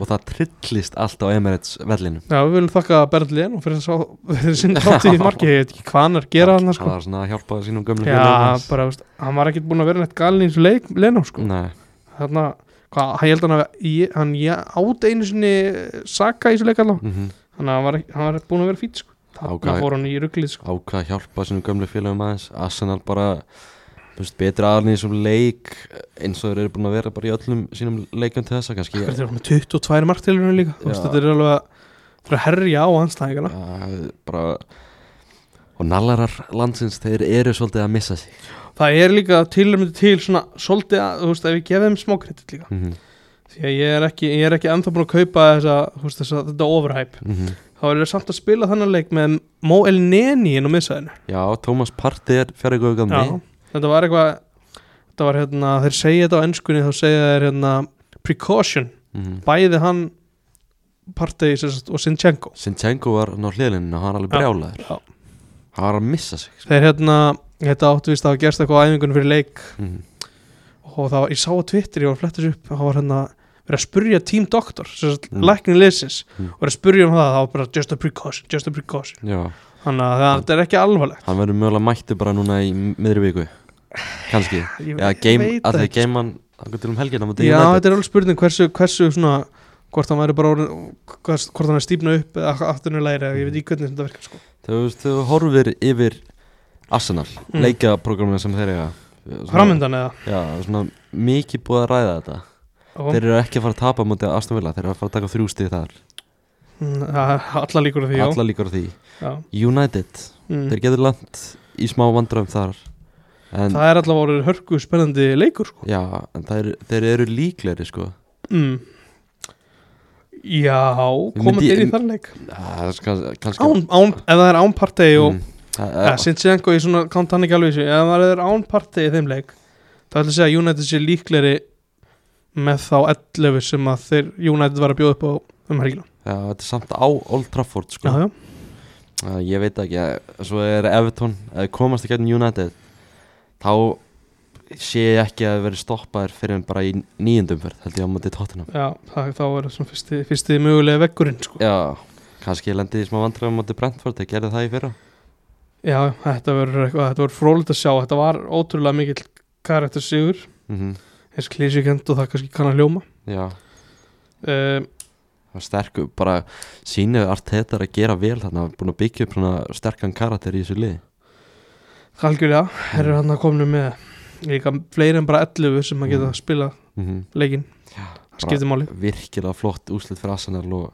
[SPEAKER 1] Og það trillist allt á Emirates vellinu
[SPEAKER 2] já við viljum þakka Berlin og fyrir þess að fyrir
[SPEAKER 1] *laughs*
[SPEAKER 2] sinn þátti í marki, ég veit ekki hvað hann er að gera hann
[SPEAKER 1] Hann
[SPEAKER 2] sko.
[SPEAKER 1] var svona að hjálpa sínum gömlu
[SPEAKER 2] Já,
[SPEAKER 1] félögum hans.
[SPEAKER 2] bara, veist, hann var ekkert búin að vera neitt galin í þessu leik, Lenó sko
[SPEAKER 1] Nei,
[SPEAKER 2] Þarna, hvað, hann ég held hann að ég- hann já, át einu sinni Saka í þessu leik allavega,
[SPEAKER 1] mm -hmm.
[SPEAKER 2] þannig að hann var, ekki- hann var búin að vera fít sko Þarna
[SPEAKER 1] Ákvað-
[SPEAKER 2] fór hann í ruglið sko
[SPEAKER 1] ákvað að hjálpa sínum gömlu félagum aðeins Arsenal bara þú veist, betri aðlinn í þessum leik eins og þeir eru búin að vera bara í öllum sínum leikum til þessa kannski
[SPEAKER 2] Þetta er með 22 marktilurinn líka Þú veist,
[SPEAKER 1] Já.
[SPEAKER 2] Þetta er alveg að fyrir að herja á anstæðingana
[SPEAKER 1] Já, bara og nallarar landsins þeir eru svolítið að missa sig
[SPEAKER 2] Það er líka tilmyndi til svona svolítið að, þú veist, ef ég gefið þeim smá kredit líka
[SPEAKER 1] mm
[SPEAKER 2] því að ég er ekki, ég er ekki ennþá búin að kaupa þessa, þú veist, þessa, þetta overhype
[SPEAKER 1] -hmm.
[SPEAKER 2] þá er ég samt að spila þannan leik með Mo El Neni inn á miðsæðinu
[SPEAKER 1] Já, Tómas Partey er fjari góðu gamli
[SPEAKER 2] Já, þetta var eitthvað þetta var hérna, þeir segja þetta á ennskunni þá segja þeir hérna precaution,
[SPEAKER 1] mm.
[SPEAKER 2] bæði hann partegi sérst og Sinchenko
[SPEAKER 1] Sinchenko var ná hliðlinni og hann var alveg
[SPEAKER 2] Já,
[SPEAKER 1] brjálaður
[SPEAKER 2] já.
[SPEAKER 1] Hann var að missa sig sko.
[SPEAKER 2] þeir hérna, þetta áttu víst að hafa gerst eitthvað á æfingunum fyrir leik
[SPEAKER 1] mm.
[SPEAKER 2] og það var, ég sá á Twitter, ég var að fletta þessu upp það var hérna, verið að spurja Team Doctor sem sagt,
[SPEAKER 1] Mm.
[SPEAKER 2] læknin liðsins,
[SPEAKER 1] Mm.
[SPEAKER 2] og verið að spurja um það það var bara just a precaution, just a precaution
[SPEAKER 1] Já,
[SPEAKER 2] þannig að
[SPEAKER 1] Mm.
[SPEAKER 2] þetta er ekki alvarlegt
[SPEAKER 1] Hann verður mögulega mættu bara núna í miðri viku Kanski
[SPEAKER 2] Ég
[SPEAKER 1] Já, game, að því að game hann Það til um helgin
[SPEAKER 2] Já, þetta er alveg spurning hversu, hversu svona, hvort hann væri bara orðin, hvers, hvort hann er stífna upp eða aftur niður læri, ég veit ekki hvernig þetta verkar sko.
[SPEAKER 1] Þú veist, þú horfir yfir Arsenal,
[SPEAKER 2] Mm.
[SPEAKER 1] mm. leikaprogramina sem þeir eiga Svona-
[SPEAKER 2] Framöndan eða
[SPEAKER 1] Já, svona mikið búið að ræða þetta
[SPEAKER 2] og,
[SPEAKER 1] Þeir eru ekki að fara að tapa mútið Aston Villa Þeir eru að fara að taka þrjú stið þar
[SPEAKER 2] Mm, það er Alla líkur á því, já,
[SPEAKER 1] Alla líkur á því
[SPEAKER 2] já.
[SPEAKER 1] United,
[SPEAKER 2] Mm.
[SPEAKER 1] þeir getur land í smá vandröfum þar En,
[SPEAKER 2] Það er allavega orðið hörku spennandi leikur sko.
[SPEAKER 1] já, en það er, þeir eru líklegri sko
[SPEAKER 2] mm.
[SPEAKER 1] Ég
[SPEAKER 2] Já, komandi
[SPEAKER 1] myndi-
[SPEAKER 2] inn í þann leik
[SPEAKER 1] Það er kannski, kannski
[SPEAKER 2] án, án, Ef það er án partegi og
[SPEAKER 1] Mm. Það
[SPEAKER 2] ja,
[SPEAKER 1] er-
[SPEAKER 2] Sinchenko, ég svona kánt hann ekki alveg í þessu Ef það er án partegi í þeim leik þá ætla ég að segja að United sé líkleri með þá 11 sem að þeir United var að bjóða upp á um helgina
[SPEAKER 1] Já, þetta er samt á Old Trafford sko.
[SPEAKER 2] Já, já,
[SPEAKER 1] uh, Ég veit ekki, eh, svo er Everton eh, komast ekki að United þá sé ég ekki að verið stoppaðir fyrir en bara í nýjendumferð held ég á móti tóttunum
[SPEAKER 2] já það, þá er það svona fyrsti, fyrsti mögulega veggurinn sko.
[SPEAKER 1] Já, kannski ég lendi í smá vandræðum móti Brentford, þeir gerði það í fyrra
[SPEAKER 2] Já, þetta verður eitthvað, þetta verður frólitt að sjá Þetta var ótrúlega mikill karakter sigur
[SPEAKER 1] mm
[SPEAKER 2] eins klísikend og það kannski kann að hljóma
[SPEAKER 1] Já,
[SPEAKER 2] um,
[SPEAKER 1] það var sterkur bara sínu Arteta er að gera vel þannig að búin að byggja upp svona sterkan karakter í þessu lið
[SPEAKER 2] algjörlega þeir eru hann að komna með líka fleiri en bara 11 sem að geta
[SPEAKER 1] Mm.
[SPEAKER 2] að spila
[SPEAKER 1] mm
[SPEAKER 2] leikin það skiptir máli
[SPEAKER 1] virkilega flott úslit fyrir Arsenal og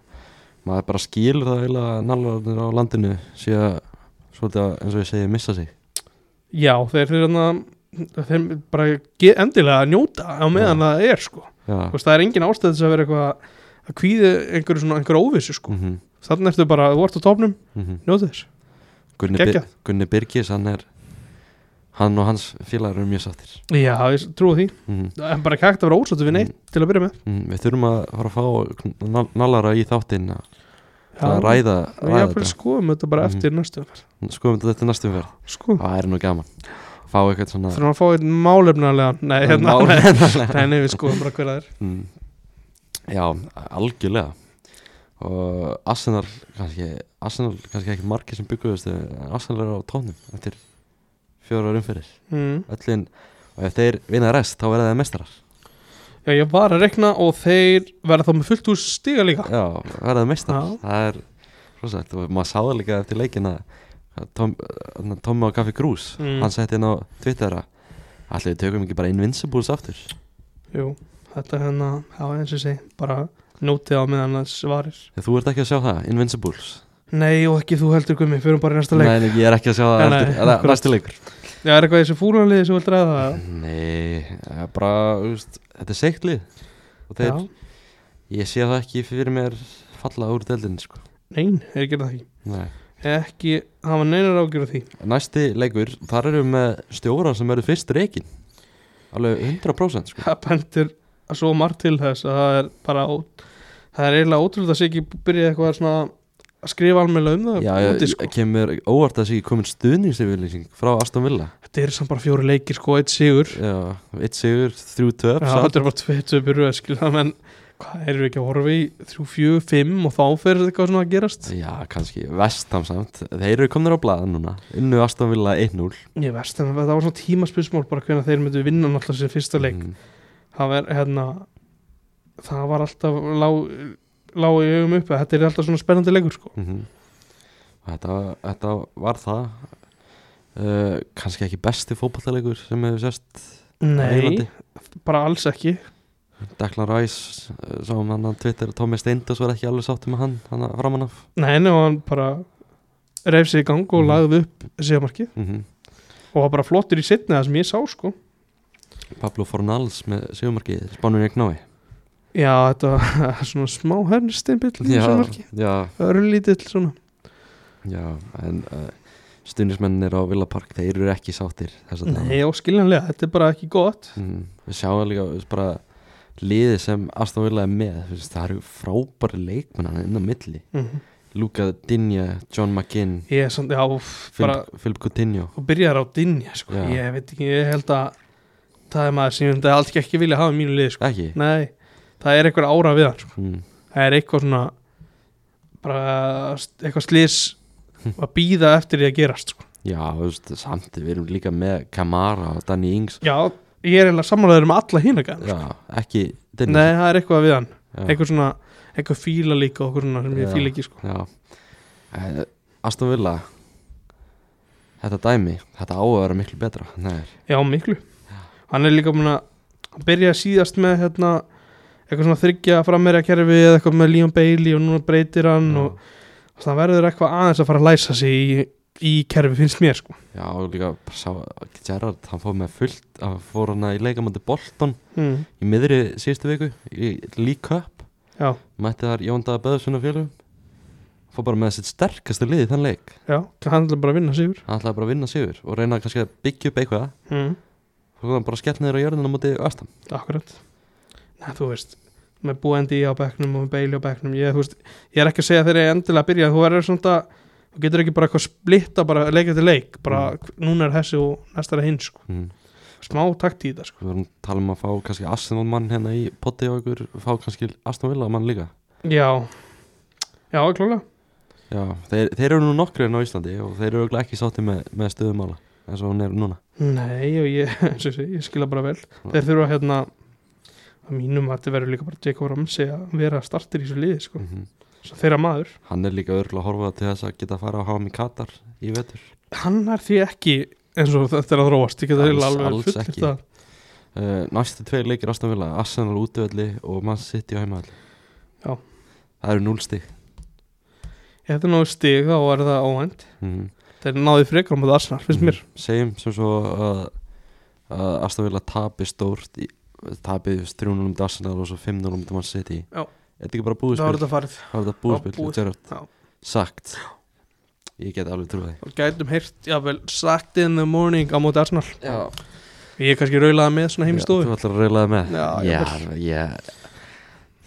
[SPEAKER 1] maður bara skilur það eiginlega nallararnir á landinu síðan svolítið að, eins og ég segi missa sig
[SPEAKER 2] já þeir eru hann að þeir bara ge- endilega að njóta á meðan það er sko
[SPEAKER 1] Já,
[SPEAKER 2] Þú veist, það er engin ástæð þess að vera eitthvað að kvíði einhverju svona einhverju óvissu sko
[SPEAKER 1] mhm, mhm
[SPEAKER 2] þannig ertu bara þú ert á topnum njóta þess
[SPEAKER 1] Gunni, Bir
[SPEAKER 2] Geggjað.
[SPEAKER 1] Gunni Birgis, hann er hann og hans félagur eru mjög sattir
[SPEAKER 2] já ég trúi því
[SPEAKER 1] mm
[SPEAKER 2] það er bara ekki hægt að vera ósáttu við neitt til að byrja með
[SPEAKER 1] mhm. Við þurfum að fara að fá nal- nallara í þáttinn að að
[SPEAKER 2] já
[SPEAKER 1] ræða,
[SPEAKER 2] já
[SPEAKER 1] ræða
[SPEAKER 2] fyrir skoðum þetta bara
[SPEAKER 1] Mhm.
[SPEAKER 2] eftir næstu umferð.
[SPEAKER 1] þetta skoðum þetta eftir næstum verð
[SPEAKER 2] skoðum
[SPEAKER 1] það er nú gaman fá eitthvað svona
[SPEAKER 2] þurfum að fá einn málefnarlegan nei hérna
[SPEAKER 1] Mál-
[SPEAKER 2] nei. Nei, nei, við skoðum bara hver það er
[SPEAKER 1] Mm. Já, algjörlega og Arsenal kannski, Arsenal kannski ekki margir sem bygguðust en Arsenal er á tónum eftir fjórar umferðir
[SPEAKER 2] mm.
[SPEAKER 1] öllin, og ef þeir vinna rest þá verða þeir mestarar
[SPEAKER 2] Já, ég var að rekna og þeir verða þá með fullt úr stiga líka
[SPEAKER 1] Já, verða þeir mestarar
[SPEAKER 2] Já.
[SPEAKER 1] það er rosalegt og maður sáða líka eftir leikin að að Tom- að Tommy á Kaffi Krús
[SPEAKER 2] Mm.
[SPEAKER 1] hann setti inn á Twitter að allir við tökum ekki bara Invincibles aftur
[SPEAKER 2] Jú, þetta er hérna, já eins og ég segi bara nótið á meðan það svarir
[SPEAKER 1] Þegar þú ert ekki að sjá það, Invincibles
[SPEAKER 2] Nei og ekki þú heldur gummi, förum bara í næsta leik
[SPEAKER 1] Nei, nei, ég er ekki að sjá það
[SPEAKER 2] Nei, nei,
[SPEAKER 1] eftir- eða
[SPEAKER 2] akkurat.
[SPEAKER 1] næsti leikur
[SPEAKER 2] Já, er eitthvað í þessu fúlanliði sem þú vilt ræða það?
[SPEAKER 1] Nei, það er bara, þú veist, þetta er seikt lið og þeir,
[SPEAKER 2] Já,
[SPEAKER 1] ég sé það ekki fyrir mér falla úr deildinni, sko
[SPEAKER 2] nein, er ekki það ekki
[SPEAKER 1] Nei.
[SPEAKER 2] Ekki, hafa neinar ágjörð því
[SPEAKER 1] Næsti leikur, þar eru við með stjóra sem eru fyrst reikin alveg 100% sko
[SPEAKER 2] Það bendir að svo margt til þess að það er bara ó, það er eiginlega ótrúlega að sé ekki byrja eitthvað svona að skrifa almennlega um það
[SPEAKER 1] Já, ég,
[SPEAKER 2] úti, sko.
[SPEAKER 1] ég kemur óvart að þessi ekki komin stuðningsyfirlýsing frá Aston Villa
[SPEAKER 2] Þetta er samt bara fjóri leikir sko, eitt sigur
[SPEAKER 1] Já, eitt sigur, þrjú töf
[SPEAKER 2] Já, þetta er bara tveit töpur skilja, menn, hvað erum við ekki að horfa í 3, 4, 5 og þá fyrir eitthvað svona að gerast
[SPEAKER 1] Já, kannski, vestam samt Þeir eru komnir á blaða núna Unnu Aston Villa 1-0
[SPEAKER 2] Ég veist, en það var svona tímaspilsmál bara hvernig þeir myndu vinna náttúrulega sér fyrsta leik
[SPEAKER 1] Mm,
[SPEAKER 2] það var, hérna það var alltaf lág, lág í augum uppi, þetta er alltaf svona spennandi leikur sko.
[SPEAKER 1] mhm. Og þetta, þetta var það uh, Kannski ekki besti fótballalegur sem hefur sérst á
[SPEAKER 2] Nei,
[SPEAKER 1] Englandi.
[SPEAKER 2] bara alls ekki
[SPEAKER 1] Declan Rice uh, sáum hann á Twitter að Tómi Steindos var ekki alveg sáttu með hann hann framan af
[SPEAKER 2] Nei, en hann bara reyf sig í gang og
[SPEAKER 1] Mhm.
[SPEAKER 2] lagði upp síðamarkið
[SPEAKER 1] mm
[SPEAKER 2] og var bara flottur í setni það sem ég sá sko
[SPEAKER 1] Pablo Fornals með sigumarkið Spánun í knái
[SPEAKER 2] Já, þetta var *laughs* svona smá hernsteinbill í þessu marki,
[SPEAKER 1] já,
[SPEAKER 2] örlítill svona
[SPEAKER 1] já en uh, stuðnismennir á Villa Park þeir eru ekki sáttir þess að
[SPEAKER 2] Nei, óskiljanlega, þetta er bara ekki gott
[SPEAKER 1] Mm, við sjáum líka þú veist, bara liðið sem Aston Villa er með þú veist, það eru frábæri leikmenn inn á milli
[SPEAKER 2] Mhm.
[SPEAKER 1] Luka Dinja, John McGinn
[SPEAKER 2] Ég er svona, já, úff, bara
[SPEAKER 1] Philip, Philip Coutinho
[SPEAKER 2] og byrjar á dinja, sko
[SPEAKER 1] Já.
[SPEAKER 2] Ég veit ekki, ég held að það er maður sem ég myndi allt ekki ekki vilja hafa í mínu liði, sko
[SPEAKER 1] ekki
[SPEAKER 2] Nei, það er eitthvað ára við hann, sko
[SPEAKER 1] mm,
[SPEAKER 2] *laughs* Það er eitthvað svona bara st- eitthvað slís að býða eftir því að gerast sko.
[SPEAKER 1] Já, þú veist, samt við erum líka með Kamara og Danny Ings
[SPEAKER 2] já, ég er eiginlega sammálaður með alla hína gæðina,
[SPEAKER 1] Já, ekki Dennis.
[SPEAKER 2] nei, það er eitthvað við hann
[SPEAKER 1] Já.
[SPEAKER 2] eitthvað svona, eitthvað fíla líka og okkur svona sem ég
[SPEAKER 1] Já.
[SPEAKER 2] fíla ekki sko.
[SPEAKER 1] Já Eh, Aston Villa Þetta dæmi, þetta á að vera miklu betra Nei,
[SPEAKER 2] Já, miklu Hann er líka mun að hann byrjaði síðast með hérna, eitthvað svona þryggja frammeira kerfi eða eitthvað með Leon Bailey og núna breytir hann
[SPEAKER 1] Já.
[SPEAKER 2] og þannig að hann verður eitthvað aðeins að fara að læsa sig í, í kerfi finnst mér sko
[SPEAKER 1] já, og líka bara sá, Gerard, hann fór með fullt hann fór hana í leikamandi Bolton
[SPEAKER 2] mm.
[SPEAKER 1] í miðri síðustu viku í League Cup,
[SPEAKER 2] Já,
[SPEAKER 1] mætti þar Jóndaða Böðsson og félagum fór bara með sitt sterkastu lið í þann leik
[SPEAKER 2] já, hann ætla bara að vinna sigur
[SPEAKER 1] hann ætlaði bara að vinna sigur og reyna kannski að byggja upp eitthvað
[SPEAKER 2] mm.
[SPEAKER 1] og hann bara skell niður á jörðina á móti Aston
[SPEAKER 2] Akkurat Nei, þú veist, með búendi á bekknum og með Bailey á bekknum ég, þú veist, ég er ekki að segja þegar ég endilega að byrja en þú verður svona að þú getur ekki bara eitthvað splitta bara leik eftir leik bara núna er þessi og næsta er hinn sko.
[SPEAKER 1] mm.
[SPEAKER 2] smá takt í þetta sko.
[SPEAKER 1] við vorum að tala um að fá kannski Aston mann hérna í potti og ykkur fá kannski Aston Villa mann líka
[SPEAKER 2] Já Já, klálega
[SPEAKER 1] Já, þeir, þeir eru nú nokkri enn á Íslandi og þeir eru örugglega ekki sátti með, með stöðumála eins og hún er núna
[SPEAKER 2] Nei, og ég, *laughs* eins og ég segi, ég skila bara vel Þeir þurfa hérna að mínum að þetta verður líka bara Jacob Ramsey að vera startir í þessu liði sko.
[SPEAKER 1] Mhm.
[SPEAKER 2] Svo þeirra maður
[SPEAKER 1] Hann er líka örgulega horfað til þess að geta að fara á háum í Katar í vetur
[SPEAKER 2] Hann er því ekki eins og þetta er að þróast Ég geta
[SPEAKER 1] Alls-
[SPEAKER 2] alveg
[SPEAKER 1] alls
[SPEAKER 2] fullir
[SPEAKER 1] ekki.
[SPEAKER 2] það
[SPEAKER 1] uh, Næstu tveir leikir Aston Villa, Arsenal útöðli og Man City á heimaðli
[SPEAKER 2] Já.
[SPEAKER 1] Það eru núlstig
[SPEAKER 2] Ef þetta náðu stig þá er það óvænt
[SPEAKER 1] mm -hmm.
[SPEAKER 2] Þeir náðu frekar á móti Arsenal,
[SPEAKER 1] Mhm.
[SPEAKER 2] finnst mér
[SPEAKER 1] Segjum sem svo að að Aston Villa tapi stórt í, tapi 3-0 um Arsenal og svo 5-0 um Man City
[SPEAKER 2] Já.
[SPEAKER 1] Er þetta ekki bara búið
[SPEAKER 2] Það var
[SPEAKER 1] spil?
[SPEAKER 2] þetta farið
[SPEAKER 1] Það var þetta
[SPEAKER 2] Já,
[SPEAKER 1] búið spil,
[SPEAKER 2] búið.
[SPEAKER 1] Gerard.
[SPEAKER 2] Já.
[SPEAKER 1] Sagt Ég get alveg trúið
[SPEAKER 2] Og gætum heyrt, jável, sagt in the morning á móti Arsenal
[SPEAKER 1] því Já
[SPEAKER 2] Ég er kannski raulaði með svona hérna heim í
[SPEAKER 1] Já,
[SPEAKER 2] stofu
[SPEAKER 1] Þú ætlar að reylaði með
[SPEAKER 2] Já,
[SPEAKER 1] já, ég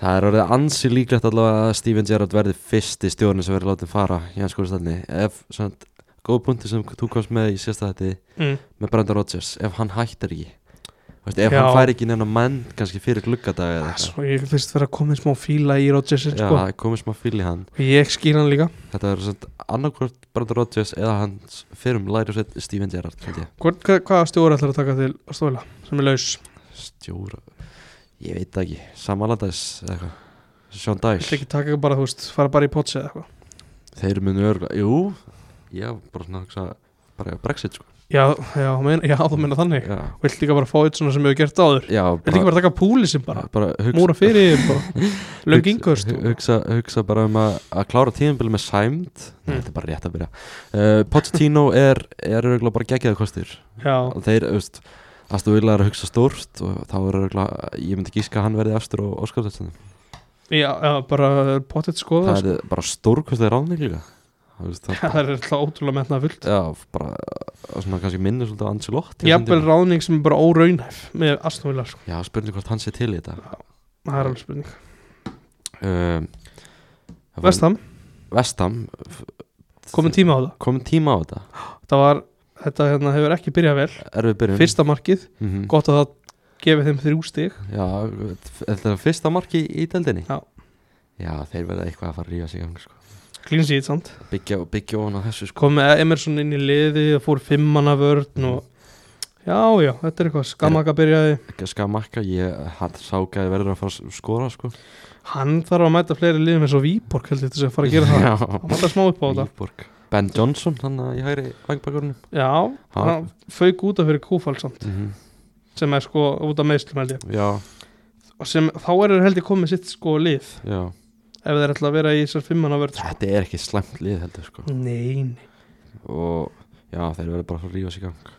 [SPEAKER 1] Það er orðið ansi líklegt allavega að Steven Gerrard verði fyrsti stjórnir sem verður látið fara í hans skólistalni ef svona góð punkti sem þú komst með í sérsta þetta
[SPEAKER 2] mm.
[SPEAKER 1] með Brenda Rodgers, ef hann hættir ekki Vist, ef
[SPEAKER 2] Já.
[SPEAKER 1] hann fær ekki neina menn kannski fyrir gluggadag eða eitthvað
[SPEAKER 2] Ah, Svo ég finnst vera komin smá fíla í Rodgersin
[SPEAKER 1] Já,
[SPEAKER 2] sko.
[SPEAKER 1] það komið smá fíl í hann
[SPEAKER 2] Og Ég skil hann líka
[SPEAKER 1] Þetta er svona annarkvort Brenda Rodgers eða hans fyrum læri sveit Steven Gerrard held ég.
[SPEAKER 2] Hvort, hvað, Hvaða stjóra ætlar að taka til að stóla sem er laus?
[SPEAKER 1] Stjóra Ég veit það ekki, samalandags eitthvað Sean Dyche
[SPEAKER 2] Þetta ekki taka bara, þú veist, fara bara í potsi eða eitthvað
[SPEAKER 1] Þeir munu örgulega, jú Ég var bara svona að hugsa bara Brexit sko
[SPEAKER 2] Já, já, meina, já, þú meina þannig
[SPEAKER 1] Já,
[SPEAKER 2] Vilt líka bara fá eitt svona sem hefur gert áður
[SPEAKER 1] já
[SPEAKER 2] Vilt líka bara taka púlisinn bara
[SPEAKER 1] bara hugsa,
[SPEAKER 2] Múra fyrir þeim bara Löng
[SPEAKER 1] *laughs*
[SPEAKER 2] sko.
[SPEAKER 1] hugsa-
[SPEAKER 2] yngöst
[SPEAKER 1] hu- hugsa, hugsa bara um að, að klára tíðanbili með sæmd
[SPEAKER 2] Mm.
[SPEAKER 1] Þetta er bara rétt að byrja uh, Pochettino er, er örgulega bara geggjaði kostir
[SPEAKER 2] Já,
[SPEAKER 1] Þeir, veist Astu vilja er að hugsa stórt og þá er örgulega, ég myndi gíska að hann verði efstur og óskarsetsunum.
[SPEAKER 2] já, já, bara potið skoða
[SPEAKER 1] Það er bara stórkostið ráðning líka. Það, veist, það,
[SPEAKER 2] *laughs* Það er alltaf ótrúlega metnað fullt
[SPEAKER 1] já, bara svona kannski minnir svolítið á Ancelotti.
[SPEAKER 2] Jafnvel ráðning sem er bara óraunhæf með astnúvilar sko.
[SPEAKER 1] Já, spurning hvort hann sé til í þetta.
[SPEAKER 2] Það er alveg spurning
[SPEAKER 1] um,
[SPEAKER 2] Vestam,
[SPEAKER 1] Vestam
[SPEAKER 2] komin tíma á það
[SPEAKER 1] komin tíma á þetta
[SPEAKER 2] Þetta var, þetta hérna, hefur ekki byrjað vel
[SPEAKER 1] erfið byrjun
[SPEAKER 2] Fyrsta markið,
[SPEAKER 1] mm
[SPEAKER 2] gott að það gefi þeim þrjú stig
[SPEAKER 1] já, þetta er fyrsta marki í deldinni
[SPEAKER 2] Já.
[SPEAKER 1] já þeir verða eitthvað að fara að rífa sig í gang sko.
[SPEAKER 2] Clean sheet samt
[SPEAKER 1] byggja, byggja ofan á þessu sko.
[SPEAKER 2] kom með Emerson inn í liði og fór fimmanna vörn og já, já, þetta er eitthvað skamaka byrjaði
[SPEAKER 1] ekki að skamakka ég hann sá gæði verður að fara að skora sko.
[SPEAKER 2] hann þarf að mæta fleiri liðum eins og Víborg heldur til þess að fara að gera það
[SPEAKER 1] Já.
[SPEAKER 2] hann mæta smá upp á þetta
[SPEAKER 1] Viborg. Ben Johnson hann að ég hægri vangbakurinn
[SPEAKER 2] já,
[SPEAKER 1] Ha.
[SPEAKER 2] hann fauk út af fyrir Kúfal samt sem er sko út af meðslum held ég
[SPEAKER 1] já,
[SPEAKER 2] og sem, þá er þeir heldur komið sitt sko lið
[SPEAKER 1] já
[SPEAKER 2] ef þeir ætla að vera í þessar fimmanna vörn
[SPEAKER 1] þetta er ekki slæmt lið heldur sko.
[SPEAKER 2] nein,
[SPEAKER 1] og já þeir verða bara að fara að rífa sig í gang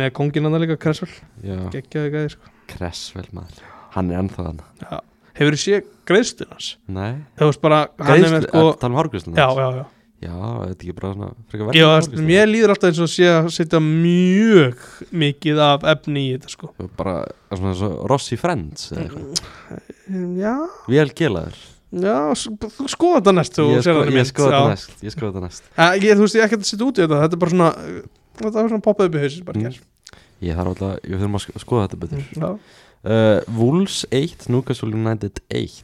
[SPEAKER 2] með kongin hann líka Kressvel,
[SPEAKER 1] já,
[SPEAKER 2] geggjaði gæði sko
[SPEAKER 1] Kressvel maður hann er ennþá hann
[SPEAKER 2] já. hefur þið séð greiðstun hans
[SPEAKER 1] nei
[SPEAKER 2] þú veist bara, hann er
[SPEAKER 1] Greiðslu,
[SPEAKER 2] með sko
[SPEAKER 1] að tala um hárgreiðsluna
[SPEAKER 2] já, já, já
[SPEAKER 1] Já, þetta er ekki bara svona frekar verð
[SPEAKER 2] Já, veist, mér líður alltaf eins og sé að setja mjög mikið af efni í þetta sko
[SPEAKER 1] Bara er svona svo Rossi Friends eða eitthvað
[SPEAKER 2] Já,
[SPEAKER 1] Vel gelaður
[SPEAKER 2] já, s- þú skoða þetta næst þú
[SPEAKER 1] Ég
[SPEAKER 2] sér
[SPEAKER 1] sko-
[SPEAKER 2] þarna
[SPEAKER 1] ég
[SPEAKER 2] mynd,
[SPEAKER 1] skoða
[SPEAKER 2] já.
[SPEAKER 1] þetta næst Ég skoða þetta næst
[SPEAKER 2] Eh, Ég, þú veist, ég er ekkert að setja út í þetta, þetta er bara svona uh, Þetta var svona poppað upp í hausins bara
[SPEAKER 1] Mm.
[SPEAKER 2] mm.
[SPEAKER 1] Ég þarf alltaf, ég þurfum að sk- skoða þetta betur
[SPEAKER 2] Já,
[SPEAKER 1] uh, Wolves 1, Newcastle United 1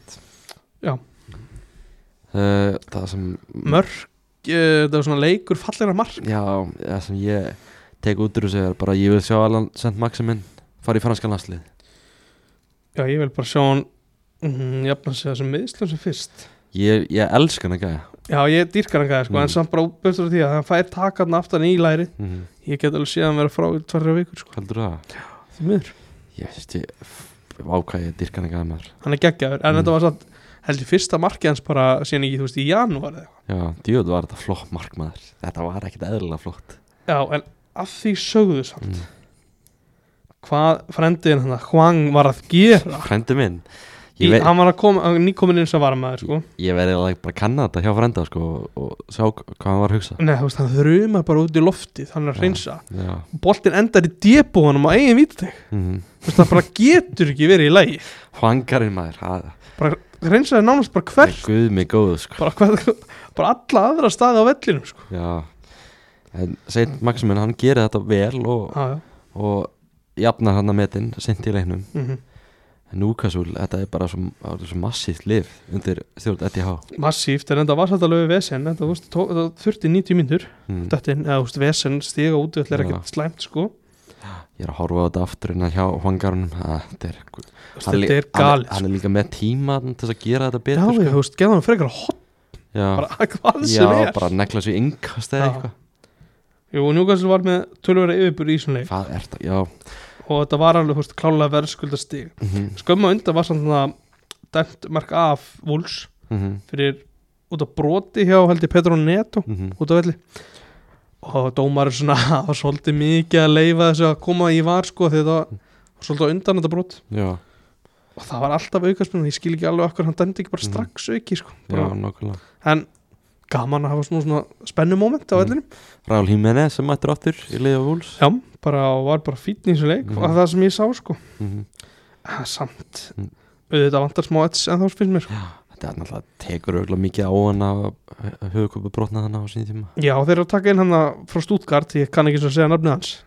[SPEAKER 2] Já.
[SPEAKER 1] uh, Það sem
[SPEAKER 2] mörk uh, þetta var svona leikur fallegra mark
[SPEAKER 1] Já, það sem ég tek út úr þessu er bara að ég vil sjá Alan St. Maximin fara í franska landslið
[SPEAKER 2] Já, ég vil bara sjá hann mm, jafna sig þessum meðslum sem fyrst
[SPEAKER 1] Ég, ég elska hann að gæja
[SPEAKER 2] Já, ég dýrkar hann gæði sko,
[SPEAKER 1] Mm.
[SPEAKER 2] en samt bara uppbjörnstur á því að hann fær takarn aftan í læri
[SPEAKER 1] mm -hmm.
[SPEAKER 2] Ég get alveg séð hann vera frá í tvarra vikur sko,
[SPEAKER 1] Heldur það?
[SPEAKER 2] því miður
[SPEAKER 1] Ég veist ég, ákvæði ég dyrkan að gæja maður
[SPEAKER 2] Hann er geggjaður, en
[SPEAKER 1] Mm.
[SPEAKER 2] þetta var satt held ég fyrsta markið hans bara síðan ekki, þú veist, í janúar eða eitthvað.
[SPEAKER 1] Já, djöð var þetta flott mark maður Þetta var ekkit eðlilega flott
[SPEAKER 2] Já, en að því sögðu samt
[SPEAKER 1] mm.
[SPEAKER 2] hvað frendiðin hann að Hwang var að gera
[SPEAKER 1] Frendi minn
[SPEAKER 2] í,
[SPEAKER 1] Ég, ver,
[SPEAKER 2] Hann var að koma, hann nýkomin inn sem varmaður sko
[SPEAKER 1] ég verði að bara kanna þetta hjá frenda sko, og, og sjá hvað hann var að hugsa
[SPEAKER 2] Nei, þú veist, hann þrumar bara út í loftið, hann er að
[SPEAKER 1] Já.
[SPEAKER 2] hreinsa
[SPEAKER 1] Já,
[SPEAKER 2] Boltin endar í débúanum á eigin vítið
[SPEAKER 1] mm -hmm.
[SPEAKER 2] Þú veist, það bara getur ekki verið í lægi
[SPEAKER 1] Hvangarinn maður að,
[SPEAKER 2] Hreinsaði nánast bara hvert
[SPEAKER 1] Guð mig góðu sko
[SPEAKER 2] bara, hver, bara alla aðra staði á vellinum sko.
[SPEAKER 1] Já En Seint Maximin hann gerir þetta vel og,
[SPEAKER 2] ah,
[SPEAKER 1] og jafnar hann að metin sent í leiknum
[SPEAKER 2] mm -hmm.
[SPEAKER 1] En Núkasúl, þetta er bara svo, það er svo massíft lif undir þjóð ETH
[SPEAKER 2] Massíft, en þetta var svolítið alveg vesen en það, þú veist, tó, það þurfti 90 mínútur
[SPEAKER 1] mm.
[SPEAKER 2] Döttin, eða, þú veist, vesen stiga út þetta er
[SPEAKER 1] Já.
[SPEAKER 2] ekkert slæmt sko.
[SPEAKER 1] Ég er að horfa á þetta aftur innan hjá Hvangarunum Þetta er,
[SPEAKER 2] Þú veist,
[SPEAKER 1] hann,
[SPEAKER 2] þetta er
[SPEAKER 1] lí- hann,
[SPEAKER 2] galið
[SPEAKER 1] hann
[SPEAKER 2] sko.
[SPEAKER 1] er líka með tíma til þess að gera þetta
[SPEAKER 2] Já,
[SPEAKER 1] betur
[SPEAKER 2] ég, þú veist, geða hann frekar að hopp
[SPEAKER 1] Já,
[SPEAKER 2] bara hvað
[SPEAKER 1] já
[SPEAKER 2] sem er
[SPEAKER 1] bara negla svo yngast eða
[SPEAKER 2] Já.
[SPEAKER 1] eitthvað
[SPEAKER 2] Jú, Newcastle var með tölvöra yfirbúr í svona leik
[SPEAKER 1] Hvað er þetta? Já
[SPEAKER 2] og þetta var alveg, þú veist, klálega verðskulda stig
[SPEAKER 1] mm -hmm.
[SPEAKER 2] Skömmu undan var samt svona dæmt mark af Wolves
[SPEAKER 1] Mm -hmm.
[SPEAKER 2] fyrir út af broti hjá heldur Petro Neto
[SPEAKER 1] mhm.
[SPEAKER 2] út af velli og dómar svona *laughs* var svolítið mikið að leifa þessu að koma í var sko því þetta var svolítið á undan þetta brot
[SPEAKER 1] Já,
[SPEAKER 2] og það var alltaf aukarspenn ég skil ekki alveg okkur hann dæmdi ekki bara
[SPEAKER 1] Mhm.
[SPEAKER 2] strax auki sko
[SPEAKER 1] já,
[SPEAKER 2] bara,
[SPEAKER 1] nákvæmlega
[SPEAKER 2] en gaman að hafa svona, svona spennumóment á
[SPEAKER 1] Mhm.
[SPEAKER 2] vellinum
[SPEAKER 1] Rál Hímenes sem mættur aftur í liða vúls
[SPEAKER 2] já, bara og var bara fítn í þessu leik
[SPEAKER 1] Mhm.
[SPEAKER 2] og það sem ég sá sko
[SPEAKER 1] mm -hmm.
[SPEAKER 2] eh, samt
[SPEAKER 1] Mhm.
[SPEAKER 2] auðvitað vantar smá ets en þá finnst mér sko
[SPEAKER 1] Þetta er náttúrulega tekur auðvitað mikið á hann eh, að höfuköpu brotna þannig á sín tíma
[SPEAKER 2] já þeir eru að taka inn hann frá Stuttgart ég kann ekki svo að segja nafnið hans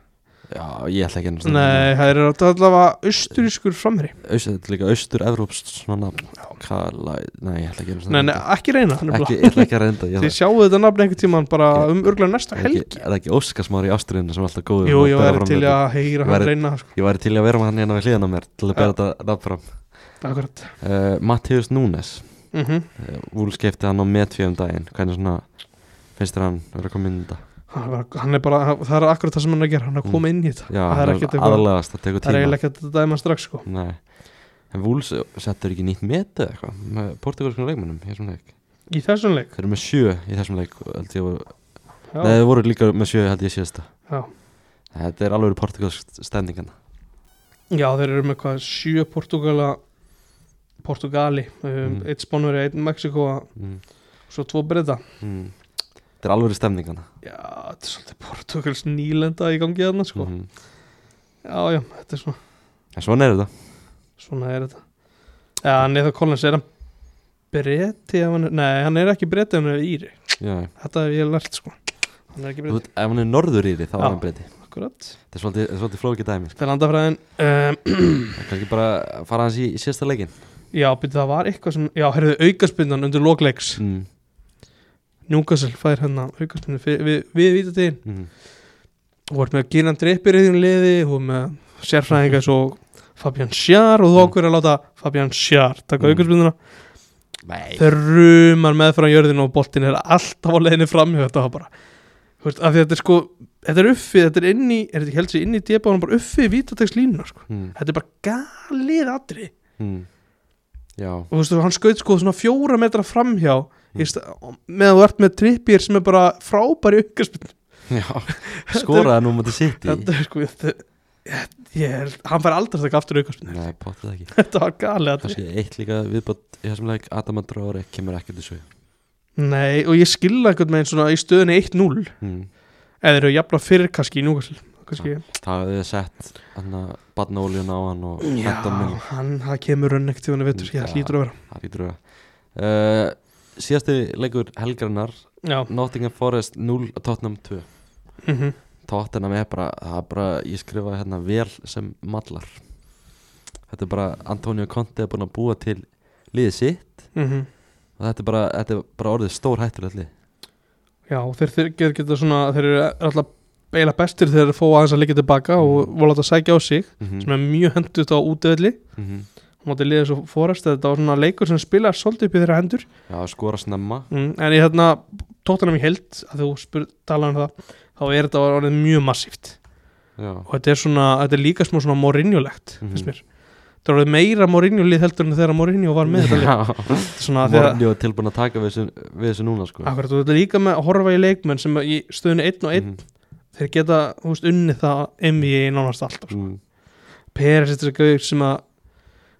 [SPEAKER 1] Já, ég ætla ekki ennast
[SPEAKER 2] nei, það eru að allavega austurískur framherri
[SPEAKER 1] Austur, þetta er líka austur-evrópst svona nafn Kala, nei, ég ætla ekki ennast
[SPEAKER 2] nei, nei, ekki reyna hann
[SPEAKER 1] Ekki, ég ætla ekki að reynda ég
[SPEAKER 2] Þið
[SPEAKER 1] ætla-
[SPEAKER 2] sjáu þetta nafn einhvern tíman bara
[SPEAKER 1] Ég-
[SPEAKER 2] um örgulega næsta
[SPEAKER 1] Er
[SPEAKER 2] helgi
[SPEAKER 1] ekki- Er það ekki Óskarsmári í ástriðinu sem er alltaf góður
[SPEAKER 2] Jú,
[SPEAKER 1] og
[SPEAKER 2] ég
[SPEAKER 1] bera
[SPEAKER 2] væri
[SPEAKER 1] fram
[SPEAKER 2] til
[SPEAKER 1] þetta?
[SPEAKER 2] að heyra hann
[SPEAKER 1] Væri-
[SPEAKER 2] reyna það, sko.
[SPEAKER 1] Ég væri til í að vera með hann hérna við hliðan á mér til að bera þetta nafn fram
[SPEAKER 2] Akkurat
[SPEAKER 1] uh, Mattius Núnes
[SPEAKER 2] mm
[SPEAKER 1] uh, Úl skipti hann á metfi um daginn Hvernig svona finnst þér hann vera að koma inn í þetta?
[SPEAKER 2] hann, var, hann er bara, það er akkurat það sem hann er að gera Hann er að koma inn í þetta
[SPEAKER 1] Mm. Já,
[SPEAKER 2] Það er
[SPEAKER 1] hann
[SPEAKER 2] ekkert
[SPEAKER 1] er
[SPEAKER 2] eitthvað-
[SPEAKER 1] aðlegast, það tekur
[SPEAKER 2] Það er
[SPEAKER 1] tíma
[SPEAKER 2] eiginlega ekki að þetta dæma strax sko
[SPEAKER 1] Nei, en Wolves settur ekki nýtt metið eða eitthvað með portugalskum leikmönnum í þessum leik
[SPEAKER 2] Í þessum leik
[SPEAKER 1] Þeir eru með sjö í þessum leik og held ég voru,
[SPEAKER 2] Já,
[SPEAKER 1] Nei, þeir voru líka með sjö held ég síðasta
[SPEAKER 2] já.
[SPEAKER 1] Þetta er alveg portugalsk stendingana
[SPEAKER 2] já þeir eru með hvað sjö Portugala Portugali um,
[SPEAKER 1] Mm.
[SPEAKER 2] Eitt Spánveri, einn Mexiko
[SPEAKER 1] mm.
[SPEAKER 2] Svo tvo breyta
[SPEAKER 1] mm. Þetta er alveg stendingana
[SPEAKER 2] Já, þetta er svolítið Portugals nýlenda í gangi þarna sko
[SPEAKER 1] mm.
[SPEAKER 2] Já, já, þetta er svona
[SPEAKER 1] En svona er þetta
[SPEAKER 2] Svona er þetta Já, hann er það Collins, er hann Breti ef hann er, Nei, hann er ekki breti ef hann er íri
[SPEAKER 1] Já.
[SPEAKER 2] Þetta hef ég lært sko Hann er ekki
[SPEAKER 1] Þú
[SPEAKER 2] breytið
[SPEAKER 1] veit, Ef hann er norður í því þá er
[SPEAKER 2] Já.
[SPEAKER 1] hann breyti
[SPEAKER 2] Akkurat
[SPEAKER 1] Þetta er svolítið, þetta er svolítið flókið dæmi sko.
[SPEAKER 2] Þetta er landafræðin um,
[SPEAKER 1] Það er kannski bara að fara hans í, í síðasta leikin
[SPEAKER 2] Já, byrju það var eitthvað sem Já, herðu aukaspindan undir lokleiks
[SPEAKER 1] mm.
[SPEAKER 2] Newcastle fær hérna aukaspindan við, við, við vítategin
[SPEAKER 1] Mm.
[SPEAKER 2] og voru með að gera hann dreipir í því liði og með sérfræðinga svo Fabian Sjar og þú ákveður að láta Fabian Sjar
[SPEAKER 1] Mm.
[SPEAKER 2] taka mm. aukaspinduna
[SPEAKER 1] Nei
[SPEAKER 2] þeir rumar með frá jörðin og boltin er alltaf á leiðinni fram þetta var bara þú veist, af því þetta er sko þetta er uppið, þetta er inni er þetta ekki helst inni í debáðunum bara uppið vítategslínuna sko.
[SPEAKER 1] mm.
[SPEAKER 2] þetta er bara galið atri
[SPEAKER 1] Mm. Já
[SPEAKER 2] og þú veist, hann skaut sko svona fjóra metra framhjá mm. stað, meðan þú ert með trippir sem er bara frábæri aukarspinn
[SPEAKER 1] Já, *laughs* skoraði nú mútið sitt í
[SPEAKER 2] þetta er sko þetta, ég, er, hann fær aldrei þakka aftur aukarspinn
[SPEAKER 1] Nei, bóttið ekki
[SPEAKER 2] þetta var galið að
[SPEAKER 1] kannski eitt líka viðbátt í þessum leik Adam Andróri kemur ekkert þessu
[SPEAKER 2] nei, og ég skilða einhvern veginn svona í stöðunni 1-0
[SPEAKER 1] mm.
[SPEAKER 2] eða þeir eru jafnla fyrir kannski í núkastil kannski,
[SPEAKER 1] það hefði sett hann að batna á hann og
[SPEAKER 2] já,
[SPEAKER 1] hættan minn
[SPEAKER 2] hann það kemur raun ekkert til hann að vetur,
[SPEAKER 1] Já.
[SPEAKER 2] ég hlýtur að vera
[SPEAKER 1] það lítur auðvitað uh, síðasti leikur helgarinnar
[SPEAKER 2] já,
[SPEAKER 1] Nottingham Forest 0 og Tottenham 2
[SPEAKER 2] mm
[SPEAKER 1] Tottenham er bara, það er bara ég skrifaði hérna vel sem mallar þetta er bara Antonio Conte er búin að búa til
[SPEAKER 2] mhm.
[SPEAKER 1] liðið sitt og þetta er bara, þetta er bara orðið stór hættulegt lið
[SPEAKER 2] Já, þeir, þeir geta, geta svona, þeir eru alltaf eiginlega bestir þegar þeir fá aðeins að liggja tilbaka og voru láta að sækja á
[SPEAKER 1] Mm.
[SPEAKER 2] sig sem er mjög hendut á útöðli
[SPEAKER 1] Mhm.
[SPEAKER 2] og mátti liða svo fórast þetta var svona leikur sem spila svolítið upp í þeirra hendur
[SPEAKER 1] Já, skora snemma
[SPEAKER 2] mm, en ég hérna, tóttanum í held að þú spyr, tala um það þá er þetta orðið mjög massíft
[SPEAKER 1] Já,
[SPEAKER 2] og þetta er svona, þetta er líka smá svona morinjulegt
[SPEAKER 1] Mhm.
[SPEAKER 2] finnst mér þetta er orðið meira morinjulið heldur en þegar morinjú var með
[SPEAKER 1] *laughs*
[SPEAKER 2] þetta lið Þetta er svona þegar
[SPEAKER 1] Morni var tilbúin að taka við þessu, við þessu núna sko
[SPEAKER 2] Akkurat, og þetta er líka með að horfa í leikmenn sem í stöðinu 1 og 1
[SPEAKER 1] Mhm.
[SPEAKER 2] þeir geta, þú veist, unnið það NBA nánast alltaf,
[SPEAKER 1] Mm.
[SPEAKER 2] Peres þetta er gauð sem að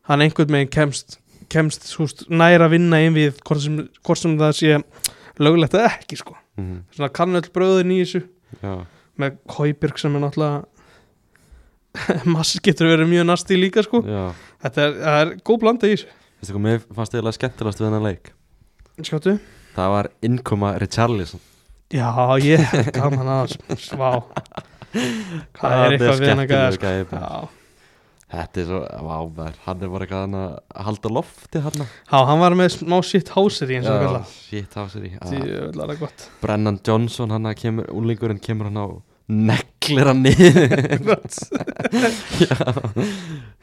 [SPEAKER 2] hann einhvern veginn kemst, kemst þú veist, nær að vinna NBA hvort sem, hvort sem það sé löglegt eða ekki, sko,
[SPEAKER 1] Mhm.
[SPEAKER 2] svona kann öll bröðin í þessu
[SPEAKER 1] Já,
[SPEAKER 2] með Kaupirk sem er náttúrulega *laughs* mass getur verið mjög nasti líka, sko,
[SPEAKER 1] já
[SPEAKER 2] þetta er, það er góð blanda í þessu,
[SPEAKER 1] Veistu hvað, mér fannst eiginlega skemmtilegast við þennan leik
[SPEAKER 2] skjáttu
[SPEAKER 1] Það var innkoma Richarlison
[SPEAKER 2] Já, ég, gaman aðeins, vá Hvað
[SPEAKER 1] Það
[SPEAKER 2] er eitthvað við hann að gæða,
[SPEAKER 1] skemmtilegur gæi,
[SPEAKER 2] sko,
[SPEAKER 1] bara.
[SPEAKER 2] já
[SPEAKER 1] Þetta er svo, vá, maður, hann er bara eitthvað hann að halda lofti hann
[SPEAKER 2] Já, hann var með smá shit háser í eins og það kalla
[SPEAKER 1] shit á sér í Ah,
[SPEAKER 2] Því öll er það *laughs* gott
[SPEAKER 1] Brennan Johnson, hann að kemur, úlingurinn kemur hann á Neklir hann
[SPEAKER 2] *laughs*
[SPEAKER 1] niður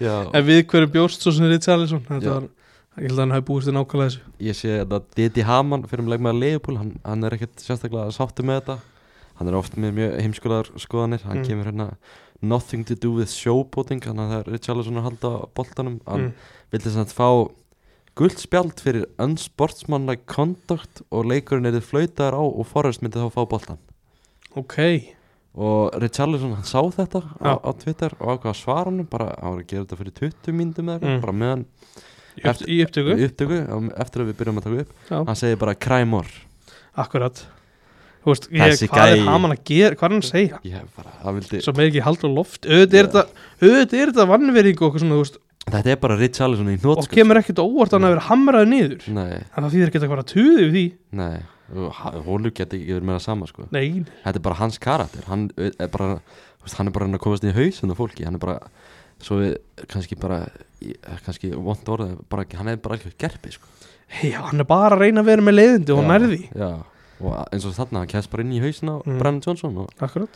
[SPEAKER 1] Já,
[SPEAKER 2] En við hverju bjóst svo sem Richarlison
[SPEAKER 1] Já.
[SPEAKER 2] Þetta var, ég held að hann hafi búist þér nákvæmlega þessu
[SPEAKER 1] ég sé þetta Didi Hamann fyrir um leikmaður Leifupúl hann, hann er ekkert sérstaklega sáttu með þetta hann er oft með mjög heimskulegar skoðanir hann
[SPEAKER 2] Mm.
[SPEAKER 1] kemur hérna nothing to do with showboating hann að það er Richarlison að halda á boltanum hann
[SPEAKER 2] Mm.
[SPEAKER 1] vildi sem að fá gult spjald fyrir unsportsmanlike conduct og leikurinn er þið flöytar á og Forrest myndi þá fá boltan
[SPEAKER 2] Ok,
[SPEAKER 1] og Richarlison hann sá þetta á,
[SPEAKER 2] Já.
[SPEAKER 1] á Twitter og ákvað að svara hann bara hann var að gera þetta fyrir 20 myndum eða
[SPEAKER 2] Mm.
[SPEAKER 1] mm. bara meðan
[SPEAKER 2] í upp-
[SPEAKER 1] Eftir-
[SPEAKER 2] í upptöku
[SPEAKER 1] í upptöku á- eftir að við byrjum að taka upp
[SPEAKER 2] Já,
[SPEAKER 1] hann segir bara cry more
[SPEAKER 2] akkurat Þú veist, ég,
[SPEAKER 1] Þessi
[SPEAKER 2] hvað er
[SPEAKER 1] gæi.
[SPEAKER 2] hann að gera, hvað er hann að segja
[SPEAKER 1] Ég hef bara, það vildi
[SPEAKER 2] Svo með ekki haldur loft Auðvitað
[SPEAKER 1] Já.
[SPEAKER 2] er þetta, auðvitað er þetta vannverðing og, eitthvað svona, þú veist,
[SPEAKER 1] Þetta er bara Richarlison í
[SPEAKER 2] og
[SPEAKER 1] nótskjöld
[SPEAKER 2] kemur ekkert á óvart að hann að vera hamraði niður
[SPEAKER 1] Nei,
[SPEAKER 2] En það þýðir ekki að vera tuði við því
[SPEAKER 1] nei Hólu geti ekki verið með það sama sko
[SPEAKER 2] Nei,
[SPEAKER 1] Þetta er bara hans karakter Hann er bara, þú veist, hann er bara að komast í hausin á fólki Hann er bara, svo við kannski bara í- eh, Kannski vond orðið bara, ekki- Hann er bara alveg gerpi sko
[SPEAKER 2] já, hann er bara að reyna að vera með leiðindi og
[SPEAKER 1] Já,
[SPEAKER 2] nærði
[SPEAKER 1] Já, og eins og þarna Hann kemst bara inn í hausin á
[SPEAKER 2] Mm.
[SPEAKER 1] Brennan Johnson og,
[SPEAKER 2] Akkurat,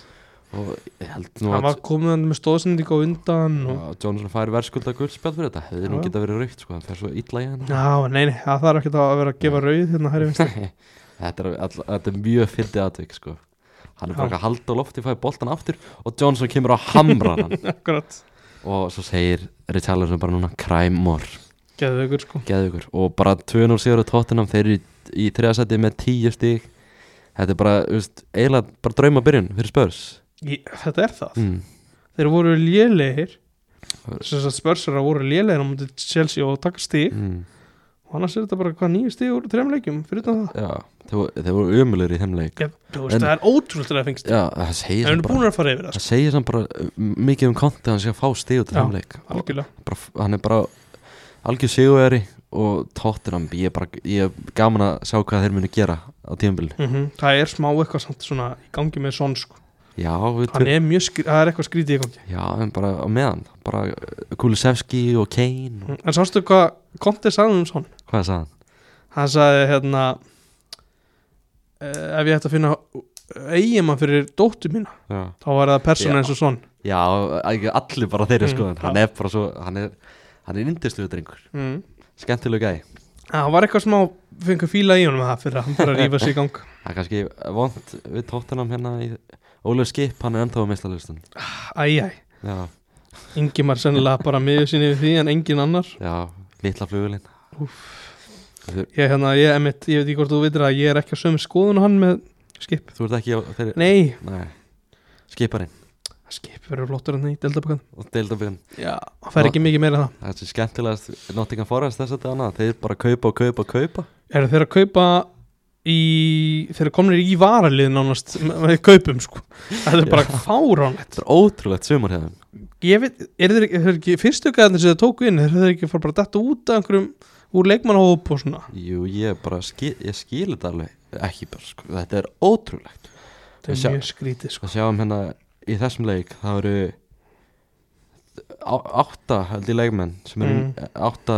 [SPEAKER 1] og ég held nú
[SPEAKER 2] hann
[SPEAKER 1] að
[SPEAKER 2] var komið hann með stóðsending á undan og...
[SPEAKER 1] að Johnson fær verðskulda guldspjald fyrir þetta Hefði nú
[SPEAKER 2] Já.
[SPEAKER 1] geta verið raukt sko Hann fer svo illa í hann
[SPEAKER 2] Já, nei, nei, það þarf ekki að vera að gefa rauð hérna hægri *laughs* vinst
[SPEAKER 1] *laughs* þetta, er, all, þetta er mjög fyndið aðtök sko. hann er bara
[SPEAKER 2] Já.
[SPEAKER 1] ekki að halda á lofti fæði boltan aftur og Johnson kemur á hamran hann
[SPEAKER 2] *laughs* Akkurat,
[SPEAKER 1] og svo segir Richarlison bara núna kræmor,
[SPEAKER 2] geðu ykkur sko
[SPEAKER 1] geðu ykkur og bara 2-0 sigur á tóttunum þeir eru í, í þriðasæti með 10 stík þetta er bara, þú veist, eiginlega bara drauma byrjun fyrir spörs
[SPEAKER 2] Ég, Þetta er það,
[SPEAKER 1] mm.
[SPEAKER 2] þeir voru lélegir
[SPEAKER 1] Það-
[SPEAKER 2] Þess að spörsara voru lélegir á múti Chelsea og taka stig
[SPEAKER 1] Mm.
[SPEAKER 2] og annars er þetta bara hvað nýju stig úr þrem leikjum fyrir utan það
[SPEAKER 1] Já, þeir, voru- þeir voru umulir í þeim leik
[SPEAKER 2] Já, þú veist,
[SPEAKER 1] En-
[SPEAKER 2] það er ótrúlega að fengst
[SPEAKER 1] Já, það segir
[SPEAKER 2] En við
[SPEAKER 1] sem
[SPEAKER 2] erum
[SPEAKER 1] bara,
[SPEAKER 2] búin að fara yfir það
[SPEAKER 1] það
[SPEAKER 2] sko,
[SPEAKER 1] segir sem bara uh, mikið um konti hann sé að fá stíð út í
[SPEAKER 2] Já.
[SPEAKER 1] þeim leik og,
[SPEAKER 2] algjörlega
[SPEAKER 1] bara, hann er bara algjör sigurveri og Tottenham ég er bara, ég er gaman að sjá hvað þeir munu gera á tímabilinu
[SPEAKER 2] mm Það er smá eitthvað samt svona í gangi með son sko
[SPEAKER 1] já, við
[SPEAKER 2] Hann er mjög, skri- það er eitthvað skrítið í gangi
[SPEAKER 1] já, en bara á meðan bara Kulisevski og Kane og,
[SPEAKER 2] Mm, En sástu hvað Conte sagði um son?
[SPEAKER 1] hvað sagði hann?
[SPEAKER 2] hann sagði hérna uh, ef ég ætti að finna eiginmann fyrir dóttu mína
[SPEAKER 1] já,
[SPEAKER 2] þá var það persóna
[SPEAKER 1] Já.
[SPEAKER 2] eins og svon
[SPEAKER 1] já ekki allir bara þeirri
[SPEAKER 2] Mm,
[SPEAKER 1] sko
[SPEAKER 2] já.
[SPEAKER 1] hann er bara svo, hann er hann er yndisluðu drengur,
[SPEAKER 2] mm.
[SPEAKER 1] skemmtileg gæ
[SPEAKER 2] það var eitthvað smá fengur fíla í honum það fyrir að hann fyrir að rífa sig í gang
[SPEAKER 1] það er kannski vond við Tottenham hérna í Ólef Skip, hann er ennþá á meistarlöfstun
[SPEAKER 2] æjæ,
[SPEAKER 1] já,
[SPEAKER 2] Ah, Ingimar sennilega bara miður sinni við því en engin annar
[SPEAKER 1] já, litla flugulinn
[SPEAKER 2] ég, hérna, ég, emitt, ég veit ekki hvort þú veitir að ég er ekki á sömu skoðun og hann með skip
[SPEAKER 1] þú ert ekki á þeirri,
[SPEAKER 2] nei,
[SPEAKER 1] nei skiparinn
[SPEAKER 2] skip verður flottur en það í deltabakkan
[SPEAKER 1] og deildabögun
[SPEAKER 2] það fær ekki mikið meira en
[SPEAKER 1] Það sem skemmtilegast Nottingham Forest þess að dana Þeir bara kaupa og kaupa og kaupa
[SPEAKER 2] það eru þeir að kaupa í, þeir eru komnir í varalið nánast með með kaupum sko það er bara fáránlegt
[SPEAKER 1] Þetta er ótrúlegt sumar hefðum
[SPEAKER 2] ég veit, er þeir ekki, þeir ekki fyrstu gæðanir sem þeir tóku inn, er þeir ekki fara bara að detta út af einhverjum úr leikmannahóp og svona
[SPEAKER 1] Jú, ég bara skil, ég skil þetta alveg Ekki bara, sko, þetta er ótrúlegt
[SPEAKER 2] það
[SPEAKER 1] Sjá-
[SPEAKER 2] er mjög skrítið sko
[SPEAKER 1] Að sjáum hérna í þessum leik Það eru á- átta held í leikmenn sem eru
[SPEAKER 2] Mm.
[SPEAKER 1] átta,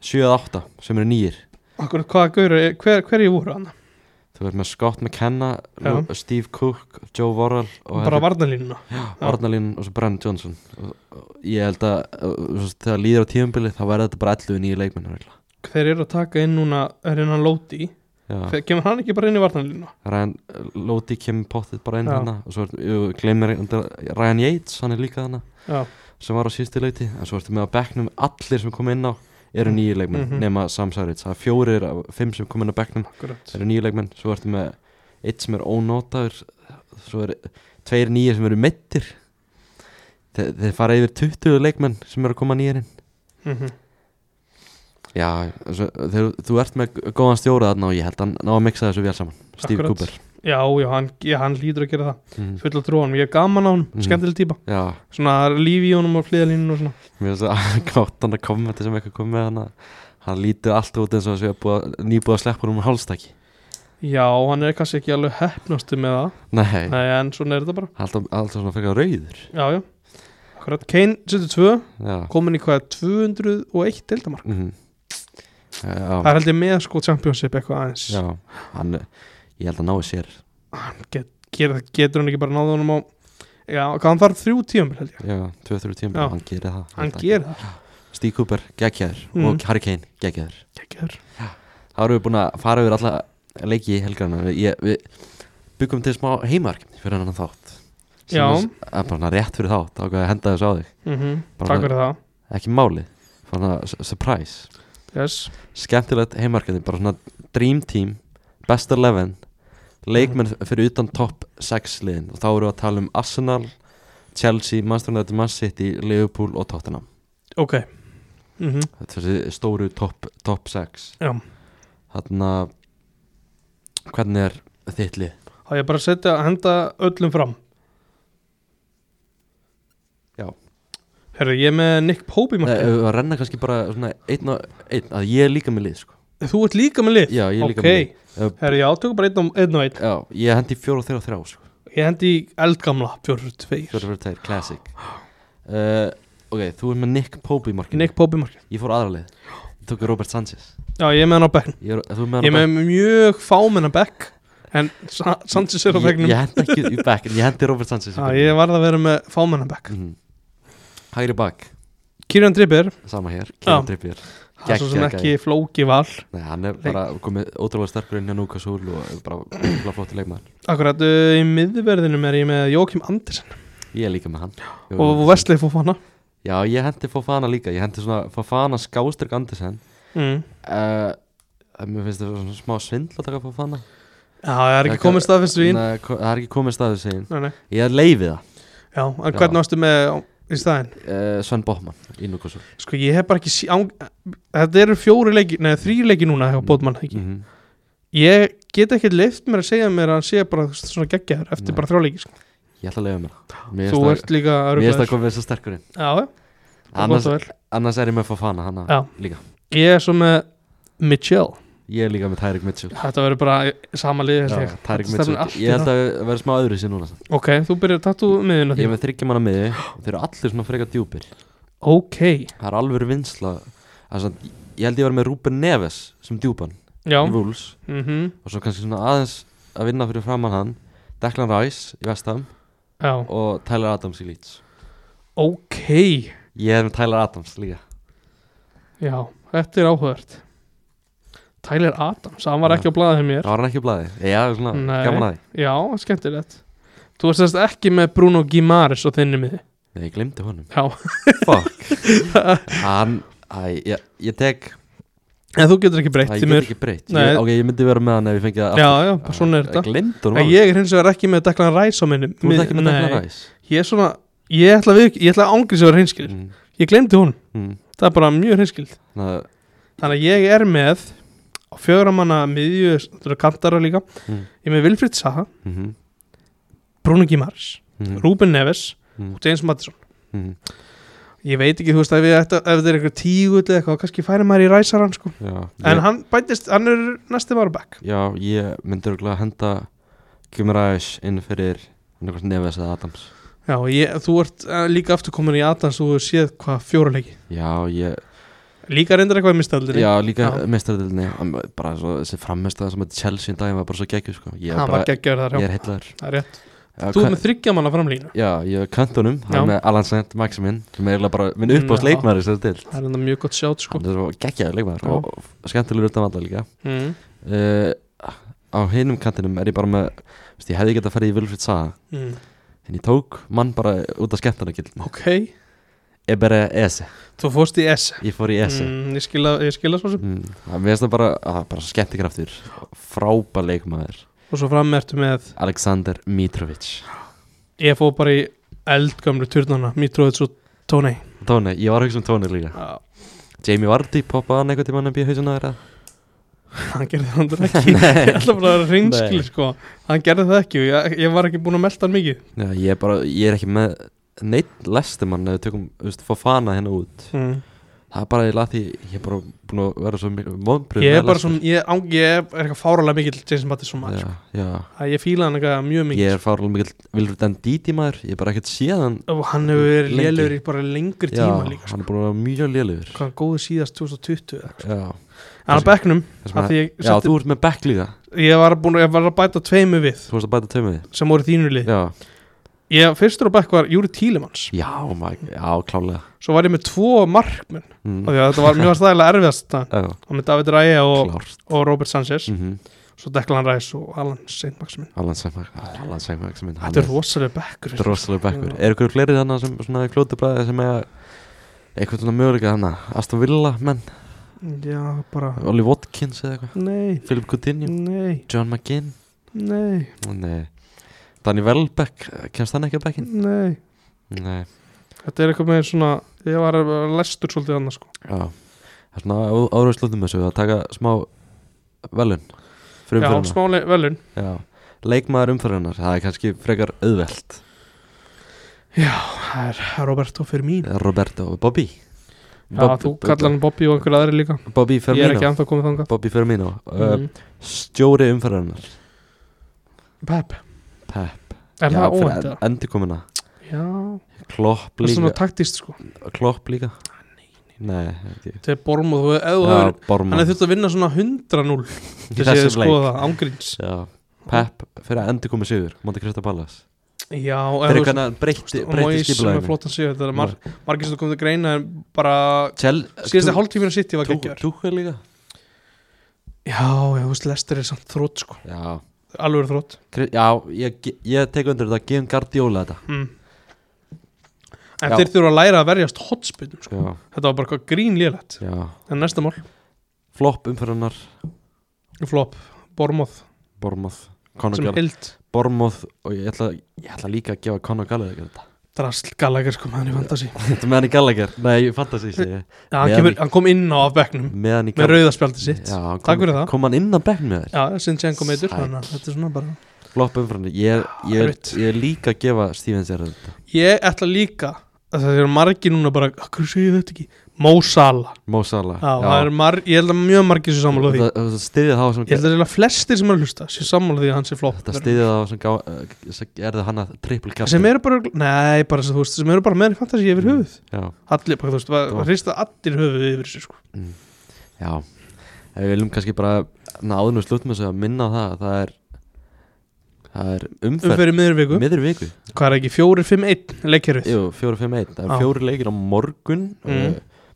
[SPEAKER 1] sjö að átta sem eru nýjir
[SPEAKER 2] Akkur, hvað, gaur, hver, hverju voru hann?
[SPEAKER 1] Þú þú veist með Scott McKenna
[SPEAKER 2] Já.
[SPEAKER 1] Lu- Steve Cook, Joe Worrell og
[SPEAKER 2] bara varnalínuna
[SPEAKER 1] Ornalín og svo Brenn Johnson Og- og ég held að uh, þú veist, þegar líður á tíðanbilið þá verður þetta bara 11 nýju leikmenn
[SPEAKER 2] þeir eru að taka inn núna er hennan Lóti,
[SPEAKER 1] Já,
[SPEAKER 2] þegar kemur hann ekki bara inn í varnalínuna
[SPEAKER 1] Ryan Lóti kemur pottið bara inn
[SPEAKER 2] Já.
[SPEAKER 1] hana og svo er- ég gleymir Ryan Yates, hann er líka hana
[SPEAKER 2] já,
[SPEAKER 1] sem var á síðustu leiti en svo ertu með að bekknum allir sem kom inn á eru nýju leikmenn
[SPEAKER 2] Mhm.
[SPEAKER 1] nema Sam Sarits það er fjórir af fimm sem kom inn á bekknum
[SPEAKER 2] akkurat
[SPEAKER 1] eru nýju leikmenn svo ertu með eitt sem er ónótaður svo eru tveir nýju sem eru meittir þeir, þeir fara yfir 20 leikmenn sem eru að koma nýjarinn
[SPEAKER 2] mm
[SPEAKER 1] já, svo, þeir, þú ert með góðan stjóra þarna og ég held að hann ná að mixa þessu vel saman Steve
[SPEAKER 2] Akkurat.
[SPEAKER 1] Cooper
[SPEAKER 2] já, já, hann, já, hann lítur að gera það
[SPEAKER 1] mm.
[SPEAKER 2] fulla trúan, ég er gaman á hann,
[SPEAKER 1] Mhm.
[SPEAKER 2] skemmtileg típa
[SPEAKER 1] já,
[SPEAKER 2] svona lífi í honum og flyðalínun og svona
[SPEAKER 1] mér finnst það *laughs* gátt hann að koma þetta sem eitthvað kom með hann hann lítur allt út eins og þessu nýbúið að sleppa hún um hálstakki
[SPEAKER 2] já, hann er kannski ekki alveg hefnastu með það
[SPEAKER 1] Nei,
[SPEAKER 2] Nei, en svona er þetta bara
[SPEAKER 1] alltaf, alltaf svona frekar rauður
[SPEAKER 2] já, já, akkurat, Kane setur tvö
[SPEAKER 1] Já,
[SPEAKER 2] komin í hvað, 201 deildamark
[SPEAKER 1] mm
[SPEAKER 2] það
[SPEAKER 1] já,
[SPEAKER 2] er heldur með sko championship eitthvað aðeins
[SPEAKER 1] já hann, Ég held að nái sér
[SPEAKER 2] Ger, getur hann ekki bara náða honum á já, hvað hann þarf þrjú tíum held ég,
[SPEAKER 1] Já, 2-3 tíma,
[SPEAKER 2] Já.
[SPEAKER 1] hann gerir það
[SPEAKER 2] hann gerir það
[SPEAKER 1] Steve Cooper, geggjæður
[SPEAKER 2] Mm.
[SPEAKER 1] og Harry Kane, geggjæður
[SPEAKER 2] Gekkjaður.
[SPEAKER 1] Það eru við búin að fara yfir alla leiki í helgarna Við, ég- við byggum til smá heimark fyrir hann þátt Sem
[SPEAKER 2] Já.
[SPEAKER 1] er- Það er bara svona rétt fyrir þátt ákveð að henda þessu á þig
[SPEAKER 2] Mhm,
[SPEAKER 1] Bara
[SPEAKER 2] takk
[SPEAKER 1] það-
[SPEAKER 2] fyrir það
[SPEAKER 1] Ekki málið, svona s- surprise
[SPEAKER 2] yes.
[SPEAKER 1] skemmtilegt heimarkandi, bara svona dream team, best 11 leikmenn fyrir utan topp 6 liðin og þá eru að tala um Arsenal Chelsea, Manchester United, Man City Liverpool og Tottenham
[SPEAKER 2] ok mm
[SPEAKER 1] þetta er þessi stóru topp top 6
[SPEAKER 2] já.
[SPEAKER 1] þarna hvernig er þitt lið?
[SPEAKER 2] það er bara að setja að henda öllum fram
[SPEAKER 1] Já.
[SPEAKER 2] herru, ég er með Nick Pope í
[SPEAKER 1] Nei,
[SPEAKER 2] markið
[SPEAKER 1] ef við að Eh, renna kannski bara svona einn og einn, að ég er líka með lið sko.
[SPEAKER 2] þú ert líka með lið
[SPEAKER 1] já, ég er líka
[SPEAKER 2] ok,
[SPEAKER 1] með lið uh,
[SPEAKER 2] herru, já, tökum bara einn og einn, og einn.
[SPEAKER 1] já, ég hendi fjóra og þrjá og þrjá sko.
[SPEAKER 2] ég hendi í eldgamla, fjóru,
[SPEAKER 1] fjóra
[SPEAKER 2] tveir
[SPEAKER 1] og þrjá, classic uh, ok, þú er með Nick Pope í markinu
[SPEAKER 2] Nick Pope í markið
[SPEAKER 1] Ég fór aðra leið Ég tók Robert Sanchez
[SPEAKER 2] já, ég er með hann á bekk
[SPEAKER 1] Ég er, þú er með
[SPEAKER 2] Ég
[SPEAKER 1] hann
[SPEAKER 2] er
[SPEAKER 1] á
[SPEAKER 2] með mjög fámennan bekk En Sa- Sanchez er á
[SPEAKER 1] bekknum. Ég,
[SPEAKER 2] bekknum
[SPEAKER 1] ég hendi ekki í bekk En ég hendi Robert Sanchez í
[SPEAKER 2] Já,
[SPEAKER 1] bekknum.
[SPEAKER 2] Ég varð að vera með fámennan bekk
[SPEAKER 1] Mhm. Hægri bakk
[SPEAKER 2] Kieran Trippier,
[SPEAKER 1] Sama hér
[SPEAKER 2] Já.
[SPEAKER 1] Kieran Trippier
[SPEAKER 2] það er svo sem
[SPEAKER 1] Geggjað
[SPEAKER 2] ekki flóki val
[SPEAKER 1] Nei, hann er bara komið ótrúlega sterkur inn hjá Núka Súl og er bara ótrúlega flottur leikmaður
[SPEAKER 2] Akkurat, uh, í miðverðinum er ég með Jókim Andersen
[SPEAKER 1] Ég er líka með hann Jú,
[SPEAKER 2] og
[SPEAKER 1] Andersen.
[SPEAKER 2] Wesley Fofana
[SPEAKER 1] Já, ég hendi Fofana líka Ég hendi svona Fofana skástrík Andersen
[SPEAKER 2] mm.
[SPEAKER 1] uh, Mér finnst það svona smá svindl að taka Fofana
[SPEAKER 2] Já, það er
[SPEAKER 1] Það
[SPEAKER 2] ekki
[SPEAKER 1] kann-
[SPEAKER 2] komið staðfest við hinn
[SPEAKER 1] Nei, ko- Það er ekki komið staðið segin
[SPEAKER 2] Nei, nei.
[SPEAKER 1] Ég er leifið það
[SPEAKER 2] Já, en
[SPEAKER 1] Já.
[SPEAKER 2] hvernig ástu með í staðinn?
[SPEAKER 1] uh, Sven Bóttmann í Núka Súl
[SPEAKER 2] Sko, ég hef bara ekki sí, á, Þetta eru fjóri leiki, neða þrý leiki núna hjá Bótmann ekki
[SPEAKER 1] -hmm.
[SPEAKER 2] Ég get ekki leift mér að segja mér að hann sé bara svona geggjaður eftir
[SPEAKER 1] Nei.
[SPEAKER 2] bara þrjá leiki sko.
[SPEAKER 1] Ég ætla að leiða mér það. Mér
[SPEAKER 2] Þú
[SPEAKER 1] finnst
[SPEAKER 2] ert líka
[SPEAKER 1] það-
[SPEAKER 2] að
[SPEAKER 1] Mér finnst
[SPEAKER 2] rugla
[SPEAKER 1] það komið svo sterkur inn
[SPEAKER 2] Já, já, það er
[SPEAKER 1] annars,
[SPEAKER 2] gott og vel
[SPEAKER 1] annars er ég með Fofana hana
[SPEAKER 2] Já.
[SPEAKER 1] líka
[SPEAKER 2] Ég er svo með Mitchell
[SPEAKER 1] Ég er líka með Tyrik Mitchell
[SPEAKER 2] Þetta verður bara sama lið held ég.
[SPEAKER 1] Tyrik
[SPEAKER 2] Þetta
[SPEAKER 1] Mitchell
[SPEAKER 2] stefnir allt í
[SPEAKER 1] Ég held
[SPEAKER 2] það.
[SPEAKER 1] að vera smá öðru sér núna samt.
[SPEAKER 2] Ok, þú byrjar að tattu miðuna
[SPEAKER 1] Ég
[SPEAKER 2] því
[SPEAKER 1] er með þryggja manna miði og Þeir eru allir svona frekar djúpir
[SPEAKER 2] Ok,
[SPEAKER 1] Það er alveg vinsla Þannig að ég held ég var með Ruben Neves sem djúpan
[SPEAKER 2] já
[SPEAKER 1] í Wolves
[SPEAKER 2] mm
[SPEAKER 1] og svo kannski svona aðeins að vinna fyrir framann hann Declan Rice í Vestham
[SPEAKER 2] Já,
[SPEAKER 1] og Tyler Adams í Leeds
[SPEAKER 2] ok
[SPEAKER 1] Ég er með Tyler Adams líka
[SPEAKER 2] Já, þetta er áhugavert Tyler Adams, hann var ekki á blaðið hjá
[SPEAKER 1] Það
[SPEAKER 2] mér
[SPEAKER 1] var hann ekki á blaði Já, svona
[SPEAKER 2] Nei.
[SPEAKER 1] gaman að því
[SPEAKER 2] Já, skemmtilegt Þú varst þess ekki með Bruno Guimares á þinni miði
[SPEAKER 1] Nei, ég glemdi honum
[SPEAKER 2] Já,
[SPEAKER 1] Fuck
[SPEAKER 2] *laughs*
[SPEAKER 1] Hann, æ, ég, ég tek
[SPEAKER 2] en þú getur ekki breytt
[SPEAKER 1] Æ,
[SPEAKER 2] því
[SPEAKER 1] ég get
[SPEAKER 2] mér
[SPEAKER 1] ekki breytt
[SPEAKER 2] Nei.
[SPEAKER 1] ég, Ok, ég myndi vera með hann ef ég fengi það
[SPEAKER 2] Já,
[SPEAKER 1] aftur.
[SPEAKER 2] já, bara svona er
[SPEAKER 1] Æ,
[SPEAKER 2] þetta
[SPEAKER 1] Gleymdi honum
[SPEAKER 2] En ég er hins vegar ekki með Declan Rice á minni
[SPEAKER 1] Þú ert ekki með Declan
[SPEAKER 2] Nei,
[SPEAKER 1] Rice
[SPEAKER 2] ég er svona Ég ætla, við, ég ætla að ángri sem var hreinskild
[SPEAKER 1] mm,
[SPEAKER 2] Ég glemdi hún,
[SPEAKER 1] mm,
[SPEAKER 2] það er bara mjög hreinskild
[SPEAKER 1] na,
[SPEAKER 2] Þannig að ég er með á fjögra manna miðju, þetta eru kantara líka
[SPEAKER 1] Mm.
[SPEAKER 2] ég er með Vilfrid Saha,
[SPEAKER 1] mm -hmm,
[SPEAKER 2] Bruno Guimars
[SPEAKER 1] mm,
[SPEAKER 2] Ruben Neves
[SPEAKER 1] Mm.
[SPEAKER 2] og James Madison
[SPEAKER 1] mm,
[SPEAKER 2] ég veit ekki, þú veist, ef, ég ætti- ef þetta er einhver tígu eða eitthvað, kannski færi maður í ræsaran sko.
[SPEAKER 1] já,
[SPEAKER 2] en
[SPEAKER 1] ég,
[SPEAKER 2] hann bætist, hann er næsti var back
[SPEAKER 1] já, ég myndi örgulega henda Gjumir Rice inn fyrir einhvern Neves eða Adams
[SPEAKER 2] Já, og ég, þú ert eh, líka aftur komin í Adams og þú hefur séð hvað fjóra leiki
[SPEAKER 1] Já, ég
[SPEAKER 2] Líka reyndar eitthvað í mistaldinni
[SPEAKER 1] Já, líka
[SPEAKER 2] Já.
[SPEAKER 1] mestaradildinni bara svo, þessi frammestaða sem að Chelsea í dag var bara svo geggjur sko. ég,
[SPEAKER 2] Hann
[SPEAKER 1] var
[SPEAKER 2] var
[SPEAKER 1] bara,
[SPEAKER 2] geggjaður þar,
[SPEAKER 1] ég
[SPEAKER 2] já,
[SPEAKER 1] er heillar
[SPEAKER 2] það er rétt Þú er með þryggja manna framlínu
[SPEAKER 1] Já, ég er kantunum, hann
[SPEAKER 2] Já. Mm,
[SPEAKER 1] er með Alan Saint Maximin sem er eiginlega bara minn upp á
[SPEAKER 2] Já.
[SPEAKER 1] sleikmaður í þessari dild
[SPEAKER 2] Það er enda mjög gott sjátt sko
[SPEAKER 1] hann er svo geggjaður leikmaður
[SPEAKER 2] Já.
[SPEAKER 1] og- og skemmtilegur utan vallar líka
[SPEAKER 2] mm.
[SPEAKER 1] uh, á hinum kantinum er ég bara með veist, ég hefði getað að fara í Vilfrid Saha
[SPEAKER 2] Mm.
[SPEAKER 1] en ég tók mann bara út af skemmtarnagildin
[SPEAKER 2] Ok,
[SPEAKER 1] Ebere Ese,
[SPEAKER 2] þú fórst í S
[SPEAKER 1] ég fór í Ese mm.
[SPEAKER 2] mm, Ég skila, ég skila svo sem
[SPEAKER 1] það mér finnst það bara, að, bara skemmtikraftur frábær leikmaður
[SPEAKER 2] Og svo fram ertu með
[SPEAKER 1] Alexander Mitrovic
[SPEAKER 2] Ég fóð bara í eldgömlu turnana Mitrovic og Tónei
[SPEAKER 1] Tóni, ég var að hugsa um Tóni líka Jamie Vardy poppaði hann einhvern tímann upp í hausinu þeirra
[SPEAKER 2] *laughs* Hann gerði það andur *laughs* ekki Ég ætla bara að reynskil
[SPEAKER 1] Nei.
[SPEAKER 2] sko Hann gerði það ekki og ég, ég var ekki búin að melta hann mikið
[SPEAKER 1] Já, ég er bara, ég er ekki með neitt lestumann ef við tökum, þú veist, fá fana hérna út
[SPEAKER 2] mm.
[SPEAKER 1] Það er bara í lað því, ég er bara búin að vera svo mikil vonbrið
[SPEAKER 2] Ég er bara svona Ég, án- ég er eitthvað fáralega mikill Jason Mattisson maður
[SPEAKER 1] Já,
[SPEAKER 2] sko.
[SPEAKER 1] já,
[SPEAKER 2] Það- Ég fíla hann eitthvað mjög mikið
[SPEAKER 1] ég er fárlega mikil Vilfrið Dan Díti maður, ég er bara ekkert síðan
[SPEAKER 2] sko. og hann hefur verið
[SPEAKER 1] Lengi.
[SPEAKER 2] lélugur í bara lengri
[SPEAKER 1] Já,
[SPEAKER 2] tíma líka sko.
[SPEAKER 1] hann er búin að vera mjög lélugur
[SPEAKER 2] hvað hann góði síðast 2020 eða eitthvað.
[SPEAKER 1] Já,
[SPEAKER 2] hann er á bekknum
[SPEAKER 1] þess
[SPEAKER 2] af
[SPEAKER 1] vegna-
[SPEAKER 2] því ég,
[SPEAKER 1] já
[SPEAKER 2] setti,
[SPEAKER 1] þú ert með Beck líka
[SPEAKER 2] ég, var búin, ég var að bæta tveimu við
[SPEAKER 1] Þú varst að bæta tömið
[SPEAKER 2] sem voru í þínu lið
[SPEAKER 1] Já,
[SPEAKER 2] ég, fyrstur á bekk var Júri Tílimanns
[SPEAKER 1] já, maður, já, klálega
[SPEAKER 2] svo var ég með tvo markmenn af
[SPEAKER 1] mm.
[SPEAKER 2] því að þetta var mjög stæðilega erfiðast það
[SPEAKER 1] Já,
[SPEAKER 2] var með David Ræja og,
[SPEAKER 1] klárt
[SPEAKER 2] og Robert Sanchez
[SPEAKER 1] mm -hmm.
[SPEAKER 2] svo Declan Rice og Alan St. Maximin
[SPEAKER 1] Allan Sæmak Allan Sæmak sem minn
[SPEAKER 2] þetta er rosalega bekkur
[SPEAKER 1] Þetta er rosalega bekkur Er ykkur fleiri þannig sem svona klótubræði sem eiga eitthvað svona möguleika þannig Aston Villa menn
[SPEAKER 2] já bara
[SPEAKER 1] Ollie Watkins eða eitthvað
[SPEAKER 2] nei
[SPEAKER 1] Philip Coutinho
[SPEAKER 2] nei
[SPEAKER 1] John McGinn
[SPEAKER 2] nei
[SPEAKER 1] Nei Danny Welbeck kemst hann ekki að bekkin
[SPEAKER 2] nei
[SPEAKER 1] Nei
[SPEAKER 2] þetta er eitthvað með svona ég var að var lestur svolítið annars sko
[SPEAKER 1] Já Það er svona áraðslutum þessu að taka smá velun fyrir
[SPEAKER 2] já
[SPEAKER 1] umfyrirna
[SPEAKER 2] smáli velun
[SPEAKER 1] Já Leikmaður umfyrirna það er kannski frekar auðvelt
[SPEAKER 2] Það er Roberto Firmino
[SPEAKER 1] Roberto Bobby
[SPEAKER 2] Já, þú kallar hann Bobby og einhverja aðri líka
[SPEAKER 1] Bobby
[SPEAKER 2] Ég er ekki
[SPEAKER 1] Firmino
[SPEAKER 2] anþá komið þangað
[SPEAKER 1] Bobby Firmino uh,
[SPEAKER 2] mm.
[SPEAKER 1] Stjóri umfyrirnar
[SPEAKER 2] Pep,
[SPEAKER 1] Pep
[SPEAKER 2] er
[SPEAKER 1] Já,
[SPEAKER 2] það
[SPEAKER 1] fyrir
[SPEAKER 2] óvænt
[SPEAKER 1] en-
[SPEAKER 2] það?
[SPEAKER 1] Endurkomuna
[SPEAKER 2] Já,
[SPEAKER 1] Klopp
[SPEAKER 2] það er svona Ah,
[SPEAKER 1] líka
[SPEAKER 2] taktist sko
[SPEAKER 1] Klopp líka Nei, ekki
[SPEAKER 2] Þetta er Bormóð, þú eða þú
[SPEAKER 1] Já,
[SPEAKER 2] hefur Hann
[SPEAKER 1] Bormann
[SPEAKER 2] er þurft að vinna svona 100-0 Þessi
[SPEAKER 1] Þessum
[SPEAKER 2] að skoða
[SPEAKER 1] leik.
[SPEAKER 2] það, ángríns
[SPEAKER 1] Já Pep fyrir að endurkomi sigur Monte Cristo Ballas
[SPEAKER 2] Já,
[SPEAKER 1] Fyrir
[SPEAKER 2] eða
[SPEAKER 1] hvernig hann breytti,
[SPEAKER 2] og
[SPEAKER 1] breytti
[SPEAKER 2] Mois sem er
[SPEAKER 1] skipulaðinu
[SPEAKER 2] flottan síðan Þetta er mar margir sem komið til greina en bara
[SPEAKER 1] Tjel
[SPEAKER 2] Síðast þið hálftíminu sitt ég var geggjör
[SPEAKER 1] Túkvel líka
[SPEAKER 2] Já, já, þú veist, Lester er samt þrótt sko
[SPEAKER 1] Já
[SPEAKER 2] Alveg þrótt
[SPEAKER 1] Kri- Já, ég, ge- ég tek undir þetta Geðum Guardiola þetta
[SPEAKER 2] mm. En
[SPEAKER 1] Já.
[SPEAKER 2] þeir þurfa að læra að verjast hotspinnum sko
[SPEAKER 1] Já,
[SPEAKER 2] Þetta var bara eitthvað grín lélegt
[SPEAKER 1] já
[SPEAKER 2] En næsta mál,
[SPEAKER 1] Flopp umfyrirnar
[SPEAKER 2] flop, Bormóð
[SPEAKER 1] Bormoth Conor
[SPEAKER 2] sem
[SPEAKER 1] Gallagher
[SPEAKER 2] held
[SPEAKER 1] Bormoth Og ég ætla, ég ætla líka að gefa Conor Gallagher þetta
[SPEAKER 2] drasl Gallagher sko meðan í fantasi
[SPEAKER 1] Þetta með hann í Gallagher Nei, fantasy segi ég
[SPEAKER 2] ja, hann,
[SPEAKER 1] Meðan
[SPEAKER 2] kemur,
[SPEAKER 1] í-
[SPEAKER 2] hann kom inn á af bekknum
[SPEAKER 1] Með hann í
[SPEAKER 2] með rauðaspjaldi sitt
[SPEAKER 1] Já, hann
[SPEAKER 2] Takk
[SPEAKER 1] kom,
[SPEAKER 2] fyrir það.
[SPEAKER 1] kom hann inn að bekk með þér
[SPEAKER 2] já, Sinchenko meitur
[SPEAKER 1] Sæll.
[SPEAKER 2] þannig að þetta er svona bara
[SPEAKER 1] flopp umfram þig. ég, ég,
[SPEAKER 2] Erfitt.
[SPEAKER 1] ég er líka að gefa Stevens er þetta
[SPEAKER 2] ég ætla líka að það eru margir núna bara hverju segir ég þetta ekki Mo Salah
[SPEAKER 1] Mo Salah
[SPEAKER 2] já, já. Er mar, ég held að mjög margir sér sammála því
[SPEAKER 1] Þetta- þetta styðja þá sem
[SPEAKER 2] ég held að það er flestir sem eru að hlusta sér sammála því að hann sé flop
[SPEAKER 1] þetta styðja þá sem, gá, uh, sem erðu hann að triple kast
[SPEAKER 2] sem eru bara nei, bara sem þú veist sem eru bara meðan í fantasi
[SPEAKER 1] Mm.
[SPEAKER 2] yfir höfuð
[SPEAKER 1] já,
[SPEAKER 2] allir, bara, þú veist, bara,
[SPEAKER 1] Dó.
[SPEAKER 2] hrista allir höfuð yfir sér sko
[SPEAKER 1] já Ef við viljum kannski bara náðinu slutt með þess að minna á það að það er það er umferð,
[SPEAKER 2] umferði miður viku
[SPEAKER 1] miðri viku
[SPEAKER 2] hvað er ekki 4-5-1 leikkerfið
[SPEAKER 1] Jú, 4-5-1, það
[SPEAKER 2] Já.
[SPEAKER 1] er fjóri leikir á morgun
[SPEAKER 2] Mm.
[SPEAKER 1] mm.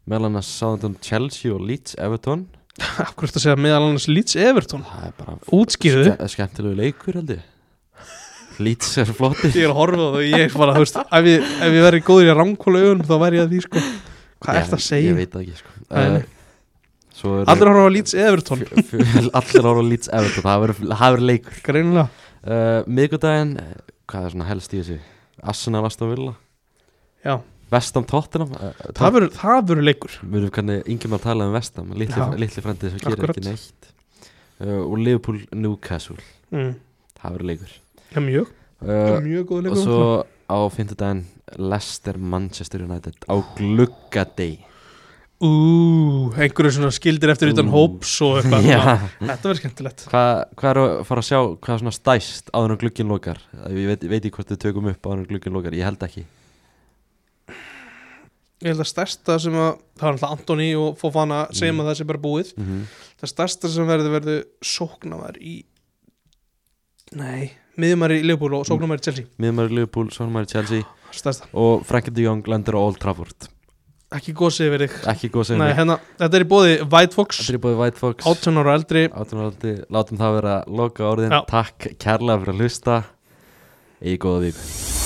[SPEAKER 1] meðal hann að sáðan Chelsea og Leeds Everton
[SPEAKER 2] *laughs* af hverju ertu að segja meðal annars Leeds Everton
[SPEAKER 1] það er bara
[SPEAKER 2] útskýrðu
[SPEAKER 1] Ske- skemmtilegu leikur held ég Leeds er flotti
[SPEAKER 2] ég er að horfa á það og ég er bara, þú veist ef ég, ef ég verið góður í ránkóla augun þá væri ég að því sko hvað
[SPEAKER 1] Ég-
[SPEAKER 2] ert að
[SPEAKER 1] Ég
[SPEAKER 2] segja?
[SPEAKER 1] veit það ekki sko.
[SPEAKER 2] Nei, nei.
[SPEAKER 1] uh, Svo er
[SPEAKER 2] Allir að horfa á Leeds Everton
[SPEAKER 1] fjö- fjö- Allir ára Leeds Everton Það verður- það verður leikur
[SPEAKER 2] greinilega
[SPEAKER 1] uh, Miðgudaginn, eh, hvað er svona helst í þessu Arsenal Aston Villa
[SPEAKER 2] Já.
[SPEAKER 1] Vestam Tottenham uh,
[SPEAKER 2] það verður- það verður leikur
[SPEAKER 1] Við erum kannið yngjum að tala um Vestam Litli,
[SPEAKER 2] Já.
[SPEAKER 1] litli frændið sem gerir
[SPEAKER 2] Akkurat.
[SPEAKER 1] ekki neitt uh, Og Liverpool Newcastle
[SPEAKER 2] mm.
[SPEAKER 1] Það verður leikur
[SPEAKER 2] já, mjög,
[SPEAKER 1] uh,
[SPEAKER 2] mjög góð
[SPEAKER 1] Og
[SPEAKER 2] leikur
[SPEAKER 1] svo á fimmtudaginn Leicester Manchester United Á
[SPEAKER 2] Ah.
[SPEAKER 1] gluggadegi
[SPEAKER 2] ú, einhverju svona skildir eftir utan
[SPEAKER 1] Ú.
[SPEAKER 2] hóps og eitthvað svona.
[SPEAKER 1] Já
[SPEAKER 2] þetta verður skemmtilegt
[SPEAKER 1] Hvað hva er að fara að sjá hvað er svona stæst áður en glugginn lokar? Ég veit, veit ekki hvort við tökum upp áður en glugginn lokar, ég held ekki
[SPEAKER 2] ég held að stærsta sem að það var alltaf Antoni og Fofana segjum
[SPEAKER 1] Mm.
[SPEAKER 2] að það sé bara búið
[SPEAKER 1] mm -hmm.
[SPEAKER 2] það stærsta sem verður verður sóknamæður í nei, miðjumæður í Leopold og sóknamæður í Chelsea
[SPEAKER 1] miðmæri Liverpool, sónmæri Chelsea
[SPEAKER 2] stærsta,
[SPEAKER 1] og Frankie de Jong lendir á Old Trafford
[SPEAKER 2] ekki gósið verið
[SPEAKER 1] ekki góð sem
[SPEAKER 2] nei,
[SPEAKER 1] við,
[SPEAKER 2] hérna, þetta er í bóði White Fox
[SPEAKER 1] þetta er búið White Fox
[SPEAKER 2] 18 ára og eldri,
[SPEAKER 1] átunarhaldi, látum það vera loka orðin,
[SPEAKER 2] Já.
[SPEAKER 1] takk kærlega fyrir að hlusta í góða vík